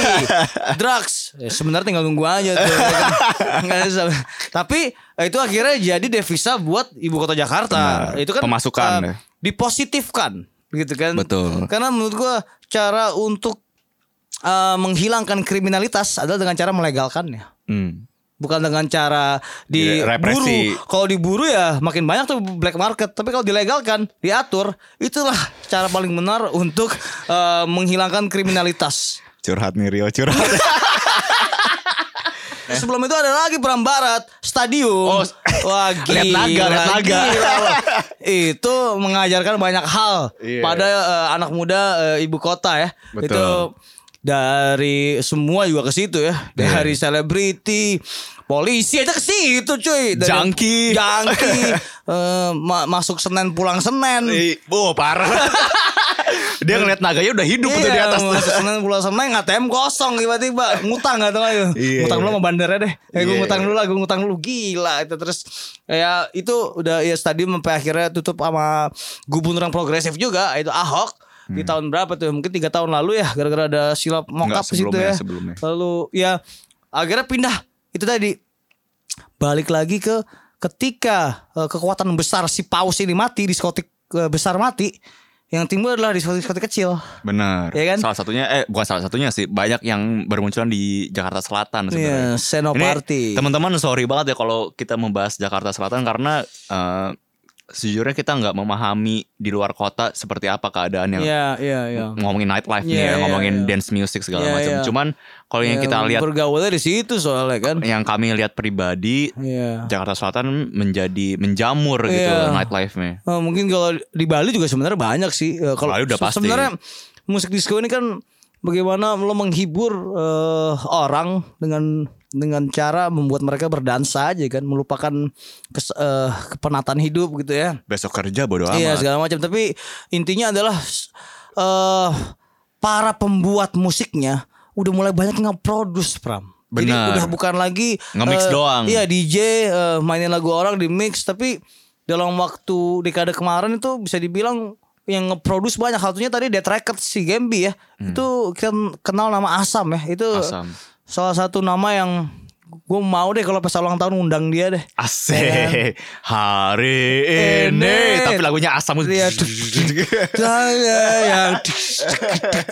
drugs Ya, sebenarnya tinggal nunggu aja tuh ya kan. Nggak ada sama- tapi eh, itu akhirnya jadi devisa buat ibu kota Jakarta
Benar.
itu kan
Pemasukan,
eh,
ya.
dipositifkan gitu kan
Betul.
karena menurut gua cara untuk eh, menghilangkan kriminalitas adalah dengan cara melegalkannya
Hmm.
bukan dengan cara
Direpresi.
diburu. Kalau diburu ya makin banyak tuh black market. Tapi kalau dilegalkan, diatur, itulah cara paling benar untuk eh, menghilangkan kriminalitas.
Curhat nih Rio, curhat.
Sebelum itu ada lagi Pram Barat Stadium.
Eh. Oh,
Wah,
Lihat
gila,
naga, lihat naga.
gila loh. Itu mengajarkan banyak hal
Iya.
pada eh, anak muda eh, ibu kota ya.
Betul.
Itu dari semua juga ke situ ya.
Iya.
Dari selebriti, polisi aja ke situ cuy. Dari
Junkie.
Junkie, eh, ma- masuk Senin pulang Senin.
Eh, Oh parah. Dia ngeliat naganya udah hidup
Iya,
tuh di atas tuh.
masuk Senin pulang Senin ATM kosong tiba-tiba ngutang gak tau aja.
Iya.
Ngutang dulu sama bandarnya deh. Eh, gue
Iya.
ngutang dulu lah, gue ngutang dulu gila itu terus ya itu udah ya stadium sampai akhirnya tutup sama gubernur yang progresif juga itu Ahok di tahun berapa tuh mungkin tiga tahun lalu ya gara-gara ada silap mokap
Hmm. Enggak,
di situ
sebelumnya,
ya.
sebelumnya.
Lalu ya akhirnya pindah itu tadi balik lagi ke ketika eh, kekuatan besar si paus ini mati diskotik eh, besar mati yang timbul adalah diskotik-diskotik kecil
Benar.
Iya kan?
Salah satunya eh bukan salah satunya sih, banyak yang bermunculan di Jakarta Selatan
Iya,
sebenarnya.
senoparty.
Ini, Teman-teman sorry banget ya kalau kita membahas Jakarta Selatan karena eh, sejujurnya kita nggak memahami di luar kota seperti apa keadaan yang
Iya, iya, iya.
ngomongin nightlife
Iya,
nih ya,
iya,
ngomongin
iya.
dance music segala
Iya,
macam.
iya.
Cuman kalau yang kita lihat
bergaulnya di situ soalnya kan.
yang kami lihat pribadi
Iya.
Jakarta Selatan menjadi menjamur gitu
Iya.
nightlife-nya.
Eh, mungkin kalau di Bali juga sebenarnya banyak sih. Eh, kalau
Bali udah
se-
pasti.
Sebenarnya musik disco ini kan bagaimana lo menghibur eh, orang dengan dengan cara membuat mereka berdansa aja kan, melupakan kes- eh, kepenatan hidup gitu ya.
Besok kerja bodo amat.
Iya segala macam. Tapi intinya adalah s- eh para pembuat musiknya udah mulai banyak nge-produce Pram. Jadi
Benar.
udah bukan lagi
Nge-mix
eh,
doang.
Iya DJ eh, mainin lagu orang di mix tapi dalam waktu dekade kemarin itu bisa dibilang yang nge-produce banyak satunya tadi Death Records si Gembi ya. Itu kita kenal nama Asam ya. Itu
Hmm. Asam.
salah satu nama yang gue mau deh kalau pas ulang tahun undang dia deh.
Asik hari ini
Ini.
tapi lagunya asam
Iya. Saya yang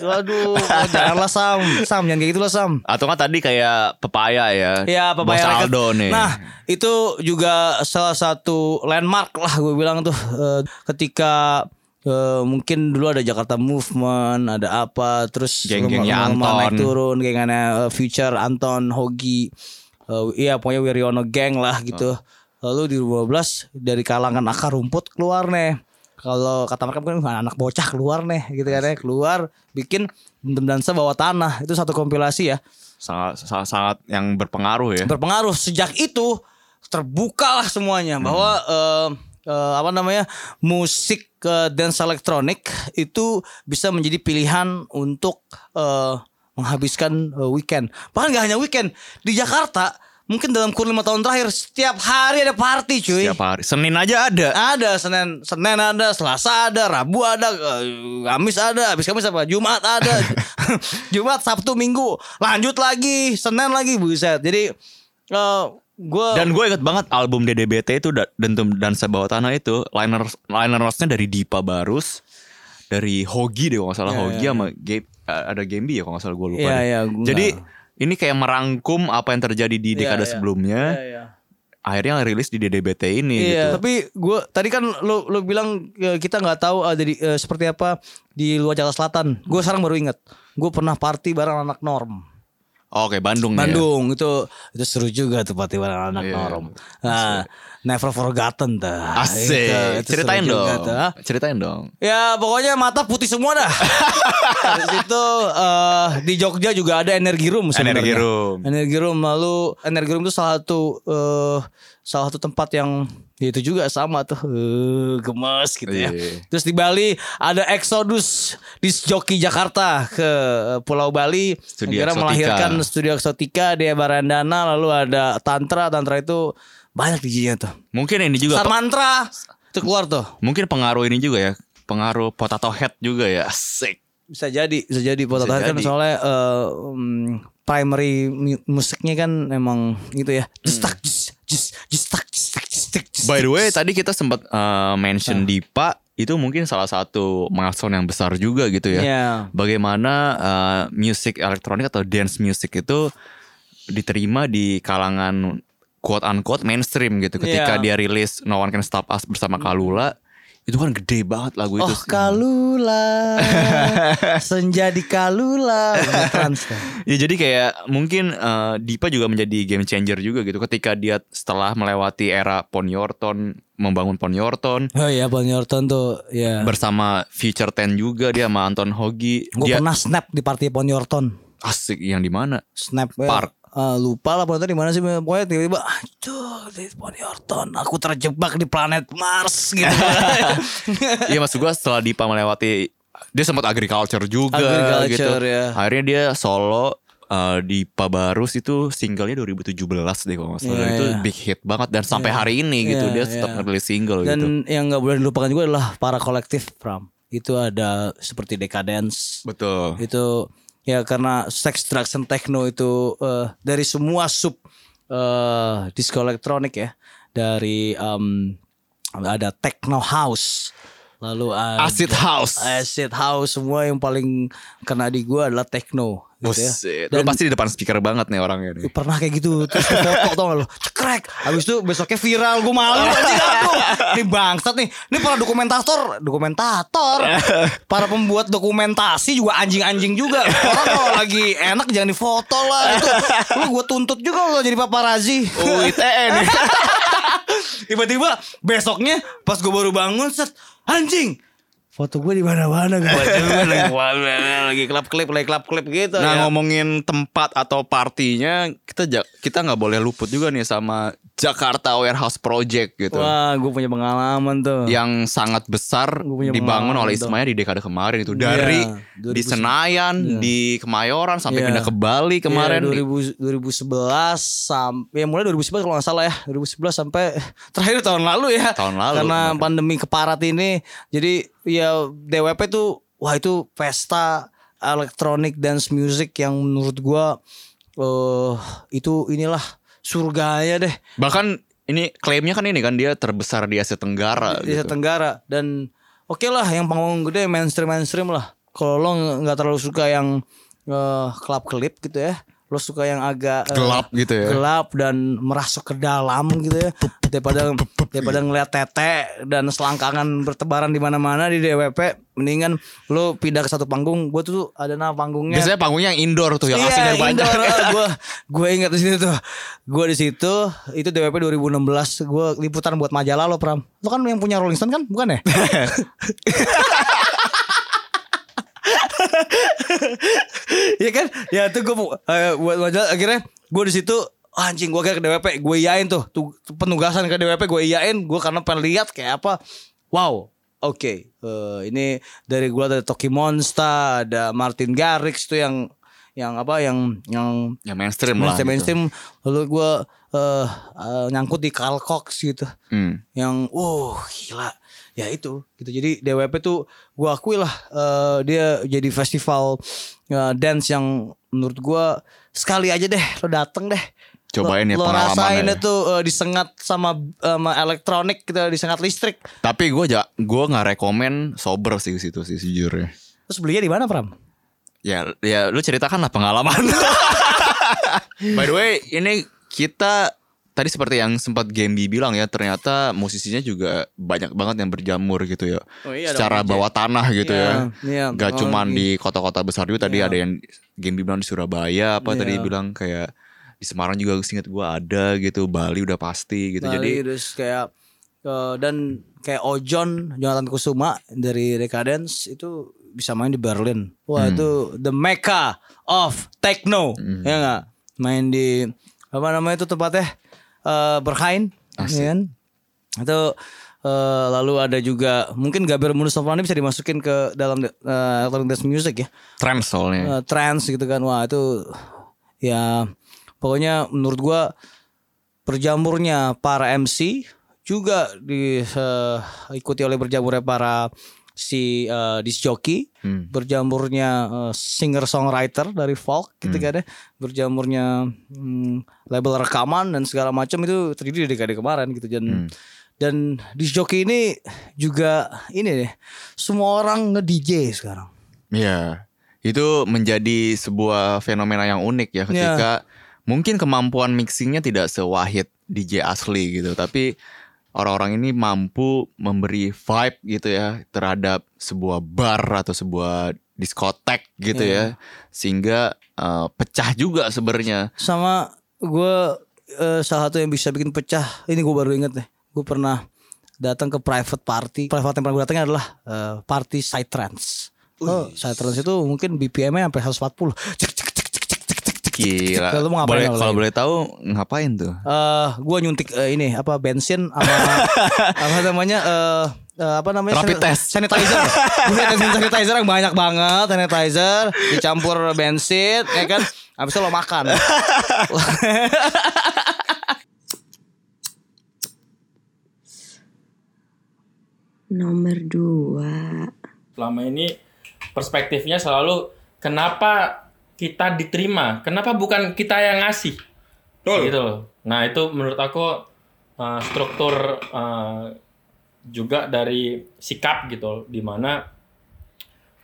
Waduh Janganlah Sam Sam jangan kayak gitulah Sam
Atau kan tadi kayak pepaya ya.
Ya Papaya
Bos
Records.
Aldo nih.
Nah itu juga salah satu landmark lah gue bilang tuh eh, Ketika eh, mungkin dulu ada Jakarta Movement, ada apa, terus
Geng-gengnya
lama-lama
Anton.
naik turun, gengannya eh, Future, Anton, Hogi, eh, iya pokoknya Wiryono Gang lah gitu.
Ah.
Lalu di 12 dari kalangan akar rumput keluar nih. Kalau kata mereka mungkin "Wah, anak bocah keluar nih gitu kan ya keluar bikin Dendam dansa bawah tanah itu satu kompilasi ya
sangat, sangat, sangat yang berpengaruh ya.
berpengaruh sejak itu terbukalah semuanya bahwa eh, eh, apa namanya musik eh, dance elektronik itu bisa menjadi pilihan untuk eh, menghabiskan eh, weekend bahkan nggak hanya weekend di Jakarta mungkin dalam kurun lima tahun terakhir setiap hari ada party cuy
Tiap hari. Senin aja Ya, ada.
ada Senin Senin ada Selasa ada Rabu ada eh, Kamis ada habis Kamis apa Jumat ada Jumat Sabtu Minggu lanjut lagi Senin lagi buset jadi eh gue
Dan gue inget banget album DDBT itu da- Dentum Dansa Bawah Tanah itu liner liner notes-nya dari Dipa Barus, dari Hogi deh kalau nggak salah Hogi sama Gabe eh, ada Gembi ya kalau nggak salah gue lupa.
Iya,
deh.
iya, gua
Jadi
nggak- Iya,
ini kayak merangkum apa yang terjadi di dekade sebelumnya. Akhirnya rilis di DDBT
Iya,
ini eh? gitu.
tapi gue tadi kan lo lo bilang e, kita nggak tahu eh, jadi e, seperti apa di luar Jakarta Selatan. Gue sekarang baru ingat, gue pernah party bareng anak norm.
Oke, Bandung nih ya.
Bandung itu itu seru juga tuh party bareng anak
Iya.
norm. Nah, never forgotten tuh.
Ah, Asik.
Itu- itu seru
Ceritain
juga
dong.
tuh, ah.
Ceritain dong.
Ya pokoknya mata putih semua dah. Dari situ eh, di Jogja juga ada energi room sebenarnya.
Energy Room.
Energi room lalu energi room itu salah satu eh, salah satu tempat yang ya itu juga sama tuh eh, gemes gitu ya.
Iya.
Terus di Bali ada Exodus di Joki Jakarta ke eh, Pulau Bali
Studio
akhirnya
Exotica.
melahirkan studio Exotica di Barandana lalu ada Tantra Tantra itu banyak DJ-nya tuh.
Mungkin ini juga
Star Mantra itu keluar tuh.
mungkin pengaruh ini juga ya. Pengaruh potato head juga ya. Asik.
bisa jadi bisa jadi potato head kan
jadi.
soalnya eh, um, primary mu- musiknya kan emang gitu ya just tak just just just tak just tak just tak just
Hmm. By the
tak,
way,
just.
tadi kita sempat uh, mention Dipa itu mungkin salah satu milestone yang besar juga gitu ya.
Iya.
Bagaimana uh, musik elektronik atau dance music itu diterima di kalangan quote unquote mainstream gitu. Ketika
Iya.
dia rilis No One Can Stop Us bersama Kalula, itu kan gede banget lagu itu.
Oh kalula Senja di kalula Trans kan?
Ya jadi kayak mungkin eh, Dipa juga menjadi game changer juga gitu ketika dia setelah melewati era Ponyorton, membangun Ponyorton
Oh iya Bang Yorton tuh ya.
bersama Future Ten juga dia sama Anton Hogi.
Gue
dia
pernah snap di party Pon Yorton
asik yang di mana?
Snap eh,
Park.
eh, lupa lah pokoknya di mana sih pokoknya tiba-tiba aduh di Pon Yorton aku terjebak di planet Mars gitu
Iya maksud gua setelah Dipa melewati dia sempat agriculture juga gitu.
Agriculture, ya.
Akhirnya dia solo eh, Dipa Barus itu singlenya 2017 deh kalau nggak salah
Iya,
itu
iya.
big hit banget dan sampai hari ini gitu
Iya,
dia tetap
iya.
ngerilis single gitu.
Dan yang nggak boleh dilupakan juga adalah para kolektif Pram. Itu ada seperti Decadence.
Betul.
Itu ya karena sex drugs and techno itu eh, dari semua sub eh disco elektronik ya. Dari em, ada techno house. Lalu ada
Acid House.
acid house semua yang paling kena di gua adalah techno gitu ya.
Buset. Lu pasti di depan speaker banget nih orangnya nih.
pernah kayak gitu terus di foto tau gak lo cekrek abis itu besoknya viral gue malu anjing aku ini bangsat nih ini para dokumentator dokumentator para pembuat dokumentasi juga anjing-anjing juga orang kalau lagi enak jangan difoto lah itu lu gue tuntut juga lo jadi paparazi
Oh, UITN.
tiba-tiba besoknya pas gue baru bangun set anjing foto gue di mana-mana gue juga lagi lagi klap klip lagi klap klip gitu ya.
nah ngomongin tempat atau partinya kita ja- kita nggak boleh luput juga nih sama Jakarta Warehouse Project gitu.
Wah, gue punya pengalaman tuh.
Yang sangat besar
Gua punya
dibangun
pengalaman Iya,
oleh
tuh.
Ismaya di dekade kemarin itu dari
2009.
di Senayan, di Kemayoran sampai
Iya.
pindah ke Bali kemarin.
Iya, 2000 2011 sampai ya mulai 2011 kalau nggak salah ya 2011 sampai terakhir tahun lalu ya
Tahun lalu,
karena
kemarin.
pandemi keparat ini jadi ya DWP tuh wah itu pesta elektronik dance music yang menurut gua eh itu inilah surganya deh
Bahkan ini klaimnya kan ini kan dia terbesar di Asia Tenggara
Iya, di Asia
gitu.
Tenggara dan oke lah yang panggung gede mainstream mainstream lah kalau lo nggak terlalu suka yang eh, klub klip gitu ya lo suka yang agak eh,
Gelap gitu ya.
gelap dan merasuk ke dalam gitu ya daripada daripada
iya.
ngeliat tete dan selangkangan bertebaran di mana-mana di DWP mendingan lo pindah ke satu panggung gue tuh ada nama panggungnya
Biasanya panggungnya yang indoor tuh yang
Iya,
aslinya banyak.
indoor. Gue gue ingat di situ tuh. Gue di situ itu DWP 2016 gue liputan buat majalah lo Pram. Lo kan yang punya Rolling Stone kan? Bukan ya? Iya kan? Ya itu gue buat majalah akhirnya gue di situ "Ah, anjing gue ke DWP gue iain tuh, tuh penugasan ke DWP gue iain gue karena pengen lihat kayak apa wow oke eh, ini dari gue ada Toki Monsta ada Martin Garrix tuh yang yang apa yang yang
Ya
mainstream
mainstream, lah. gitu.
mainstream lalu gue eh eh, nyangkut di Carl Cox gitu
gitu. Hmm.
yang uh gila ya itu gitu jadi DWP tuh gua akui lah eh, dia jadi festival eh, dance yang menurut gua sekali aja deh lo dateng deh
Cobain ya
lo, lo
pengalamannya
rasain
ya.
itu eh, disengat sama eh, sama elektronik gitu disengat listrik
Tapi gue ja, gue nggak rekomen sober sih di situ sih sejujurnya.
terus belinya di mana Pram
Ya, ya lu ceritakan lah pengalaman. By the way, ini kita tadi seperti yang sempat Gembi bilang ya, ternyata musisinya juga banyak banget yang berjamur gitu ya.
Oh iya dong,
Secara
Jack.
bawah tanah gitu
Iya,
ya.
iya.
Gak
Oh,
cuman
iya.
di kota-kota besar juga tadi ada yang Gembi bilang di Surabaya apa
Iya.
tadi bilang kayak di Semarang juga singkat gue ada gitu, Bali udah pasti gitu. Jadi
Bali, Nah, iya, terus kayak eh, dan kayak Ojon Jonathan Kusuma dari Recadence itu bisa main di Berlin. Wah
Hmm.
itu the mecca of techno ya nggak main di apa namanya itu tempatnya eh Berhain, ya kan? Itu eh, lalu ada juga mungkin Gabriel Mustafa ini bisa dimasukin ke dalam eh, electronic dance music ya
trend soalnya.
eh, trans gitu kan wah itu ya pokoknya menurut gua berjamurnya para MC juga diikuti oleh berjamurnya para si eh, disc jockey berjamurnya singer songwriter dari folk gitu kan ya berjamurnya hmm, label rekaman dan segala macam itu terjadi di dekade kemarin gitu dan dan disc jockey ini juga ini deh semua orang nge DJ sekarang
Iya. Itu menjadi sebuah fenomena yang unik ya ketika
Iya.
mungkin kemampuan mixingnya tidak sewahid DJ asli gitu, tapi orang-orang ini mampu memberi vibe gitu ya terhadap sebuah bar atau sebuah diskotek gitu
Iya.
ya. Sehingga eh, pecah juga sebenarnya.
sama gue eh, salah satu yang bisa bikin pecah ini gue baru inget deh gue pernah datang ke private party private yang pernah gue datangnya adalah eh, party side trance oh side trance itu mungkin BPM-nya sampai 140 cek cek cek cek cek cek cek cek
Gila.
Lalu mau ngapain
Boleh-
lo
kalau
lagi?
boleh tahu ngapain tuh?
Eh, gue nyuntik eh, ini apa bensin sama apa namanya eh eh, apa namanya
Rapid
sanit-
test.
sanitizer Gua liat bensin sanitizer yang banyak banget sanitizer dicampur bensin ya kan habis itu lo makan
Nomor dua.
selama ini perspektifnya selalu kenapa kita diterima kenapa bukan kita yang ngasih gitu loh nah itu menurut aku uh, struktur uh, juga dari sikap gitu loh, dimana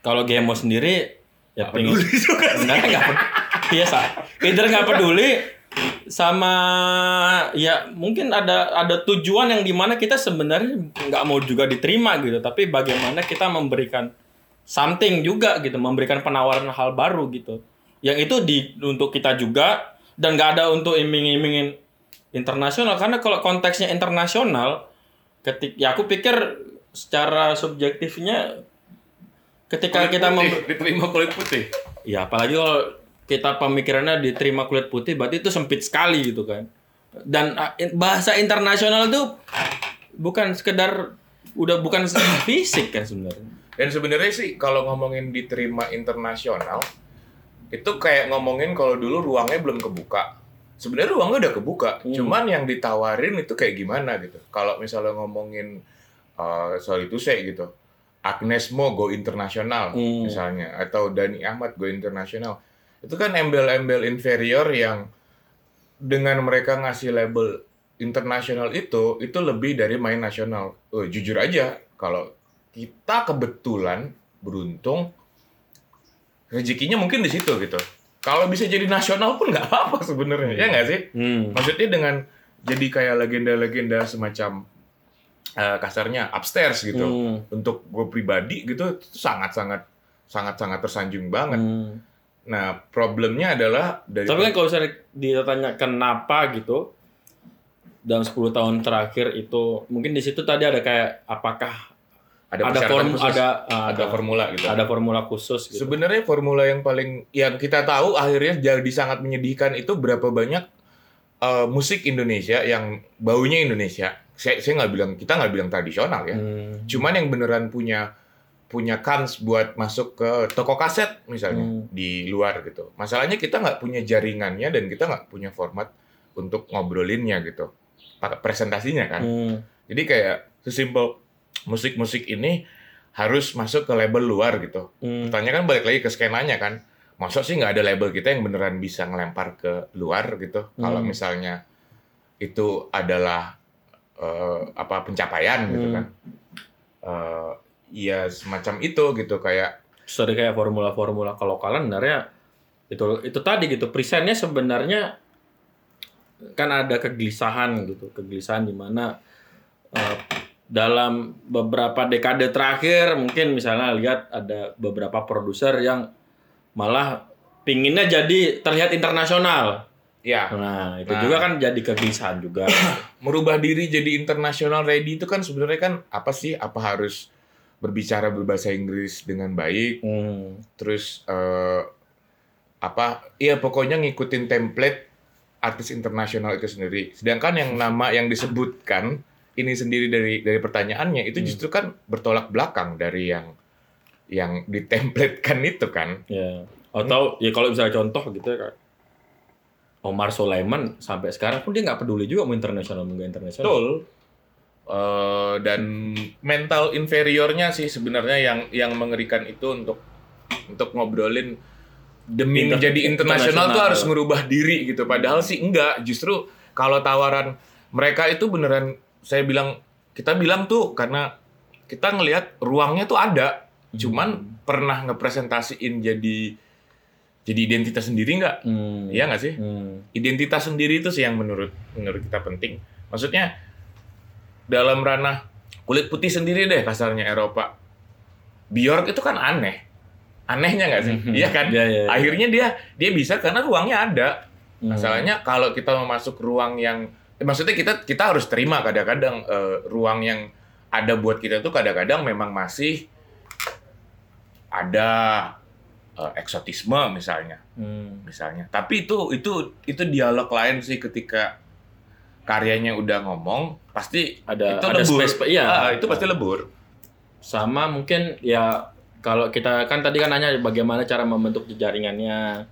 kalau Gemo sendiri ya pengen sebenarnya nggak peduli biasa either iya, nggak peduli sama ya mungkin ada ada tujuan yang dimana kita sebenarnya nggak mau juga diterima gitu tapi bagaimana kita memberikan something juga gitu memberikan penawaran hal baru gitu yang itu di untuk kita juga dan nggak ada untuk iming-imingin internasional karena kalau konteksnya internasional ketik ya aku pikir secara subjektifnya ketika kita mem-
diterima kulit putih.
Ya apalagi kalau kita pemikirannya diterima kulit putih berarti itu sempit sekali gitu kan. Dan ah, in- bahasa internasional itu bukan sekedar udah bukan sekedar fisik kan sebenarnya.
Dan sebenarnya sih kalau ngomongin diterima internasional itu kayak ngomongin kalau dulu ruangnya belum kebuka. Sebenarnya ruangnya udah kebuka, cuman yang ditawarin itu kayak gimana gitu. Kalau misalnya ngomongin eh, soal itu saya gitu. Agnes Mo go internasional
Hmm.
misalnya atau Dani Ahmad go internasional. Itu kan embel-embel inferior yang dengan mereka ngasih label internasional itu itu lebih dari main nasional. Eh, jujur aja kalau kita kebetulan beruntung rezekinya mungkin di situ gitu. Kalau bisa jadi nasional pun nggak apa-apa sebenarnya, ya nggak sih?
Hmm.
Maksudnya dengan jadi kayak legenda-legenda semacam eh, kasarnya upstairs gitu.
Hmm.
Untuk gue pribadi gitu itu sangat-sangat sangat-sangat tersanjung banget.
Hmm.
Nah, problemnya adalah dari
Tapi kan kalau misalnya ditanya kenapa gitu dalam 10 tahun terakhir itu mungkin di situ tadi ada kayak apakah
ada
ada
persyaratan
form
khusus,
ada
ada
ada
formula gitu.
ada formula khusus gitu.
Sebenarnya formula yang paling yang kita tahu akhirnya jadi sangat menyedihkan itu berapa banyak eh, musik Indonesia yang baunya Indonesia. Saya saya nggak bilang kita nggak bilang tradisional ya.
Hmm.
Cuman yang beneran punya punya kans buat masuk ke toko kaset misalnya
Hmm.
di luar gitu. Masalahnya kita nggak punya jaringannya dan kita nggak punya format untuk ngobrolinnya gitu. Pa- Presentasinya kan.
Hmm.
Jadi kayak sesimpel musik-musik ini harus masuk ke label luar gitu.
Hmm.
Pertanyaan kan balik lagi ke skenanya kan. Masa sih nggak ada label kita yang beneran bisa ngelempar ke luar gitu. Kalau
Hmm.
misalnya itu adalah eh, apa pencapaian gitu
Hmm.
kan. Eh, ya semacam itu gitu kayak
Terus ada kayak formula-formula kelokalan sebenarnya itu itu tadi gitu presennya sebenarnya kan ada kegelisahan gitu kegelisahan di mana eh, dalam beberapa dekade terakhir mungkin misalnya lihat ada beberapa produser yang malah pinginnya jadi terlihat internasional
ya
nah itu
Nah.
juga kan jadi kegelisahan juga
merubah diri jadi international ready itu kan sebenarnya kan apa sih apa harus berbicara berbahasa Inggris dengan baik
Hmm.
terus eh, apa iya pokoknya ngikutin template artis internasional itu sendiri sedangkan yang nama yang disebutkan ini sendiri dari dari pertanyaannya itu
Hmm.
justru kan bertolak belakang dari yang yang ditemplatkan itu kan
Ya. Atau ya kalau misalnya contoh gitu ya Kak. Omar Sulaiman sampai sekarang pun dia nggak peduli juga mau internasional mau nggak internasional.
betul Eh, dan mental inferiornya sih sebenarnya yang yang mengerikan itu untuk untuk ngobrolin demi
Inter-
menjadi internasional tuh
internasional.
harus merubah diri gitu padahal sih enggak justru kalau tawaran mereka itu beneran saya bilang kita bilang tuh karena kita ngelihat ruangnya tuh ada cuman pernah ngepresentasiin jadi jadi identitas sendiri nggak
Hmm.
iya nggak sih
Hmm.
identitas sendiri itu sih yang menurut menurut kita penting. Maksudnya dalam ranah kulit putih sendiri deh kasarnya Eropa. Bjork itu kan aneh. Anehnya nggak sih? Iya Mhm. kan?
Iya, iya, Hmm. iya.
Akhirnya dia dia bisa karena ruangnya ada. Masalahnya kalau kita mau masuk ruang yang eh, maksudnya kita kita harus terima kadang-kadang eh, ruang yang ada buat kita tuh kadang-kadang memang masih ada eh, eksotisme misalnya
Hmm.
misalnya. Tapi itu itu itu dialog lain sih ketika karyanya udah ngomong pasti
Ada-
itu
ada
lebur.
space- iya.
Ah, itu pasti lebur.
Sama mungkin ya kalau kita kan tadi kan nanya bagaimana cara membentuk jaringannya.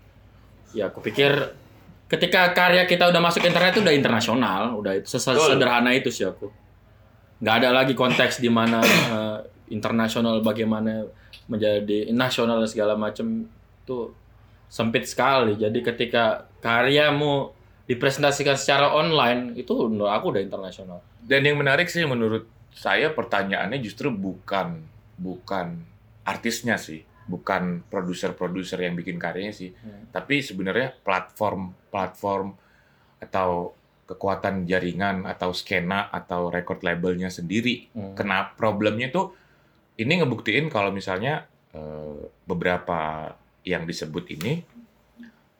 Ya aku pikir ketika karya kita udah masuk internet itu udah internasional, udah itu
Betul.
sederhana itu sih aku. Nggak ada lagi konteks di mana eh, internasional bagaimana menjadi nasional dan segala macam itu sempit sekali. Jadi ketika karyamu dipresentasikan secara online itu menurut aku udah internasional.
Dan yang menarik sih menurut saya pertanyaannya justru bukan bukan artisnya sih, bukan produser-produser yang bikin karyanya sih,
Hmm.
tapi sebenarnya platform-platform atau kekuatan jaringan atau skena atau record labelnya sendiri
Hmm.
kena problemnya tuh ini ngebuktiin kalau misalnya eh, beberapa yang disebut ini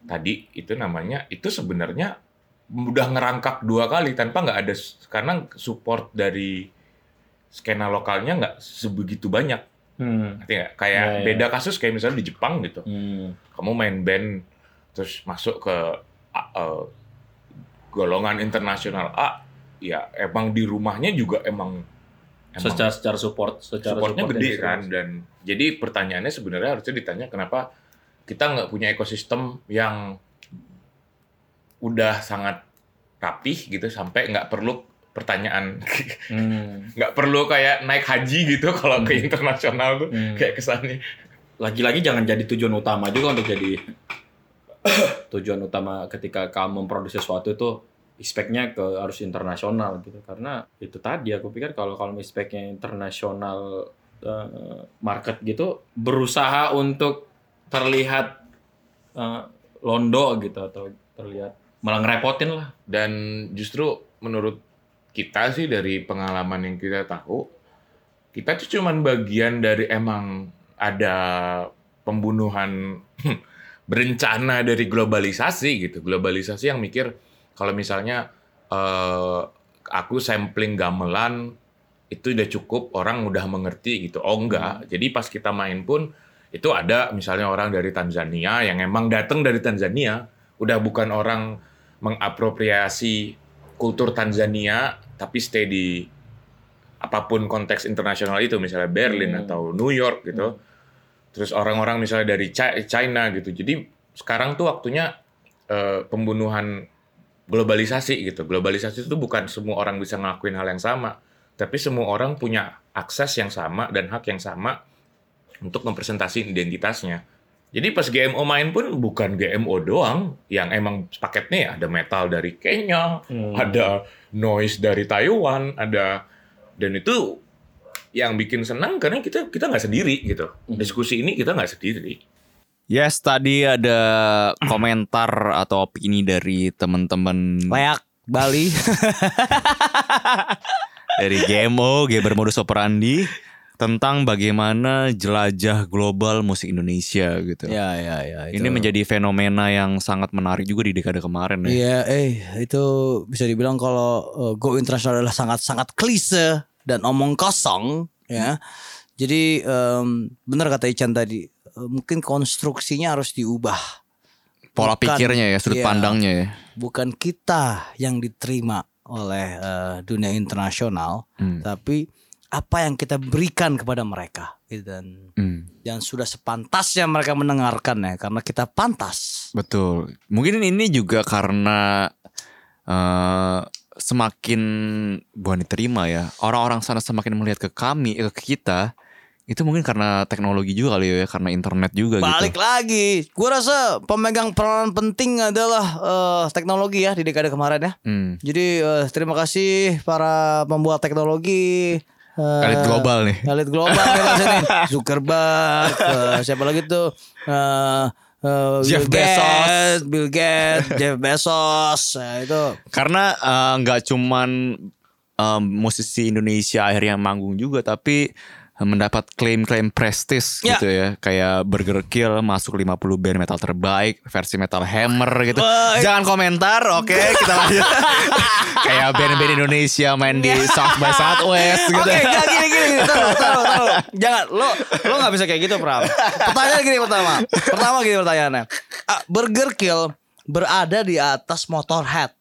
tadi itu namanya itu sebenarnya mudah ngerangkap dua kali tanpa nggak ada karena support dari skena lokalnya nggak sebegitu banyak
Hmm.
ngerti nggak kayak
Ya, ya.
beda kasus kayak misalnya di Jepang gitu
Hmm.
kamu main band terus masuk ke ah, eh, golongan internasional A ya emang di rumahnya juga emang emang
secara secara support secara
supportnya
support
gede
yang
kan
serius.
dan jadi pertanyaannya sebenarnya harusnya ditanya kenapa kita nggak punya ekosistem yang udah sangat rapih gitu sampai nggak perlu pertanyaan
Hmm.
nggak perlu kayak naik haji gitu kalau ke
Hmm.
internasional tuh
Hmm.
kayak kesannya
lagi-lagi jangan jadi tujuan utama juga untuk jadi tujuan utama ketika kamu memproduksi sesuatu itu aspeknya ke harus internasional gitu karena itu tadi aku pikir kalau kalau aspeknya internasional eh, market gitu berusaha untuk terlihat eh, londo gitu atau terlihat malah ngerepotin lah.
Dan justru menurut kita sih dari pengalaman yang kita tahu, kita tuh cuman bagian dari emang ada pembunuhan berencana dari globalisasi gitu. Globalisasi yang mikir kalau misalnya eh, aku sampling gamelan itu udah cukup orang udah mengerti gitu. Oh enggak. Jadi pas kita main pun itu ada misalnya orang dari Tanzania yang emang datang dari Tanzania udah bukan orang mengapropriasi kultur Tanzania tapi stay di apapun konteks internasional itu misalnya Berlin atau New York gitu terus orang-orang misalnya dari Chi- China gitu jadi sekarang tuh waktunya eh, pembunuhan globalisasi gitu globalisasi itu bukan semua orang bisa ngelakuin hal yang sama tapi semua orang punya akses yang sama dan hak yang sama untuk mempresentasi identitasnya jadi pas GMO main pun bukan GMO doang yang emang paketnya ya ada metal dari Kenya,
Hmm.
ada noise dari Taiwan, ada dan itu yang bikin senang karena kita kita nggak sendiri gitu. Diskusi ini kita nggak sendiri.
Yes, tadi ada komentar atau opini dari teman-teman
Layak Bali.
dari GMO, Gamer Modus Operandi tentang bagaimana jelajah global musik Indonesia gitu.
ya ya ya.
Ini menjadi fenomena yang sangat menarik juga di dekade kemarin ya.
Iya, eh itu bisa dibilang kalau eh, go internasional adalah sangat-sangat klise dan omong kosong, ya. Jadi em, benar kata Ican tadi, eh, mungkin konstruksinya harus diubah.
Pola
Bukan-
pikirnya ya,
iya,
sudut pandangnya ya.
Bukan kita yang diterima oleh eh, dunia internasional,
Hmm.
tapi apa yang kita berikan kepada mereka, gitu. dan
Hmm.
dan sudah sepantasnya mereka mendengarkan ya, karena kita pantas.
Betul. Mungkin ini juga karena eh, semakin bukan diterima ya. Orang-orang sana semakin melihat ke kami, eh, ke kita. Itu mungkin karena teknologi juga kali ya, karena internet juga
Balik
gitu.
lagi, gue rasa pemegang peranan penting adalah eh, teknologi ya di dekade kemarin ya.
Hmm.
Jadi eh, terima kasih para pembuat teknologi. eh,
Elit global nih.
Elit global nih maksudnya. Zuckerberg, eh, siapa lagi tuh? Eh, eh,
Jeff
Bill
Bezos.
Gates, Bill Gates, Jeff Bezos, eh, itu
Karena eh, nggak cuman em, musisi Indonesia akhirnya manggung juga, tapi mendapat klaim-klaim prestis
Ya.
gitu ya kayak Burger Kill masuk 50 band metal terbaik versi metal hammer gitu
Wah.
jangan komentar oke kita lanjut kayak band-band Indonesia main di South by Southwest gitu
Oke, jangan gini gini, gini. Taruh, taruh, taruh. Jangan, lo lo nggak bisa kayak gitu, Pram. Pertanyaan gini pertama. Pertama gini pertanyaannya. Ah, Burger Kill berada di atas Motorhead.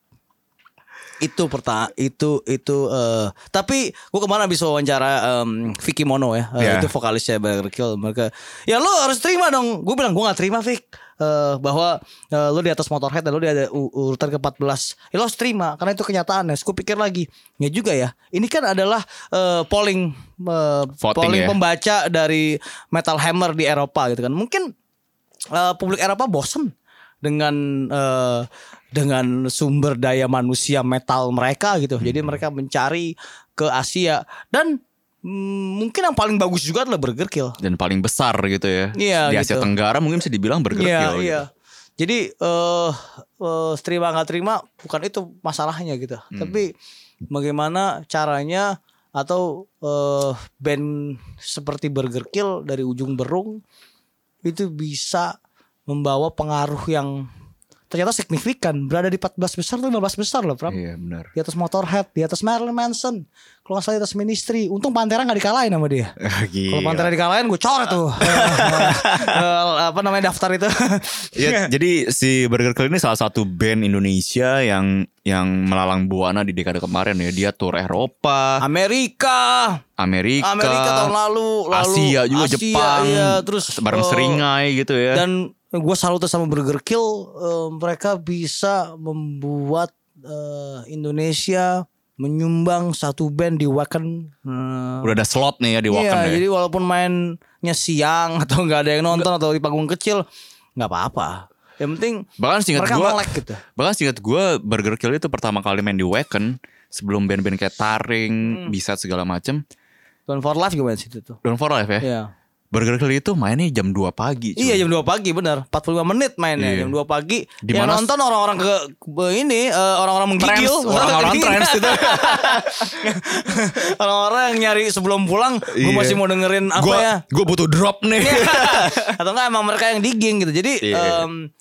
Itu pertama itu itu eh, tapi gua kemarin habis wawancara em, Vicky Mono ya. Eh,
Iya.
Itu vokalisnya Burger Kill mereka. Ya lo harus terima dong. Gue bilang gua nggak terima, Vick. Eh, bahwa eh, lo di atas Motorhead dan lo di ada u- urutan ke-14. Ya lo harus terima karena itu kenyataannya. Terus Gue pikir lagi, ya juga ya. Ini kan adalah eh, polling eh,
Voting
polling
ya.
pembaca dari Metal Hammer di Eropa gitu kan. Mungkin eh, publik Eropa bosen dengan eh, dengan sumber daya manusia metal mereka gitu. Jadi
Hmm.
mereka mencari ke Asia dan mm, mungkin yang paling bagus juga adalah Burger Kill.
dan paling besar gitu ya
Iya,
di Asia
gitu.
Tenggara mungkin bisa dibilang Burger
Iya,
Kill gitu.
iya. Jadi eh eh, terima nggak terima bukan itu masalahnya gitu.
Hmm.
Tapi bagaimana caranya atau eh band seperti Burger Kill dari ujung berung itu bisa membawa pengaruh yang ternyata signifikan berada di 14 besar atau 15 besar loh, Pram.
Iya, benar
Di atas Motorhead, di atas Marilyn Manson, kalau nggak salah di atas Ministry. Untung Pantera nggak dikalahin sama dia. Kalau
Gila.
Pantera dikalahin gue coret tuh.
Iya.
Eh, apa namanya daftar itu. Iya.
Ya, jadi si Burger Kill ini salah satu band Indonesia yang yang melalang buana di dekade kemarin ya. Dia tur Eropa,
Amerika,
Amerika,
Amerika tahun lalu, lalu
Asia juga
Asia,
Jepang,
iya, terus
bareng
eh,
seringai gitu ya.
Dan gue salut sama Burger Kill, eh, mereka bisa membuat eh, Indonesia menyumbang satu band di Wacken. eh,
Udah ada slot nih ya di Wacken
iya,
ya.
jadi walaupun mainnya siang atau nggak ada yang nonton atau di panggung kecil, nggak apa-apa. Yang penting
bahkan singkat
mereka
gua,
melek gitu.
bahkan singkat gua Burger Kill itu pertama kali main di Wacken sebelum band-band
Hmm.
kayak Taring, Bisa segala macem.
Tuan for Life gimana sih itu tuh?
Down for Life ya.
Iya.
Burger Kill itu mainnya jam 2 pagi. cuy.
Iya jam 2 pagi benar 45 menit mainnya
Iya.
jam 2 pagi
Di
Yang
mana-
nonton orang-orang ke ke ini eh, Orang-orang menggigil
Trans, orang-orang trans itu.
Orang-orang yang nyari sebelum pulang Gue
Iya.
masih mau dengerin apa
Gua-
ya Iya.
Gua butuh drop nih.
Atau enggak emang mereka yang digging gitu Jadi
Iya.
em,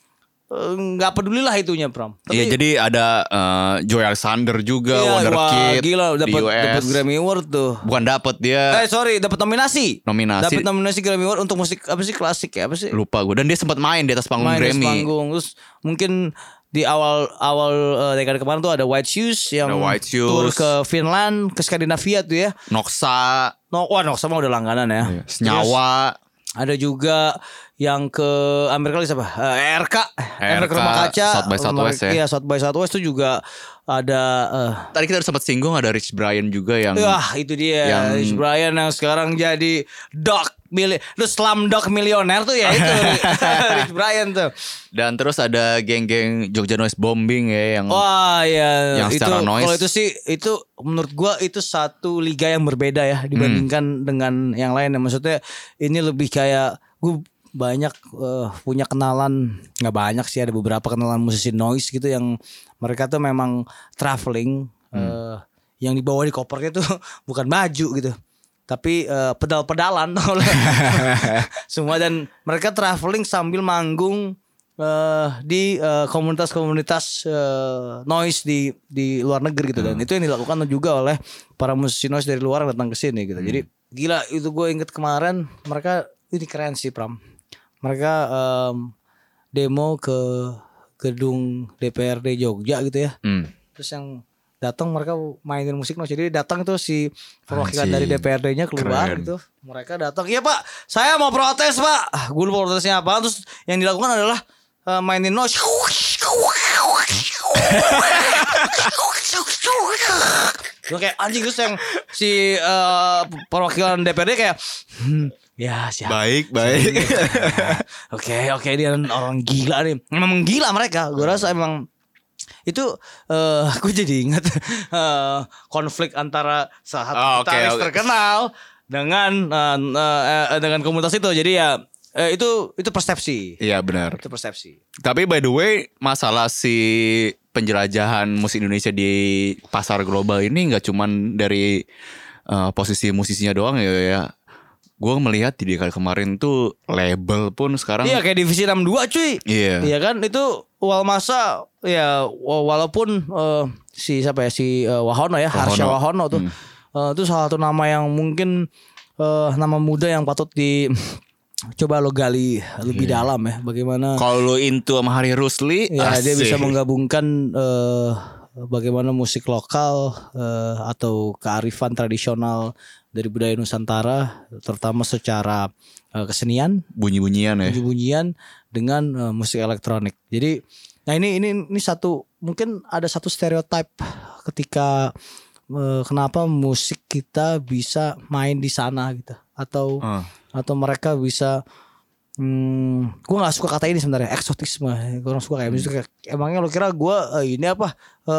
eh, nggak pedulilah itunya Pram Tapi-
Iya jadi ada eh, Joy Alexander juga
Iya,
Wonder
wah,
Kid
Gila
di
dapat
US.
dapat Grammy Award tuh
Bukan dapat dia
Eh sorry dapat nominasi
Nominasi.
Dapat nominasi Grammy Award untuk musik Apa sih klasik ya Apa sih
lupa gue dan dia sempat main di atas panggung
main di
Grammy.
panggung terus mungkin di awal awal eh, dekade kemarin tuh ada White Shoes yang
Ada White Shoes.
tur ke Finland ke Skandinavia tuh ya
Noxa,
no wah no sama udah langganan ya
Iya. Senyawa,
Terus ada juga yang ke Amerika lagi siapa Eh, RK RK
RK,
Rumah Kaca
South by Southwest ya.
iya South by Southwest itu juga ada eh,
tadi kita udah sempat singgung ada Rich Brian juga yang
Wah itu dia
Yang-
Rich Brian yang sekarang jadi Doc mili Lu slam doc milioner tuh ya itu Rich Brian tuh
dan terus ada geng-geng Jogja Noise Bombing ya yang
Wah ya
Yang
itu
secara noise.
kalau itu sih itu menurut gua itu satu liga yang berbeda ya
Hmm.
dibandingkan dengan yang lain. ya. Maksudnya ini lebih kayak gua banyak eh, punya kenalan nggak banyak sih ada beberapa kenalan musisi noise gitu yang mereka tuh memang traveling eh,
Hmm.
yang dibawa di kopernya tuh bukan baju gitu tapi eh, pedal-pedalan semua dan mereka traveling sambil manggung eh di eh, komunitas-komunitas eh, noise di di luar negeri gitu dan itu yang dilakukan juga oleh para musisi noise dari luar yang datang ke sini gitu. Jadi gila itu gue inget kemarin mereka ini keren sih Pram. Mereka em, demo ke gedung DPRD Jogja gitu ya.
Hmm.
Terus yang datang mereka mainin musik noise. Jadi datang tuh si perwakilan dari
Anjing.
DPRD-nya keluar
Keren.
gitu. Mereka datang, "Iya, Pak. Saya mau protes, Pak." Gue lupa protesnya apa. Terus yang dilakukan adalah eh, mainin noise. Gue kayak anjing terus yang si eh, perwakilan DPRD kayak "Hmm, ya siapa
baik baik.
Oke oke dia orang gila nih Memang gila mereka Gue rasa emang itu eh gue jadi ingat eh, konflik antara salah satu
Oh, oke,
gitaris
oke.
terkenal dengan eh, eh, eh, dengan komunitas itu jadi ya eh, itu itu persepsi
Iya benar.
itu persepsi
Tapi by the way masalah si penjelajahan musik Indonesia di pasar global ini nggak cuman dari uh, posisi musisinya doang ya. ya. Gue melihat di dekade kemarin tuh label pun sekarang
iya kayak divisi 62 cuy
Iya.
Iya kan itu Walmasa ya wa- walaupun eh, si siapa ya si eh, Wahono ya Harsha Wahono tuh Eh, itu salah satu nama yang mungkin eh, nama muda yang patut di coba lo gali lebih dalam ya bagaimana
Iya. Kalau lu into sama Hari Rusli,
ya dia
asik.
bisa menggabungkan eh, bagaimana musik lokal eh, atau kearifan tradisional dari budaya Nusantara terutama secara eh, kesenian
bunyi-bunyian ya.
bunyi-bunyian dengan eh, musik elektronik. Jadi nah ini ini ini satu mungkin ada satu stereotip ketika eh, kenapa musik kita bisa main di sana gitu atau
Ah.
atau mereka bisa Hmm, gue nggak suka kata ini sebenarnya eksotisme. Gue orang suka kayak
Hmm.
misalnya emangnya lo kira gue eh, ini apa Eh,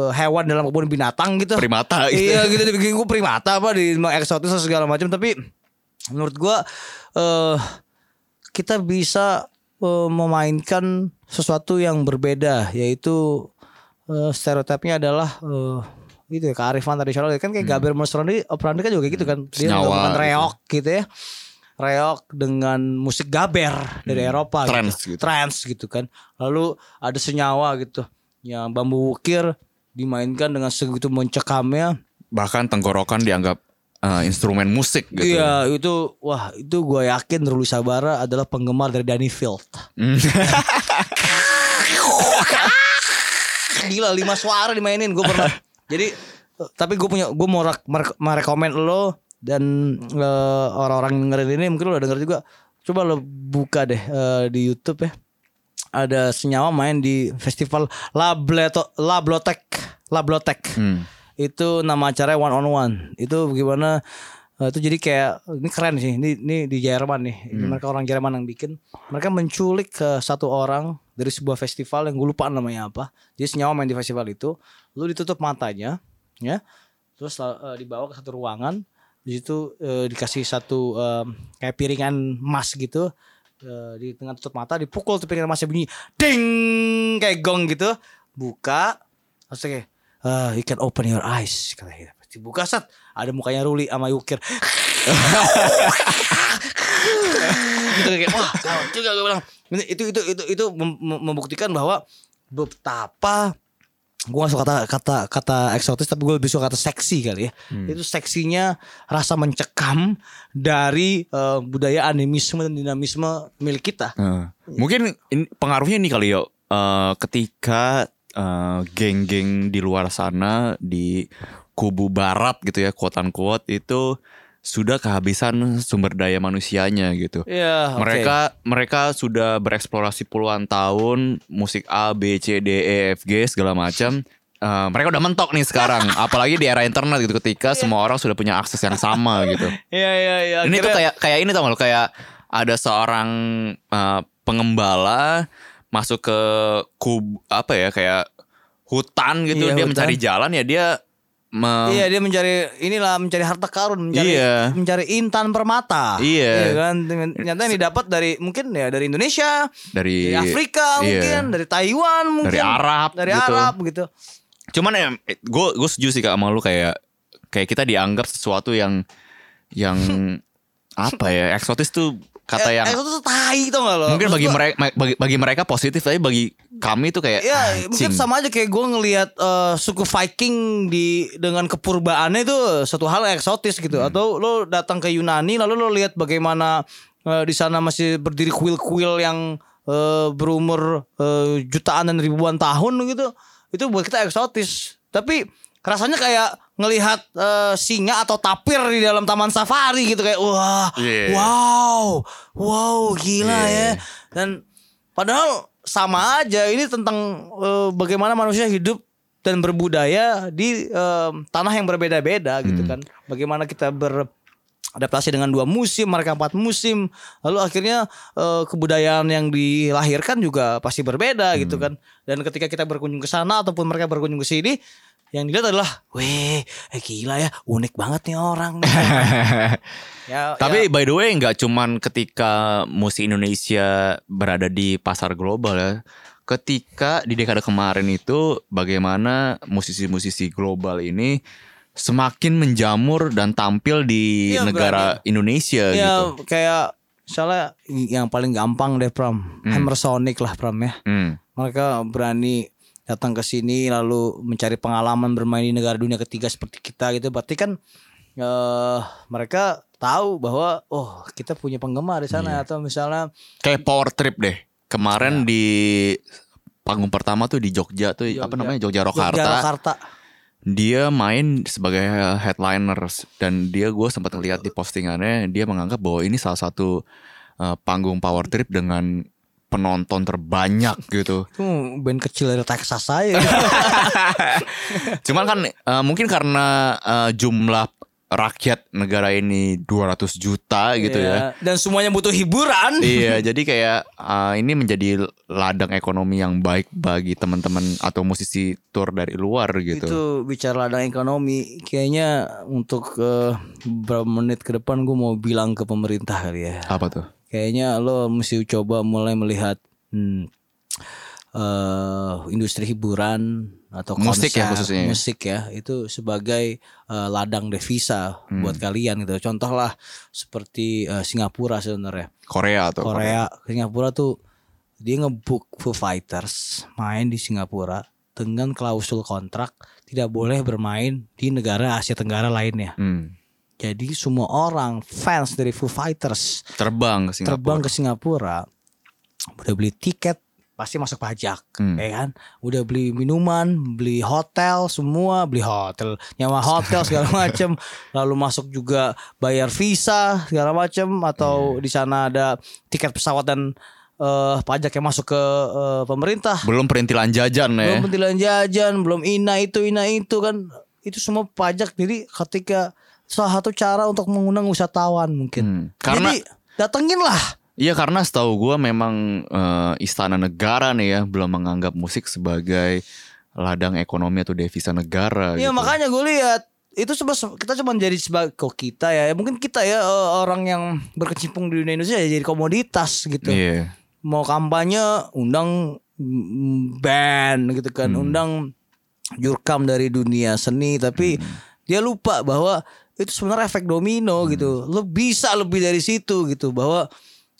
eh, hewan dalam kebun binatang gitu?
Primata gitu.
Iya gitu dibikin gue primata apa di emang eksotis dan segala macam tapi menurut gua eh kita bisa eh, memainkan sesuatu yang berbeda yaitu eh, stereotipnya adalah eh, gitu ya kearifan tradisional kan kayak Gabriel Mostroni Operandi kan juga kayak gitu kan dia
Hmm. Senyawa
melakukan
gitu.
reok gitu ya reok dengan musik gaber dari Eropa
Trance gitu.
trance gitu kan lalu ada senyawa gitu yang bambu wukir dimainkan dengan segitu mencekamnya
Bahkan tenggorokan dianggap eh, instrumen musik gitu.
iya itu wah itu gue yakin Ruli Sabara adalah penggemar dari Danny Field
Hmm.
gila lima suara dimainin gue pernah jadi eh, tapi gue punya gue mau rak- mer- merekomen lo dan eh, orang-orang yang dengerin ini mungkin lo udah denger juga coba lo buka deh eh, di YouTube ya ada senyawa main di festival Lableto Lablotek Lablotek
Hmm.
itu nama acaranya one on one itu gimana eh, itu jadi kayak ini keren sih ini, ini di Jerman nih Ini mereka orang Jerman yang bikin mereka menculik ke satu orang dari sebuah festival yang gue lupa namanya apa jadi senyawa main di festival itu lu ditutup matanya ya terus eh, dibawa ke satu ruangan di situ eh, dikasih satu em, kayak piringan emas gitu eh, di tengah tutup mata dipukul tuh piringan emasnya bunyi ding kayak gong gitu buka terus kayak eh, you can open your eyes kata gitu Terus dibuka set ada mukanya Ruli sama Yukir gitu kayak wah kau juga gue bilang Ini- itu itu itu itu mem- mem- membuktikan bahwa betapa gue gak suka kata kata kata eksotis tapi gue lebih suka kata seksi kali ya
Hmm.
itu seksinya rasa mencekam dari eh, budaya animisme dan dinamisme milik kita
Nah, Mungkin in- pengaruhnya ini kali ya eh, ketika eh, geng-geng di luar sana di kubu barat gitu ya kuatan kuat itu sudah kehabisan sumber daya manusianya gitu.
Iya
Mereka mereka sudah bereksplorasi puluhan tahun musik A B C D E F G segala macam. Eh, mereka udah mentok nih sekarang, apalagi di era internet gitu ketika semua orang sudah punya akses yang sama gitu.
iya iya iya
Ini tuh
Akhirnya-
kayak kayak ini tau gak lo kayak ada seorang eh, pengembala masuk ke kub apa ya kayak hutan
Iya,
gitu dia
hutan.
mencari jalan ya dia me-
Iya dia mencari inilah mencari harta karun mencari
Iya.
mencari intan permata
Iya.
kan Dengan- ternyata ini dapat dari mungkin ya dari Indonesia
dari
dari Afrika
iya,
mungkin dari Taiwan mungkin
dari Arab
dari
gitu.
Arab gitu
Cuman ya gue gue setuju sih kak sama lu kayak kayak kita dianggap sesuatu yang yang apa ya eksotis tuh kata yang
Eh, itu tuh tai tau gak lo
mungkin
Maksud
bagi
gua-
mereka bagi, bagi mereka positif tapi bagi kami tuh kayak
Ya
anjing.
mungkin sama aja kayak gue ngelihat eh, suku Viking di dengan kepurbaannya itu suatu hal yang eksotis gitu.
Hmm.
Atau lo datang ke Yunani lalu lo lihat bagaimana eh, di sana masih berdiri kuil-kuil yang eh, berumur eh, jutaan dan ribuan tahun gitu. Itu buat kita eksotis. Tapi rasanya kayak ngelihat eh, singa atau tapir di dalam taman safari gitu kayak wah
Iya.
wow wow gila
Iya.
ya dan padahal sama aja ini tentang eh, bagaimana manusia hidup dan berbudaya di eh, tanah yang berbeda-beda gitu
Hmm.
kan. Bagaimana kita beradaptasi dengan dua musim, mereka empat musim, lalu akhirnya eh, kebudayaan yang dilahirkan juga pasti berbeda
Hmm.
gitu kan. Dan ketika kita berkunjung ke sana ataupun mereka berkunjung ke sini, yang dilihat adalah, weh, eh, gila ya, unik banget nih orang. nih." ya,
Tapi by the way nggak cuman ketika musik Indonesia berada di pasar global ya. Ketika di dekade kemarin itu bagaimana musisi-musisi global ini semakin menjamur dan tampil di
Iya,
negara Indonesia gitu.
ya kayak misalnya yang paling gampang deh Pram, Hammer Sonic lah Pram ya.
Hmm.
Mereka berani datang ke sini lalu mencari pengalaman bermain di negara dunia ketiga seperti kita gitu. Berarti kan eh mereka tahu bahwa oh kita punya penggemar di
Iya.
sana atau misalnya
Kayak power trip deh. Kemarin di panggung pertama tuh di Jogja tuh apa
Jogja.
namanya Jogja Rock
Jogja,
Harta.
Jakarta.
dia main sebagai headliners dan dia gue sempat lihat di postingannya dia menganggap bahwa ini salah satu uh, panggung power trip dengan penonton terbanyak gitu.
Itu band kecil dari Texas ya. saya.
Cuman kan uh, mungkin karena uh, jumlah rakyat negara ini 200 juta gitu ya.
Dan semuanya butuh hiburan.
iya, jadi kayak uh, ini menjadi ladang ekonomi yang baik bagi teman-teman atau musisi tour dari luar gitu.
Itu bicara ladang ekonomi, kayaknya untuk eh, beberapa menit ke depan gue mau bilang ke pemerintah kali ya.
Apa tuh?
Kayaknya lo mesti coba mulai melihat hmm, eh, industri hiburan atau
Musik ya
konser,
khususnya.
musik ya itu sebagai eh, ladang devisa
Hmm.
buat kalian gitu. Contoh lah seperti eh, Singapura sebenarnya.
Korea atau
Korea, Singapura tuh dia ngebook Foo Fighters main di Singapura dengan klausul kontrak tidak boleh bermain di negara Asia Tenggara lainnya.
Hmm.
Jadi semua orang fans dari Foo Fighters
Terbang ke Singapura.
terbang ke Singapura, udah beli tiket pasti masuk pajak,
Hmm.
ya kan? Udah beli minuman, beli hotel, semua beli hotel, nyawa hotel segala macem. Lalu masuk juga bayar visa segala macem atau
Iya.
di sana ada tiket pesawat dan eh, pajak yang masuk ke eh, pemerintah.
Belum perintilan jajan ya.
Belum pentilan jajan, belum ina itu ina itu kan itu semua pajak. Jadi ketika salah satu cara untuk mengundang wisatawan
Hmm.
mungkin.
Karena-
Jadi datengin lah.
Iya karena setahu gue memang eh, istana negara nih ya belum menganggap musik sebagai ladang ekonomi atau devisa negara.
Iya
gitu.
makanya gue lihat itu cuma kita cuma jadi sebagai kok kita ya mungkin kita ya eh, orang yang berkecimpung di dunia Indonesia ya jadi komoditas gitu
Iya.
mau kampanye undang mm, band gitu kan
Hmm.
undang jurkam dari dunia seni
Hmm.
tapi dia lupa bahwa itu sebenarnya efek domino
Hmm.
gitu lo bisa lebih dari situ gitu bahwa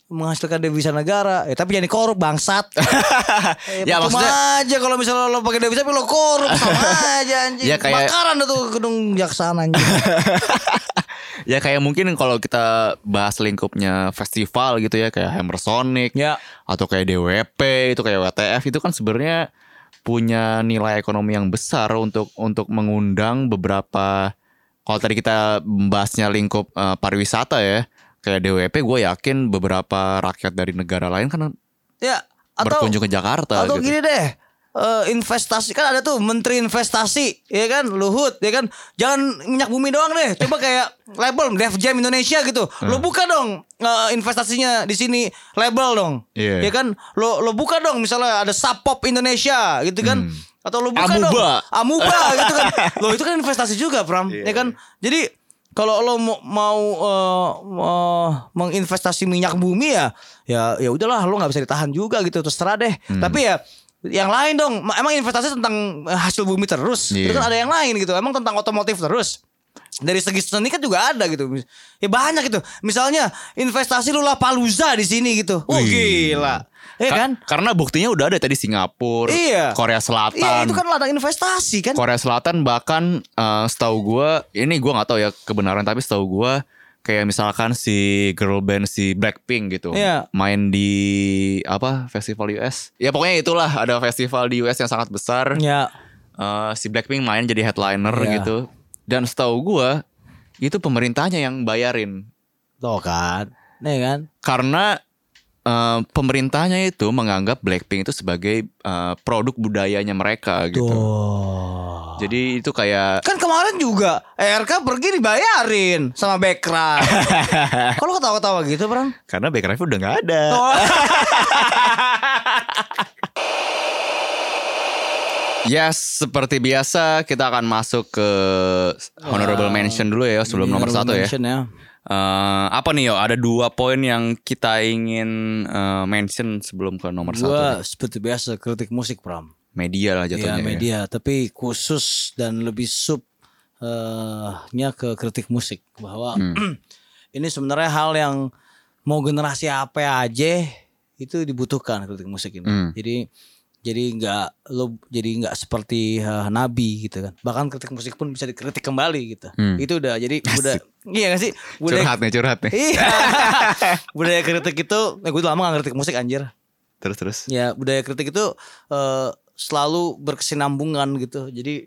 menghasilkan devisa negara eh tapi jadi korup bangsat eh, ya
Ya, maksudnya-
aja kalau misalnya lo pakai devisa tapi lo korup sama aja anjing
Ya, kayak-
bakaran tuh gedung jaksaan anjing
Ya kayak mungkin kalau kita bahas lingkupnya festival gitu ya kayak Hammer Sonic
ya
atau kayak DWP itu kayak WTF itu kan sebenarnya punya nilai ekonomi yang besar untuk untuk mengundang beberapa kalau tadi kita membahasnya lingkup eh, pariwisata ya kayak DWP gue yakin beberapa rakyat dari negara lain kan
ya atau
berkunjung ke Jakarta
Atau
gitu.
gini deh, eh, investasi kan ada tuh menteri investasi, ya kan, Luhut, ya kan. Jangan minyak bumi doang deh. Coba kayak label Def Jam Indonesia gitu.
Hmm.
Lo buka dong eh, investasinya di sini label dong.
Iya.
Ya kan? Lo lo buka dong misalnya ada Sapop Indonesia gitu kan.
Hmm.
Atau lo buka dong
Amuba.
Amuba gitu kan. Lo itu kan investasi juga, Pram.
Iya,
Ya kan? Jadi kalau lo mau, mau eh, eh, menginvestasi minyak bumi ya, ya ya udahlah lo nggak bisa ditahan juga gitu terserah deh.
Hmm.
Tapi ya yang lain dong, Ma- emang investasi tentang eh, hasil bumi terus,
Iya.
itu kan ada yang lain gitu. Emang tentang otomotif terus. Dari segi seni kan juga ada gitu. Ya banyak gitu. Misalnya investasi Lula Paluza di sini gitu. Oh
Wih.
gila. Ya
Ka-
kan?
Karena buktinya udah ada tadi Singapura,
Iya.
Korea Selatan.
Iya itu kan ladang investasi kan.
Korea Selatan bahkan eh, setahu gue ini gue nggak tahu ya kebenaran tapi setahu gue kayak misalkan si girl band si Blackpink gitu
Iya.
main di apa festival US ya pokoknya itulah ada festival di US yang sangat besar
Ya.
Eh, si Blackpink main jadi headliner
Iya.
gitu dan setahu gue itu pemerintahnya yang bayarin
Tuh kan. Nih kan.
karena eh, pemerintahnya itu menganggap Blackpink itu sebagai eh, produk budayanya mereka gitu
Tuh.
jadi itu kayak
Kan kemarin juga RK pergi dibayarin sama Background. Kalau ketawa-ketawa gitu, Bang?
Karena background udah nggak ada.
Oh.
Yes, Ya, seperti biasa kita akan masuk ke honorable mention dulu ya sebelum nomor satu ya. Eh, apa nih yo? Ada dua poin yang kita ingin eh, mention sebelum ke nomor satu. nih.
Gua seperti biasa kritik musik, Pram.
Media lah
Ya,
jatuhnya. ya.
media, tapi khusus dan lebih sub eh, nya ke kritik musik bahwa
Hmm.
ini sebenarnya hal yang mau generasi apa aja itu dibutuhkan kritik musik ini.
Hmm.
Jadi jadi nggak lo jadi nggak seperti eh, nabi gitu kan. Bahkan kritik musik pun bisa dikritik kembali gitu.
Hmm.
Itu udah jadi udah iya gak sih? Budaya,
Curhat nih, curhat nih.
iya. budaya kritik itu eh, gue udah lama gak kritik musik anjir.
Terus terus.
Ya budaya kritik itu eh, selalu berkesinambungan gitu. Jadi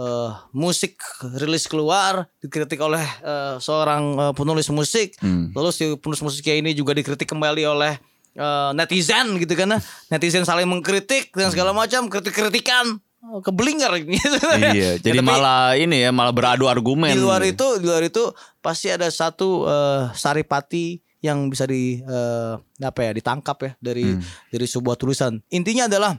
eh, musik rilis keluar dikritik oleh eh, seorang eh, penulis musik,
Hmm.
lalu si penulis musiknya ini juga dikritik kembali oleh eh, netizen gitu kan. Netizen saling mengkritik dan segala macam kritik-kritikan Eh, keblinger ini.
Iya,
tapi-
jadi malah ini ya malah beradu argumen.
di luar itu di luar itu pasti ada satu eh, saripati yang bisa di eh, apa ya ditangkap ya dari dari sebuah tulisan intinya adalah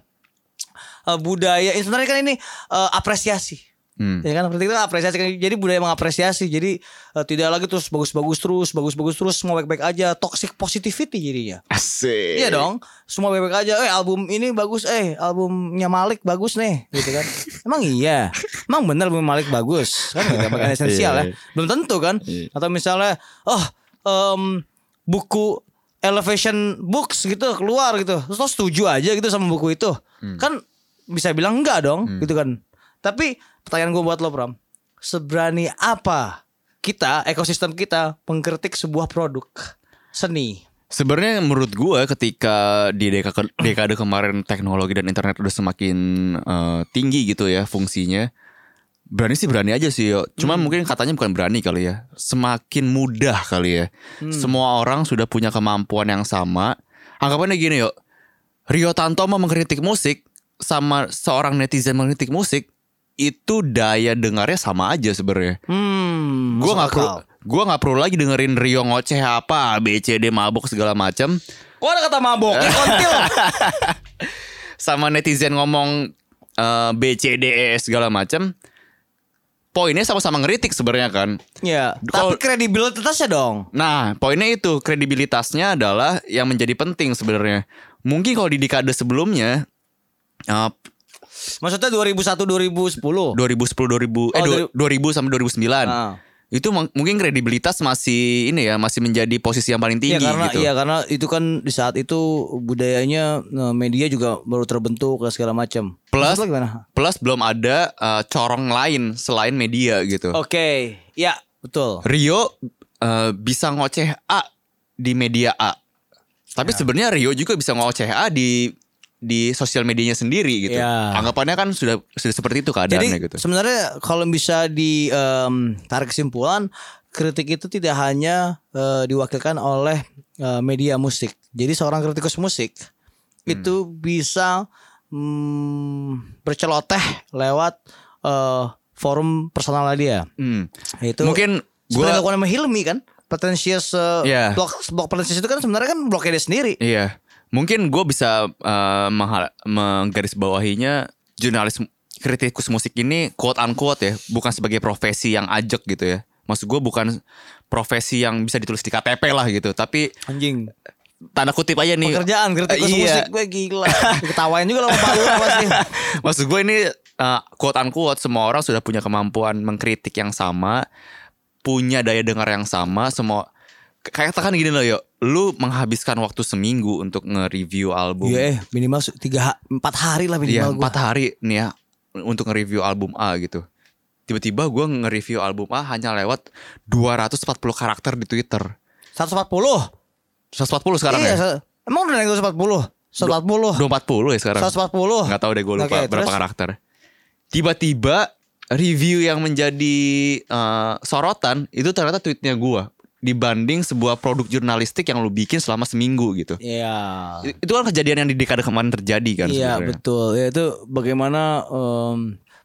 eh, budaya ini sebenarnya kan ini eh, apresiasi
Hmm.
ya kan berarti itu apresiasi kan. jadi budaya mengapresiasi jadi eh, tidak lagi terus bagus-bagus terus bagus-bagus terus semua baik-baik aja toxic positivity jadinya
Asik.
Iya dong, semua bebek aja. Eh album ini bagus, eh albumnya Malik bagus nih, gitu kan? Emang iya, emang bener album Malik bagus, kan? Gitu, bukan esensial ya, belum tentu kan? Atau misalnya, oh em, buku Elevation Books gitu keluar gitu, terus lo setuju aja gitu sama buku itu, kan bisa bilang enggak dong, gitu kan? Tapi pertanyaan gue buat lo Pram, seberani apa kita ekosistem kita mengkritik sebuah produk seni?
Sebenarnya menurut gua ketika di dekade, dekade kemarin teknologi dan internet udah semakin eh, tinggi gitu ya fungsinya. Berani sih berani aja sih. Yo. Cuma
Hmm.
mungkin katanya bukan berani kali ya. Semakin mudah kali ya.
Hmm.
Semua orang sudah punya kemampuan yang sama. Anggapannya gini yo. Rio Tantomo mengkritik musik sama seorang netizen mengkritik musik itu daya dengarnya sama aja sebenarnya.
Hmm,
Gue
masuk
nggak perlu,
akal.
gue nggak perlu lagi dengerin Rio ngoceh apa, BCD mabuk segala macam.
Kok ada kata mabok? Ya, kontil.
E, sama netizen ngomong eh, BCDE segala macam poinnya sama-sama ngeritik sebenarnya kan.
Ya,
Kalau-
tapi kredibilitasnya dong.
Nah, poinnya itu kredibilitasnya adalah yang menjadi penting sebenarnya. Mungkin kalau di dekade sebelumnya eh,
Maksudnya 2001 2010.
2010 2000 eh
Oh,
du- 2000 sampai 2009.
Ah.
Itu mung- mungkin kredibilitas masih ini ya, masih menjadi posisi yang paling tinggi
Iya karena
gitu.
iya karena itu kan di saat itu budayanya eh, media juga baru terbentuk dan segala macam.
Plus-
Maksud lo gimana?
Plus belum ada eh, corong lain selain media gitu.
Oke, ya betul.
Rio eh, bisa ngoceh A di media A. Tapi
Ya.
sebenarnya Rio juga bisa ngoceh A di di sosial medianya sendiri gitu.
Ya.
Anggapannya kan sudah sudah seperti itu
Jadi
keadaannya gitu.
sebenarnya kalau bisa di em, tarik kesimpulan, kritik itu tidak hanya eh, diwakilkan oleh eh, media musik. Jadi seorang kritikus musik
Hmm.
itu bisa mm, berceloteh lewat eh, forum personalnya dia.
Hmm.
Itu
Mungkin
gue
gua
sama Hilmi kan, pretentious eh,
Iya.
blog blog pretentious itu kan sebenarnya kan blognya dia sendiri.
iya. Mungkin gue bisa eh, menghal- menggarisbawahinya jurnalis kritikus musik ini quote unquote ya, bukan sebagai profesi yang ajek gitu ya. Maksud gue bukan profesi yang bisa ditulis di KTP lah gitu, tapi
Anjing.
tanda kutip aja nih.
Pekerjaan kritikus
Eh, iya.
musik gue gila. Ketawain juga lah sama Pak Lura pasti.
Maksud gue ini uh, quote unquote semua orang sudah punya kemampuan mengkritik yang sama, punya daya dengar yang sama, semua kayak katakan gini loh yuk, lu menghabiskan waktu seminggu untuk nge-review album.
Iya, eh, minimal su- tiga ha- empat hari lah
Iya,
minimal gua.
empat hari nih ya untuk nge-review album A gitu. Tiba-tiba gue nge-review album A hanya lewat 240 karakter di Twitter.
140.
140 sekarang
iya,
ya?
se- emang udah naik 140. 140.
240 ya sekarang?
140.
Nggak tahu deh gue lupa
Oh. Oke,
berapa
terus?
karakter. Tiba-tiba review yang menjadi eh, sorotan itu ternyata tweetnya gue dibanding sebuah produk jurnalistik yang lu bikin selama seminggu gitu.
Iya.
I- Itu kan kejadian yang di dekade kemarin terjadi kan
Iya,
sebenarnya.
betul. Yaitu bagaimana em,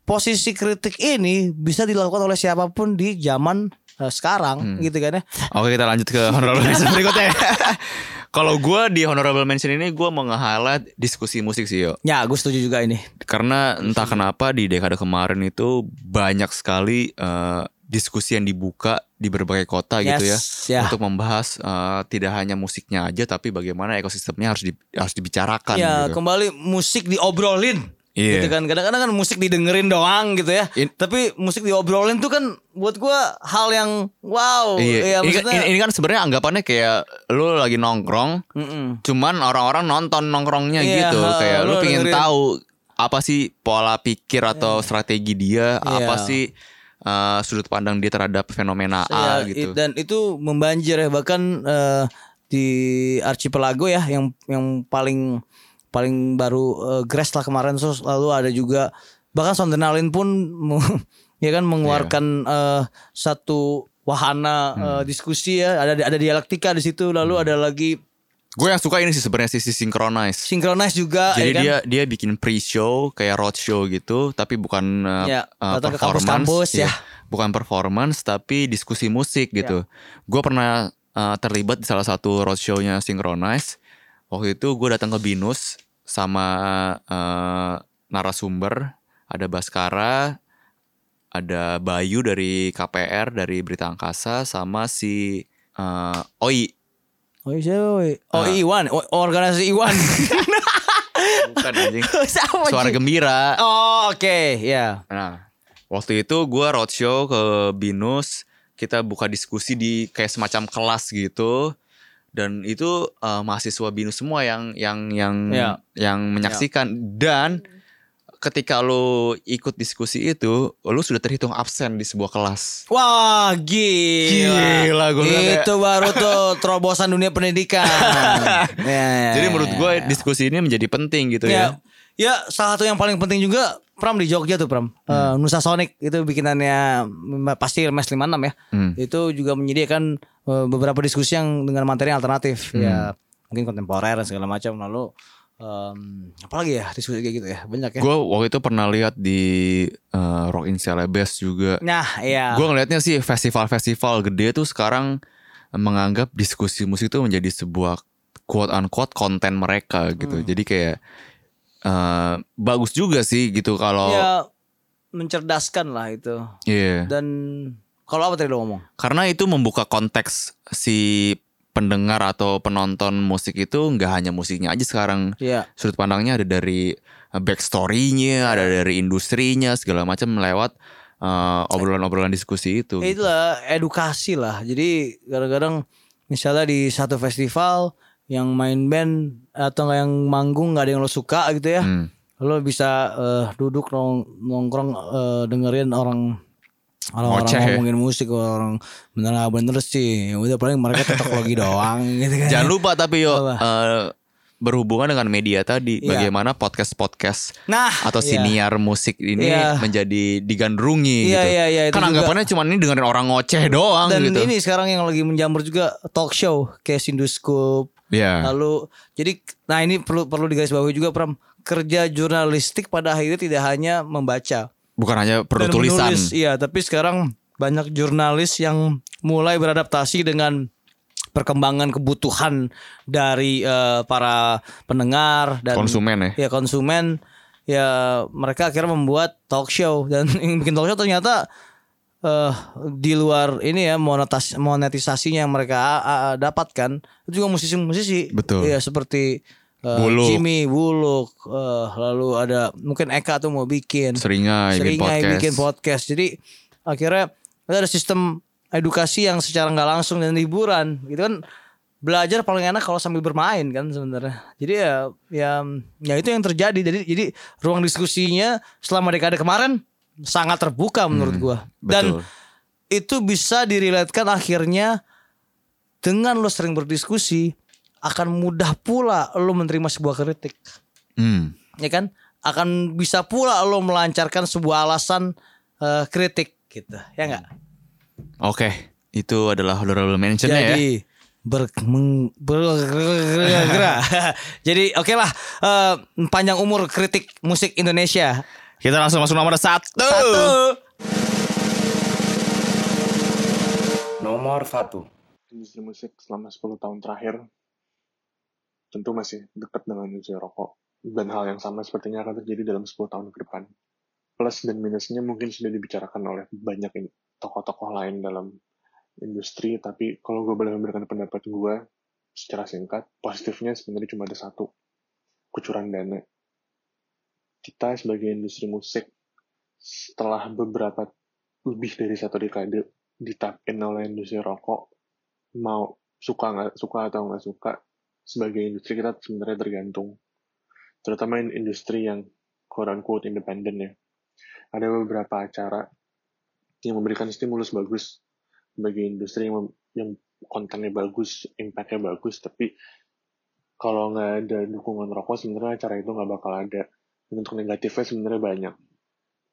posisi kritik ini bisa dilakukan oleh siapapun di zaman eh,
Hmm.
sekarang gitu kan ya.
Oke kita lanjut ke honorable mention berikutnya. Kalau gue di honorable mention ini gue mau nge-highlight diskusi musik sih yo.
Ya, gue setuju juga ini.
Karena entah
Iya.
kenapa di dekade kemarin itu banyak sekali eh, diskusi yang dibuka di berbagai kota gitu ya.
Yes, ya.
untuk membahas eh, tidak hanya musiknya aja tapi bagaimana ekosistemnya harus di, harus dibicarakan
ya,
gitu.
kembali musik diobrolin.
Iya.
Gitu kan. Kadang-kadang kan musik didengerin doang gitu ya.
In-
Tapi musik diobrolin tuh kan buat gua hal yang wow. Ya,
Iya, ini, kan-
maksudnya-
ini- ini kan sebenarnya anggapannya kayak lu lagi nongkrong,
Mm-mm.
cuman orang-orang nonton nongkrongnya
Iya,
gitu,
ha,
kayak lu
lu
pengen
dengerin.
tahu apa sih pola pikir atau strategi dia, apa
Iya.
sih eh, sudut pandang dia terhadap fenomena
Iya,
A gitu.
i- Dan itu membanjir ya bahkan eh, di archipelago ya yang yang paling paling baru eh, Grass lah kemarin terus lalu ada juga bahkan Sondenalin pun mu- ya kan mengeluarkan
Iya.
eh, satu wahana
Hmm.
eh, diskusi ya ada ada dialektika di situ lalu ada lagi
Gue yang suka ini sih sebenarnya sisi synchronize.
synchronize juga ya
Jadi
kan?
dia dia bikin pre-show kayak roadshow gitu, tapi bukan uh,
Ya,
uh,
datang ke
performance,
kampus-kampus ya. Iya.
iya. Bukan performance tapi diskusi musik gitu. Gue pernah uh, terlibat di salah satu roadshownya Synchronize. Waktu itu gue datang ke Binus sama uh, narasumber, ada Baskara, ada Bayu dari KPR dari Berita Angkasa sama si uh, Oi.
Oh, iya, oi. oh
Ah.
Iwan, O- organisasi Iwan.
Bukan anjing.
Sama,
Suara
Ji.
gembira.
Oh, oke, ya.
Nah, waktu itu gue roadshow ke Binus, kita buka diskusi di kayak semacam kelas gitu, dan itu eh, mahasiswa Binus semua yang yang yang
Ya.
yang menyaksikan dan ketika lo ikut diskusi itu, lo sudah terhitung absen di sebuah kelas.
Wah, gila.
Gila, gua bilang kayak-
Itu baru tuh terobosan dunia pendidikan. Ya, ya,
Jadi
ya,
menurut
ya.
gue diskusi ini menjadi penting
ya.
gitu ya.
Ya, salah satu yang paling penting juga Pram di Jogja tuh Pram.
Hmm.
Eh, Nusa Sonic itu bikinannya mm, pasti Mes 56 ya.
Hmm.
Itu juga menyediakan eh, beberapa diskusi yang dengan materi alternatif
Hmm.
ya. Mungkin kontemporer dan segala macam lalu em, apa apalagi ya diskusi kayak gitu ya. Banyak ya.
Gue waktu itu pernah lihat di eh, Rock in Celebes juga.
nah, iya.
Gue ngelihatnya sih festival-festival gede tuh sekarang menganggap diskusi musik itu menjadi sebuah quote unquote konten mereka gitu. Jadi kayak eh, bagus juga sih gitu kalau
ya mencerdaskan lah itu.
Iya.
Dan kalau apa tadi lo ngomong?
Karena itu membuka konteks si pendengar atau penonton musik itu nggak hanya musiknya aja sekarang.
Iya.
Sudut pandangnya ada dari eh, backstory-nya, ada dari industrinya, segala macam lewat eh, obrolan-obrolan diskusi itu.
Ya itulah edukasi lah. Jadi kadang-kadang misalnya di satu festival yang main band atau nggak yang manggung nggak ada yang lo suka gitu ya.
Hmm.
Lo bisa eh, duduk nong- nongkrong eh, dengerin orang orang,
Ngoceh
-orang
ya.
ngomongin musik orang bener nggak bener sih. Ya Udah paling mereka tetok lagi doang gitu kan.
Jangan lupa tapi yo
Apa?
eh, berhubungan dengan media tadi,
Iya.
bagaimana podcast-podcast
Nah,
atau
iya.
siniar musik ini
Iya.
menjadi
Iya,
digandrungi gitu.
iya, iya, itu
kan
juga.
anggapannya cuma ini dengerin orang ngoceh doang
Dan
gitu.
ini sekarang yang lagi menjamur juga talk show kayak Sinduskop.
Iya.
Lalu jadi nah ini perlu perlu digarisbawahi juga Pram kerja jurnalistik pada akhirnya tidak hanya membaca
Bukan hanya
dan
perlu tulisan.
menulis. Iya, tapi sekarang banyak jurnalis yang mulai beradaptasi dengan perkembangan kebutuhan dari eh, para pendengar dan
Konsumen ya.
ya konsumen ya mereka akhirnya membuat talk show dan yang bikin talk show ternyata eh di luar ini ya monetas monetisasinya yang mereka ah, ah, dapatkan itu juga musisi-musisi
Betul.
ya seperti eh,
Buluk.
Jimmy Buluk eh, lalu ada mungkin Eka tuh mau bikin
Seringai, bikin
Seringai
podcast.
bikin podcast jadi akhirnya ada sistem edukasi yang secara nggak langsung dan hiburan gitu kan belajar paling enak kalau sambil bermain kan sebenarnya jadi ya ya ya itu yang terjadi jadi jadi ruang diskusinya selama dekade kemarin sangat terbuka menurut gua dan
Hmm, betul.
itu bisa diriletkan akhirnya dengan lo sering berdiskusi akan mudah pula lo menerima sebuah kritik
Hmm.
ya kan akan bisa pula lo melancarkan sebuah alasan eh, kritik gitu ya nggak
Oke, itu adalah honorable mention ya.
jadi ber, meng- ber- bergerak. jadi oke lah eh, panjang umur kritik musik Indonesia
Kita langsung masuk nomor satu.
Nomor satu.
industri musik selama 10 tahun terakhir tentu masih dekat dengan industri rokok. Dan hal yang sama sepertinya akan terjadi dalam 10 tahun ke depan. Plus dan minusnya mungkin sudah dibicarakan oleh banyak in- tokoh-tokoh lain dalam industri, tapi kalau gue boleh memberikan pendapat gue secara singkat, positifnya sebenarnya cuma ada satu, kucuran dana. Kita sebagai industri musik, setelah beberapa lebih dari satu dekade ditap in oleh industri rokok, mau suka nggak suka atau nggak suka sebagai industri kita sebenarnya tergantung terutama in- industri yang quote unquote independen ya ada beberapa acara yang memberikan stimulus bagus bagi industri yang, mem- yang kontennya bagus impactnya bagus tapi kalau nggak ada dukungan rokok sebenarnya acara itu nggak bakal ada Dan untuk negatifnya sebenarnya banyak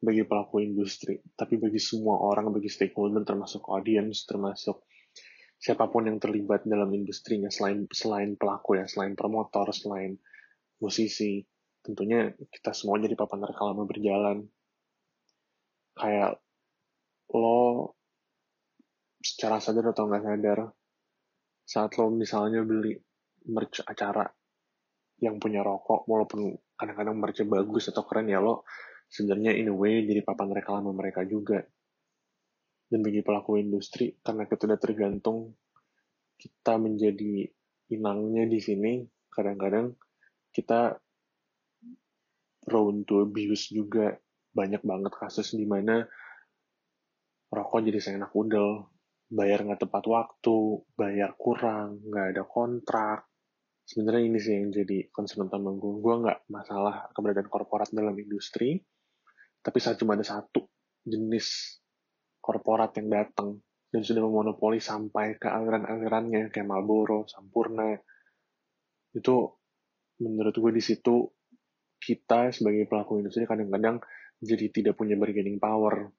bagi pelaku industri tapi bagi semua orang bagi stakeholder termasuk audience termasuk siapapun yang terlibat dalam industrinya selain selain pelaku ya selain promotor selain musisi tentunya kita semua jadi papan reklame berjalan kayak lo secara sadar atau nggak sadar saat lo misalnya beli merch acara yang punya rokok walaupun kadang-kadang merchnya bagus atau keren ya lo sebenarnya in a way jadi papan reklame mereka juga dan bagi pelaku industri karena kita udah tergantung kita menjadi inangnya di sini kadang-kadang kita prone to abuse juga banyak banget kasus di mana rokok jadi seenak udel bayar nggak tepat waktu bayar kurang nggak ada kontrak sebenarnya ini sih yang jadi concern utama gue gue nggak masalah keberadaan korporat dalam industri tapi saat cuma ada satu jenis korporat yang datang dan sudah memonopoli sampai ke aliran-alirannya kayak Marlboro, Sampurna. Itu menurut gue di situ kita sebagai pelaku industri kadang-kadang jadi tidak punya bargaining power.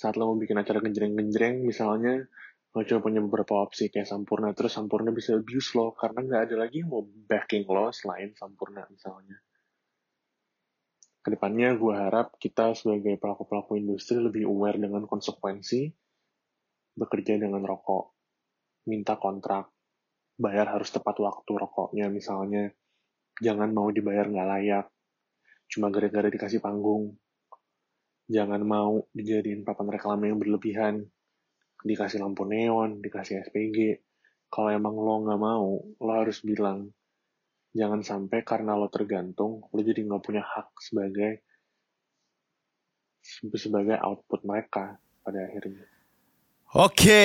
Saat lo mau bikin acara genjreng-genjreng misalnya, lo cuma punya beberapa opsi kayak Sampurna, terus Sampurna bisa abuse lo karena nggak ada lagi yang mau backing lo selain Sampurna misalnya kedepannya gue harap kita sebagai pelaku-pelaku industri lebih aware dengan konsekuensi bekerja dengan rokok, minta kontrak, bayar harus tepat waktu rokoknya misalnya, jangan mau dibayar nggak layak, cuma gara-gara dikasih panggung,
jangan mau dijadiin papan reklame yang berlebihan dikasih lampu neon dikasih SPG kalau emang lo nggak mau lo harus bilang jangan sampai karena lo tergantung lo jadi nggak punya hak sebagai sebagai output mereka pada akhirnya
Oke.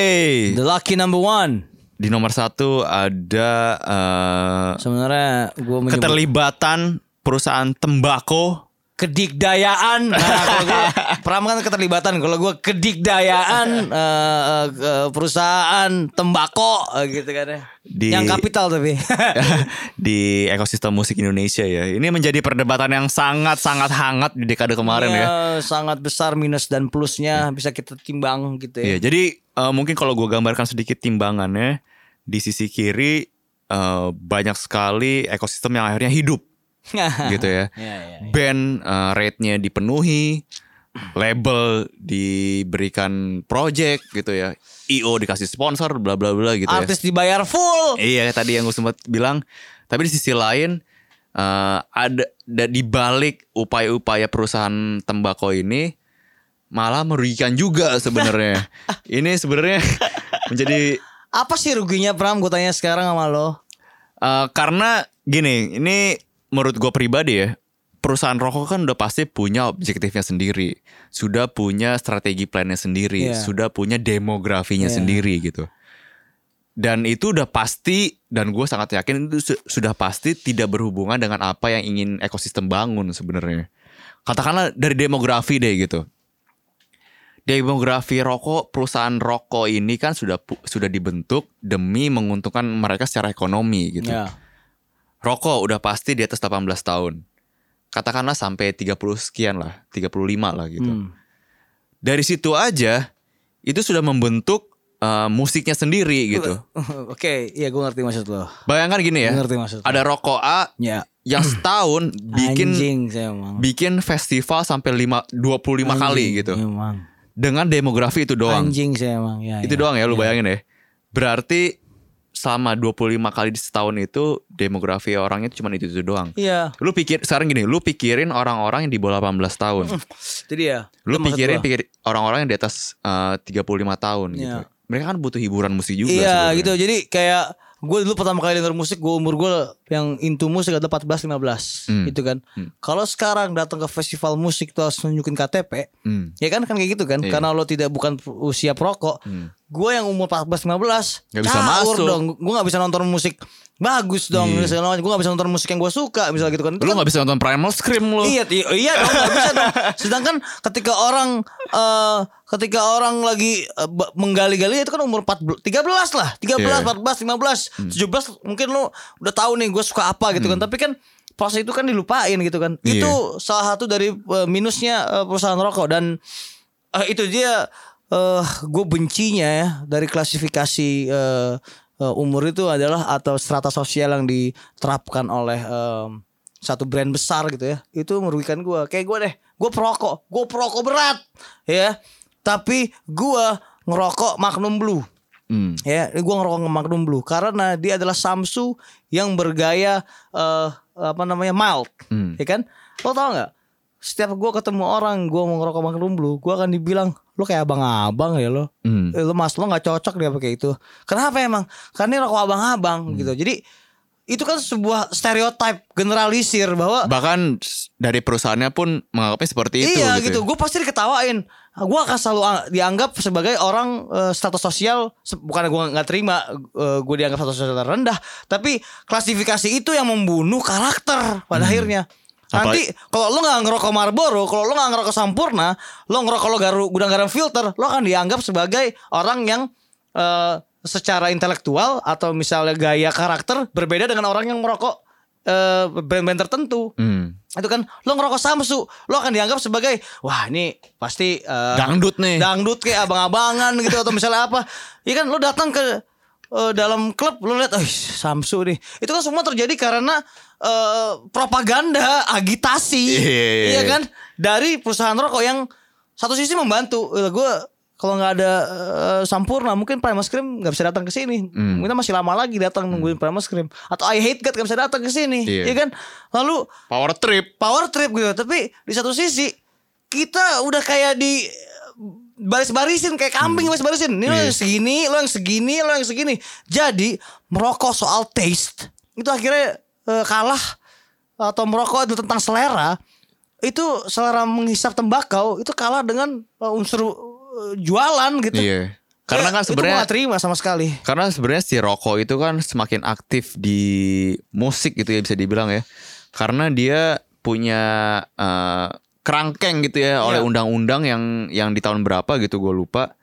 The lucky number one.
Di nomor satu ada eh,
Sebenarnya gue menyebut
keterlibatan perusahaan tembakau.
kedikdayaan. Nah, kalau gua, Pram kan keterlibatan. Kalau gue kedikdayaan eh, eh, ke- perusahaan tembakau eh, gitu kan ya.
Di-
Yang kapital tapi.
di ekosistem musik Indonesia ya. Ini menjadi perdebatan yang sangat-sangat hangat di dekade kemarin ya.
Ya, Sangat besar minus dan plusnya bisa kita timbang gitu ya.
Iya, jadi eh, mungkin kalau gue gambarkan sedikit timbangannya di sisi kiri eh, banyak sekali ekosistem yang akhirnya hidup gitu ya.
Iya, iya.
Band eh, rate-nya dipenuhi, label diberikan project gitu ya. IO dikasih sponsor bla bla bla gitu ya.
Artis dibayar full.
Iya tadi yang gue sempat bilang. Tapi di sisi lain eh, ada da- di balik upaya-upaya perusahaan tembakau ini malah merugikan juga sebenarnya. ini sebenarnya menjadi
Apa sih ruginya Pram? Gue tanya sekarang sama lo.
eh, karena gini, ini menurut gue pribadi ya. Perusahaan rokok kan udah pasti punya objektifnya sendiri, sudah punya strategi plannya sendiri,
Iya.
sudah punya demografinya
Iya.
sendiri gitu. dan itu udah pasti dan gue sangat yakin itu su- sudah pasti tidak berhubungan dengan apa yang ingin ekosistem bangun sebenarnya katakanlah dari demografi deh gitu demografi rokok perusahaan rokok ini kan sudah pu- sudah dibentuk demi menguntungkan mereka secara ekonomi gitu
Ya.
rokok udah pasti di atas 18 tahun katakanlah sampai 30 sekian lah 35 lah gitu
Hmm.
dari situ aja itu sudah membentuk eh, musiknya sendiri gitu
Oke, iya gue ngerti maksud lo.
bayangkan gini ya
Gua Ngerti maksud lo.
ada rokok A
Ya.
yang setahun bikin
anjing saya emang.
bikin festival sampai lima, 25 kali
Anjing,
gitu.
Emang.
Dengan demografi itu doang.
Anjing saya emang. Ya,
Itu
ya.
doang ya lu bayangin ya. Berarti selama 25 kali di setahun itu demografi orangnya cuma itu, itu doang.
Iya,
Lu pikir sekarang gini, lu pikirin orang-orang yang di bawah 18 tahun.
itu dia.
Lu
Itu maksud
pikirin
gua.
pikir orang-orang yang di atas eh, 35 tahun gitu.
Iya.
Mereka kan butuh hiburan musik juga
Iya,
sebenarnya.
gitu. Jadi kayak gue dulu pertama kali denger musik gue umur gue yang into musik ada 14 15
Hmm.
gitu kan.
Hmm.
Kalau sekarang datang ke festival musik tuh harus nunjukin KTP,
Hmm,
ya kan kan kayak gitu kan.
Iya.
Karena lo tidak bukan usia perokok.
hmm.
Gue yang umur 14 15
Nggak bisa
caur
masuk.
dong. Gue nggak bisa nonton musik bagus dong.
Iya.
Gue nggak bisa nonton musik yang gue suka misalnya gitu kan. Itu
Lu
kan
nggak bisa nonton Primal Scream lu.
Iya, ti- iya dong, nggak bisa dong. Sedangkan ketika orang eh ketika orang lagi eh, ba- menggali-gali itu kan umur 14 13 lah, 13,
Iya.
14, 15, 17 mungkin lu udah tahu nih gue suka apa gitu kan. Tapi kan proses itu kan dilupain gitu kan.
Iya.
Itu salah satu dari eh, minusnya eh, perusahaan rokok dan eh, itu dia eh gue bencinya ya dari klasifikasi eh, eh, umur itu adalah atau strata sosial yang diterapkan oleh em, satu brand besar gitu ya itu merugikan gue kayak gue deh gue perokok gue perokok berat ya tapi gue ngerokok Magnum Blue
Hmm.
ya gue ngerokok Magnum Blue karena dia adalah Samsu yang bergaya eh, apa namanya mild
Hmm.
ya kan lo tau nggak setiap gue ketemu orang gue mau ngerokok Magnum Blue gue akan dibilang lo kayak abang-abang ya lo
Hmm.
Eh, lo mas lo nggak cocok dia pakai itu kenapa emang karena ini rokok abang-abang
Hmm.
gitu jadi itu kan sebuah stereotype generalisir bahwa
bahkan dari perusahaannya pun menganggapnya seperti itu
iya
gitu,
gitu,
ya.
gue pasti diketawain gue akan selalu ang- dianggap sebagai orang eh, status sosial se- bukan gue nggak terima gue dianggap status sosial rendah tapi klasifikasi itu yang membunuh karakter pada
Hmm.
akhirnya Nanti kalau lo nggak ngerokok Marlboro, kalau lo nggak ngerokok Sampurna, lo ngerokok lo garu, gudang garam filter, lo akan dianggap sebagai orang yang eh, secara intelektual atau misalnya gaya karakter berbeda dengan orang yang merokok eh, brand-brand tertentu
Hmm.
itu kan lo ngerokok samsu lo akan dianggap sebagai wah ini pasti eh,
dangdut nih
dangdut kayak abang-abangan gitu atau misalnya apa ya kan lo datang ke eh, dalam klub lo lihat oh samsu nih itu kan semua terjadi karena eh, propaganda agitasi
Iya.
iya kan dari perusahaan rokok yang satu sisi membantu gue kalau nggak ada eh, sampurna mungkin Primus Cream nggak bisa datang ke sini.
Hmm.
Mungkin masih lama lagi datang nungguin Primus Cream atau I Hate God nggak bisa datang ke sini.
Iya.
Iya kan? Lalu
power trip
power trip gitu tapi di satu sisi kita udah kayak di baris-barisin kayak kambing
Hmm.
baris-barisin. Ini lo
Iya.
yang segini, lo yang segini, lo yang segini. Jadi merokok soal taste itu akhirnya eh, kalah atau merokok itu tentang selera itu selera menghisap tembakau itu kalah dengan eh, unsur eh, jualan gitu.
Iya. Karena
Kayak,
kan
itu
sebenarnya
gua nggak terima sama sekali.
Karena sebenarnya si rokok itu kan semakin aktif di musik gitu ya bisa dibilang ya. Karena dia punya eh, kerangkeng gitu
Iya.
ya oleh undang-undang yang yang di tahun berapa gitu gue lupa.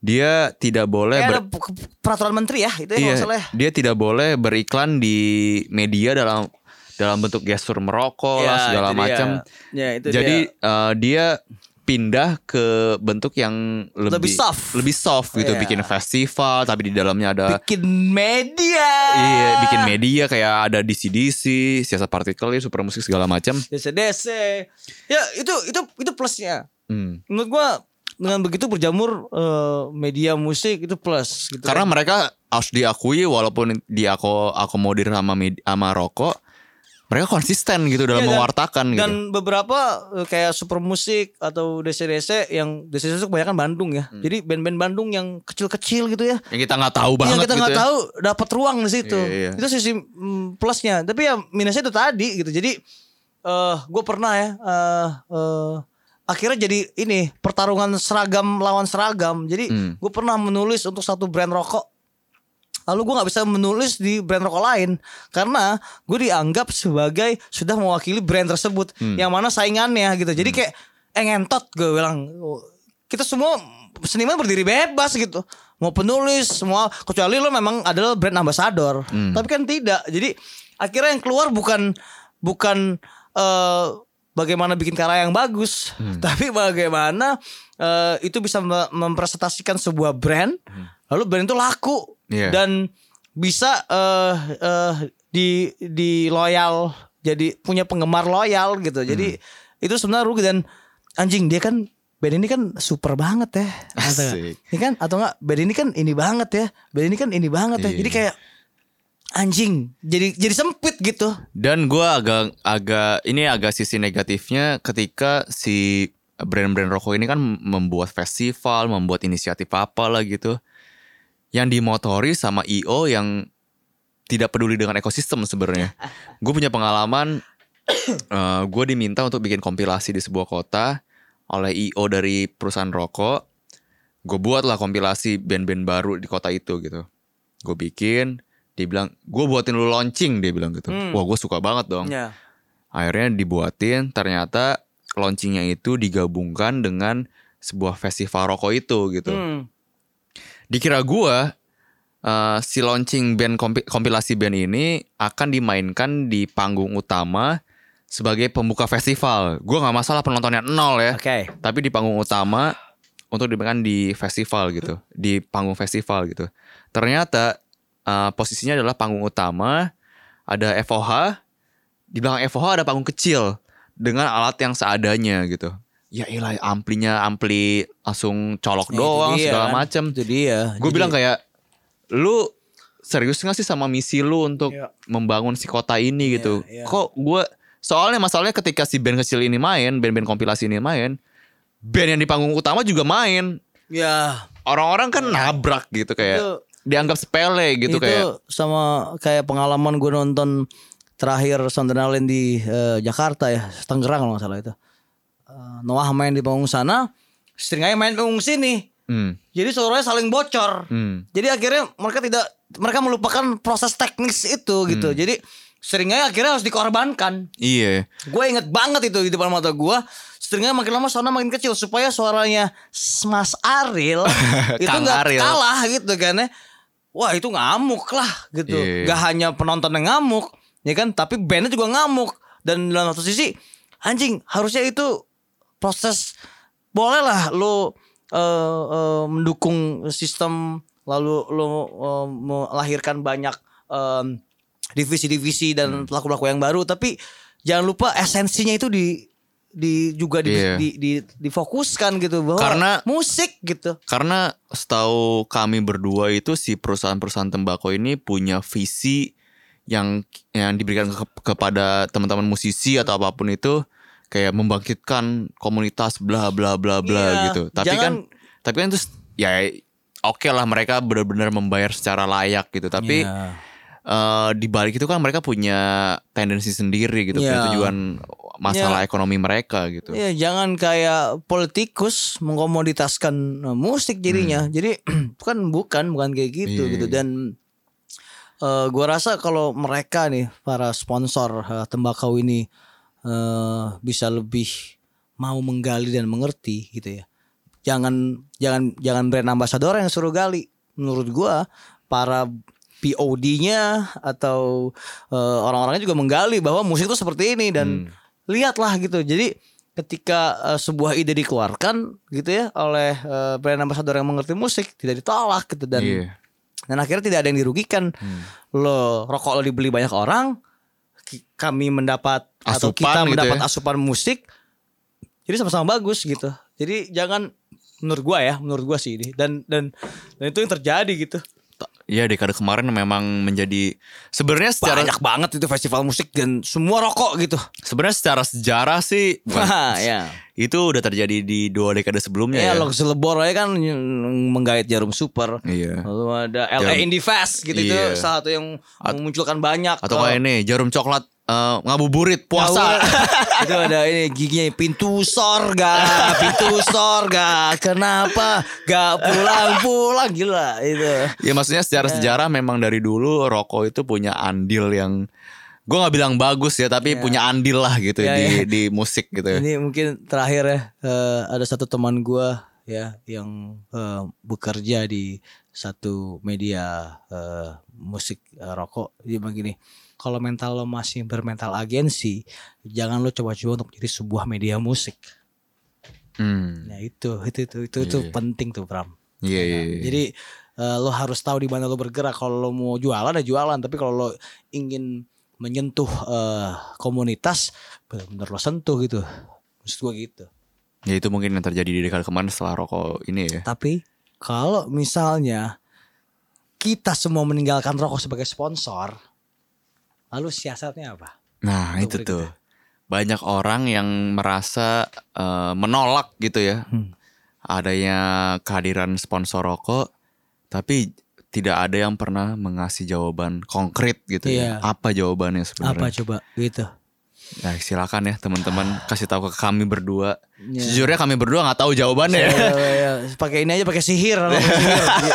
Dia tidak boleh
Kayak
Eh, ber-
ada p- peraturan menteri ya itu ya
Iya,
kalau nggak salah ya.
dia tidak boleh beriklan di media dalam dalam bentuk gestur merokok lah
Ya,
segala
itu dia.
macam.
Ya, itu
Jadi eh, dia pindah ke bentuk yang lebih
Lebih soft.
lebih soft gitu,
Iya.
bikin festival tapi di dalamnya ada
bikin media.
Eh, Iya,
Ah.
bikin media kayak ada DCDC, siasat partikel, ya, super musik segala macam.
DC. Ya itu itu itu plusnya.
Hmm.
Menurut gua dengan begitu berjamur eh, media musik itu plus gitu.
Karena mereka harus diakui walaupun diako akomodir sama med- sama rokok, mereka konsisten gitu dalam
Iya, dan-
mewartakan gitu.
dan beberapa eh, kayak super musik atau DC DC yang DC DC kebanyakan Bandung ya.
Hmm.
Jadi band-band Bandung yang kecil-kecil gitu ya.
Yang kita nggak tahu banget
yang kita
gitu.
nggak
ya.
tahu dapat ruang di situ.
Iya, iya.
Itu sisi mm, plusnya. Tapi ya minusnya itu tadi gitu. Jadi eh gue pernah ya eh eh, akhirnya jadi ini pertarungan seragam lawan seragam. Jadi
Hmm.
gue pernah menulis untuk satu brand rokok. Lalu gue nggak bisa menulis di brand rokok lain karena gue dianggap sebagai sudah mewakili brand tersebut yang mana saingannya gitu. Jadi kayak eh ngentot gue bilang kita semua seniman berdiri bebas gitu. Mau penulis semua kecuali lo memang adalah brand ambassador. Tapi kan tidak. Jadi akhirnya yang keluar bukan bukan eh, bagaimana bikin karya yang bagus, tapi bagaimana eh, itu bisa me- mempresentasikan sebuah brand, lalu brand itu laku
Iya.
dan bisa eh eh, di di loyal, jadi punya penggemar loyal gitu. Jadi itu sebenarnya rugi dan anjing dia kan band ini kan super banget ya, Atau nggak?
Asik.
ini kan atau enggak band ini kan ini banget ya, band ini kan ini banget ya.
Iya.
Jadi kayak anjing, jadi jadi sempit gitu.
Dan gue agak agak ini agak sisi negatifnya ketika si brand-brand rokok ini kan membuat festival, membuat inisiatif apa lah gitu, yang dimotori sama IO yang tidak peduli dengan ekosistem sebenarnya. gue punya pengalaman, eh gue diminta untuk bikin kompilasi di sebuah kota oleh IO dari perusahaan rokok. Gue buatlah kompilasi band-band baru di kota itu gitu. Gue bikin, dia bilang, gue buatin lu launching, dia bilang gitu. Wah gue suka banget dong.
Ya.
Akhirnya dibuatin, ternyata launchingnya itu digabungkan dengan sebuah festival rokok itu gitu.
Hmm.
Dikira gua eh, si launching band kompi- kompilasi band ini akan dimainkan di panggung utama sebagai pembuka festival. Gua nggak masalah penontonnya nol ya,
Oke.
tapi di panggung utama untuk dimainkan di festival gitu, di panggung festival gitu. Ternyata eh, posisinya adalah panggung utama, ada FOH, di belakang FOH ada panggung kecil dengan alat yang seadanya gitu. Ya ilah amplinya ampli langsung
Ya,
colok
itu
doang
dia
segala
kan.
macem.
Itu dia. Jadi-
Gue bilang kayak lu serius gak sih sama misi lu untuk membangun si kota ini gitu.
Iya, iya.
Kok gue soalnya masalahnya ketika si band kecil ini main, band-band kompilasi ini main, band yang di panggung utama juga main.
ya
Orang-orang kan nabrak gitu kayak
Itu-
dianggap sepele
itu
gitu kayak.
sama kayak pengalaman gue nonton terakhir Sound and Island di eh, Jakarta ya, Tangerang kalau nggak salah itu. Eh, Noah main di panggung sana, Stringaya main panggung sini.
Hmm,
Jadi suaranya saling bocor.
hmm.
Jadi akhirnya mereka tidak mereka melupakan proses teknis itu gitu.
Hmm.
Jadi Stringaya akhirnya harus dikorbankan.
Iya.
Gue inget banget itu di depan mata gue. Stringnya makin lama soalnya makin kecil supaya suaranya Mas Aril itu
Kang
nggak
Ariel.
kalah gitu kan ya. Wah itu ngamuk lah gitu.
Iya.
Gak hanya penonton yang ngamuk, ya kan? Tapi bandnya juga ngamuk. Dan dalam satu sisi, anjing harusnya itu proses bolehlah lo eh, eh, mendukung sistem lalu lo eh, melahirkan banyak em, divisi-divisi
Hmm.
dan pelaku-pelaku yang baru tapi jangan lupa esensinya itu di di juga di,
Iya.
di, di, difokuskan gitu bahwa
Karena-
musik gitu
Karena setahu kami berdua itu si perusahaan-perusahaan tembakau ini punya visi yang yang diberikan ke- kepada teman-teman musisi atau apapun itu kayak membangkitkan komunitas bla bla bla bla
Iya,
gitu. Tapi kan
jangan-
tapi kan itu s- ya oke lah mereka benar-benar membayar secara layak gitu. Tapi
Iya.
eh, di balik itu kan mereka punya tendensi sendiri gitu, punya
Iya.
tujuan masalah ekonomi mereka gitu.
Ya jangan kayak politikus mengkomoditaskan eh, musik jadinya. Jadi bukan bukan bukan kayak gitu
Hmm. Iya,
gitu
iya.
dan eh, gua rasa kalau mereka nih para sponsor eh, tembakau ini eh, bisa lebih mau menggali dan mengerti gitu ya. Jangan jangan jangan brand ambassador yang suruh gali. Menurut gua para POD-nya atau eh, orang-orangnya juga menggali bahwa musik itu seperti ini dan
Hmm.
lihatlah gitu. Jadi ketika eh, sebuah ide dikeluarkan gitu ya oleh eh, brand ambassador yang mengerti musik tidak ditolak gitu dan
Iya.
dan akhirnya tidak ada yang dirugikan.
Hmm.
Lo rokok lo dibeli banyak orang, ki- kami mendapat atau
Asupan
kita
gitu
mendapat
ya.
asupan musik. Jadi sama-sama bagus gitu. Jadi jangan menurut gua ya, menurut gua sih ini dan dan dan itu yang terjadi gitu.
Iya dekade kemarin memang menjadi sebenarnya secara
Banyak banget itu festival musik dan semua rokok gitu.
sebenarnya secara sejarah sih bukan-
Wah, ya.
itu udah terjadi di dua dekade sebelumnya
Ya,
ya.
lo selebor aja kan mm, menggait jarum super.
Iya.
Lalu ada LA
Jarum-
Indie Fest gitu itu
Iya.
salah satu yang memunculkan banyak.
Atau kayak ini jarum coklat eh, ngabuburit puasa.
itu ada ini giginya pintu sorga, pintu sorga. Kenapa gak pulang-pulang gila itu.
ya maksudnya secara
Iya.
sejarah memang dari dulu rokok itu punya andil yang gue nggak bilang bagus ya tapi punya andil lah gitu
Iya,
di
iya.
di musik gitu. ya.
Ini mungkin terakhir ya eh, ada satu teman gua ya yang eh, bekerja di satu media eh, musik eh, rokok dia bilang gini kalau mental lo masih bermental agensi jangan lo coba-coba untuk jadi sebuah media musik
Hmm.
nah itu itu itu itu, itu
Iya.
penting tuh Pram
Iya iya. iya.
jadi eh, lo harus tahu di mana lo bergerak kalau lo mau jualan ya jualan tapi kalau lo ingin menyentuh eh, komunitas benar-benar lo sentuh gitu maksud gua gitu
ya itu mungkin yang terjadi di dekade kemarin setelah rokok ini ya.
Tapi kalau misalnya kita semua meninggalkan rokok sebagai sponsor, lalu siasatnya apa?
Nah itu
Untuk berikutnya.
tuh banyak orang yang merasa eh, menolak gitu ya
Hmm.
adanya kehadiran sponsor rokok, tapi tidak ada yang pernah mengasih jawaban konkret gitu
Iya.
ya. Apa
Apa
jawabannya sebenarnya?
coba gitu?
Nah silakan ya teman-teman kasih tahu ke kami berdua.
Ya.
Sejujurnya kami berdua nggak tahu jawabannya.
Ya,
ya.
ya, ya. pakai ini aja pakai sihir, rokok sihir. Gitu.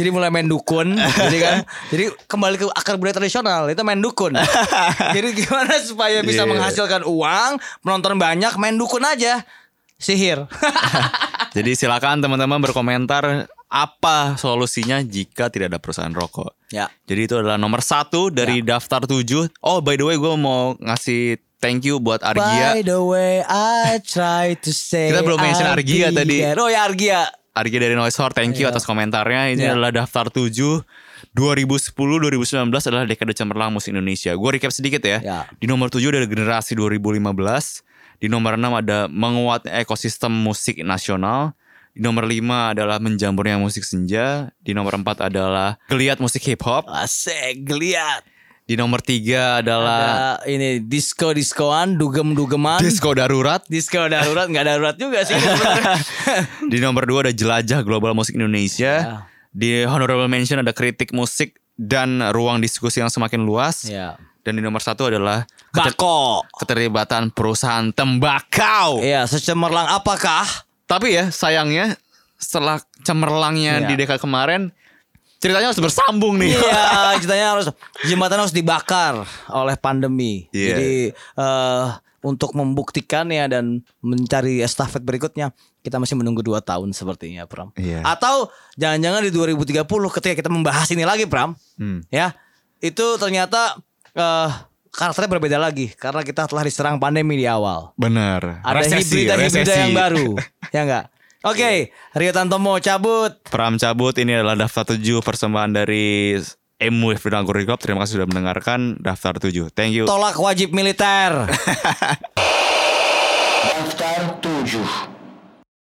jadi mulai main dukun jadi kan jadi kembali ke akar budaya tradisional itu main dukun jadi gimana supaya bisa
Iya.
menghasilkan uang menonton banyak main dukun aja sihir
Jadi silakan teman-teman berkomentar apa solusinya jika tidak ada perusahaan rokok.
ya
Jadi itu adalah nomor satu dari daftar tujuh. Oh by the way gue mau ngasih thank you buat
By
Argia.
the way, I try to say
Kita belum mention
I'll
Argia
be
tadi.
there. Oh ya Argia.
Argia dari Noise Hour, thank you atas komentarnya. Ini
Iya.
adalah daftar tujuh. 2010-2019 adalah dekade cemerlang musik Indonesia. Gue recap sedikit ya.
Iya.
Di nomor 7 ada generasi 2015. Di nomor 6 ada menguat ekosistem musik nasional. Di nomor 5 adalah menjamurnya musik senja. Di nomor 4 adalah geliat musik hip hop.
Asik, lihat.
Di nomor 3 adalah
Ada ini disco diskoan, dugem dugeman.
disco darurat.
disco darurat nggak darurat juga sih.
Di nomor 2 ada jelajah global musik
Ya.
Indonesia. Di honorable mention ada kritik musik dan ruang diskusi yang semakin luas.
ya.
Dan di nomor satu adalah keter-
Bako.
keterlibatan perusahaan tembakau.
Iya, secemerlang apakah?
Tapi ya sayangnya setelah cemerlangnya
Iya.
di dekade kemarin ceritanya harus bersambung nih.
Iya, ceritanya harus jembatan harus dibakar oleh pandemi.
Iya.
Jadi eh untuk membuktikannya dan mencari estafet berikutnya, kita masih menunggu 2 tahun sepertinya, Pram.
Iya.
Atau jangan-jangan di 2030 ketika kita membahas ini lagi, Pram,
Hmm.
ya. Itu ternyata eh karakternya berbeda lagi karena kita telah diserang pandemi di awal.
Bener.
Ada
Resesi,
hibrida-hibrida
resesi. Iya.
yang baru, ya enggak? Oke, Rio Tantomo cabut.
Pram cabut ini adalah daftar 7 persembahan dari MW Final Glory Club. Terima kasih sudah mendengarkan daftar 7. Thank you.
Tolak wajib militer.
Daftar 7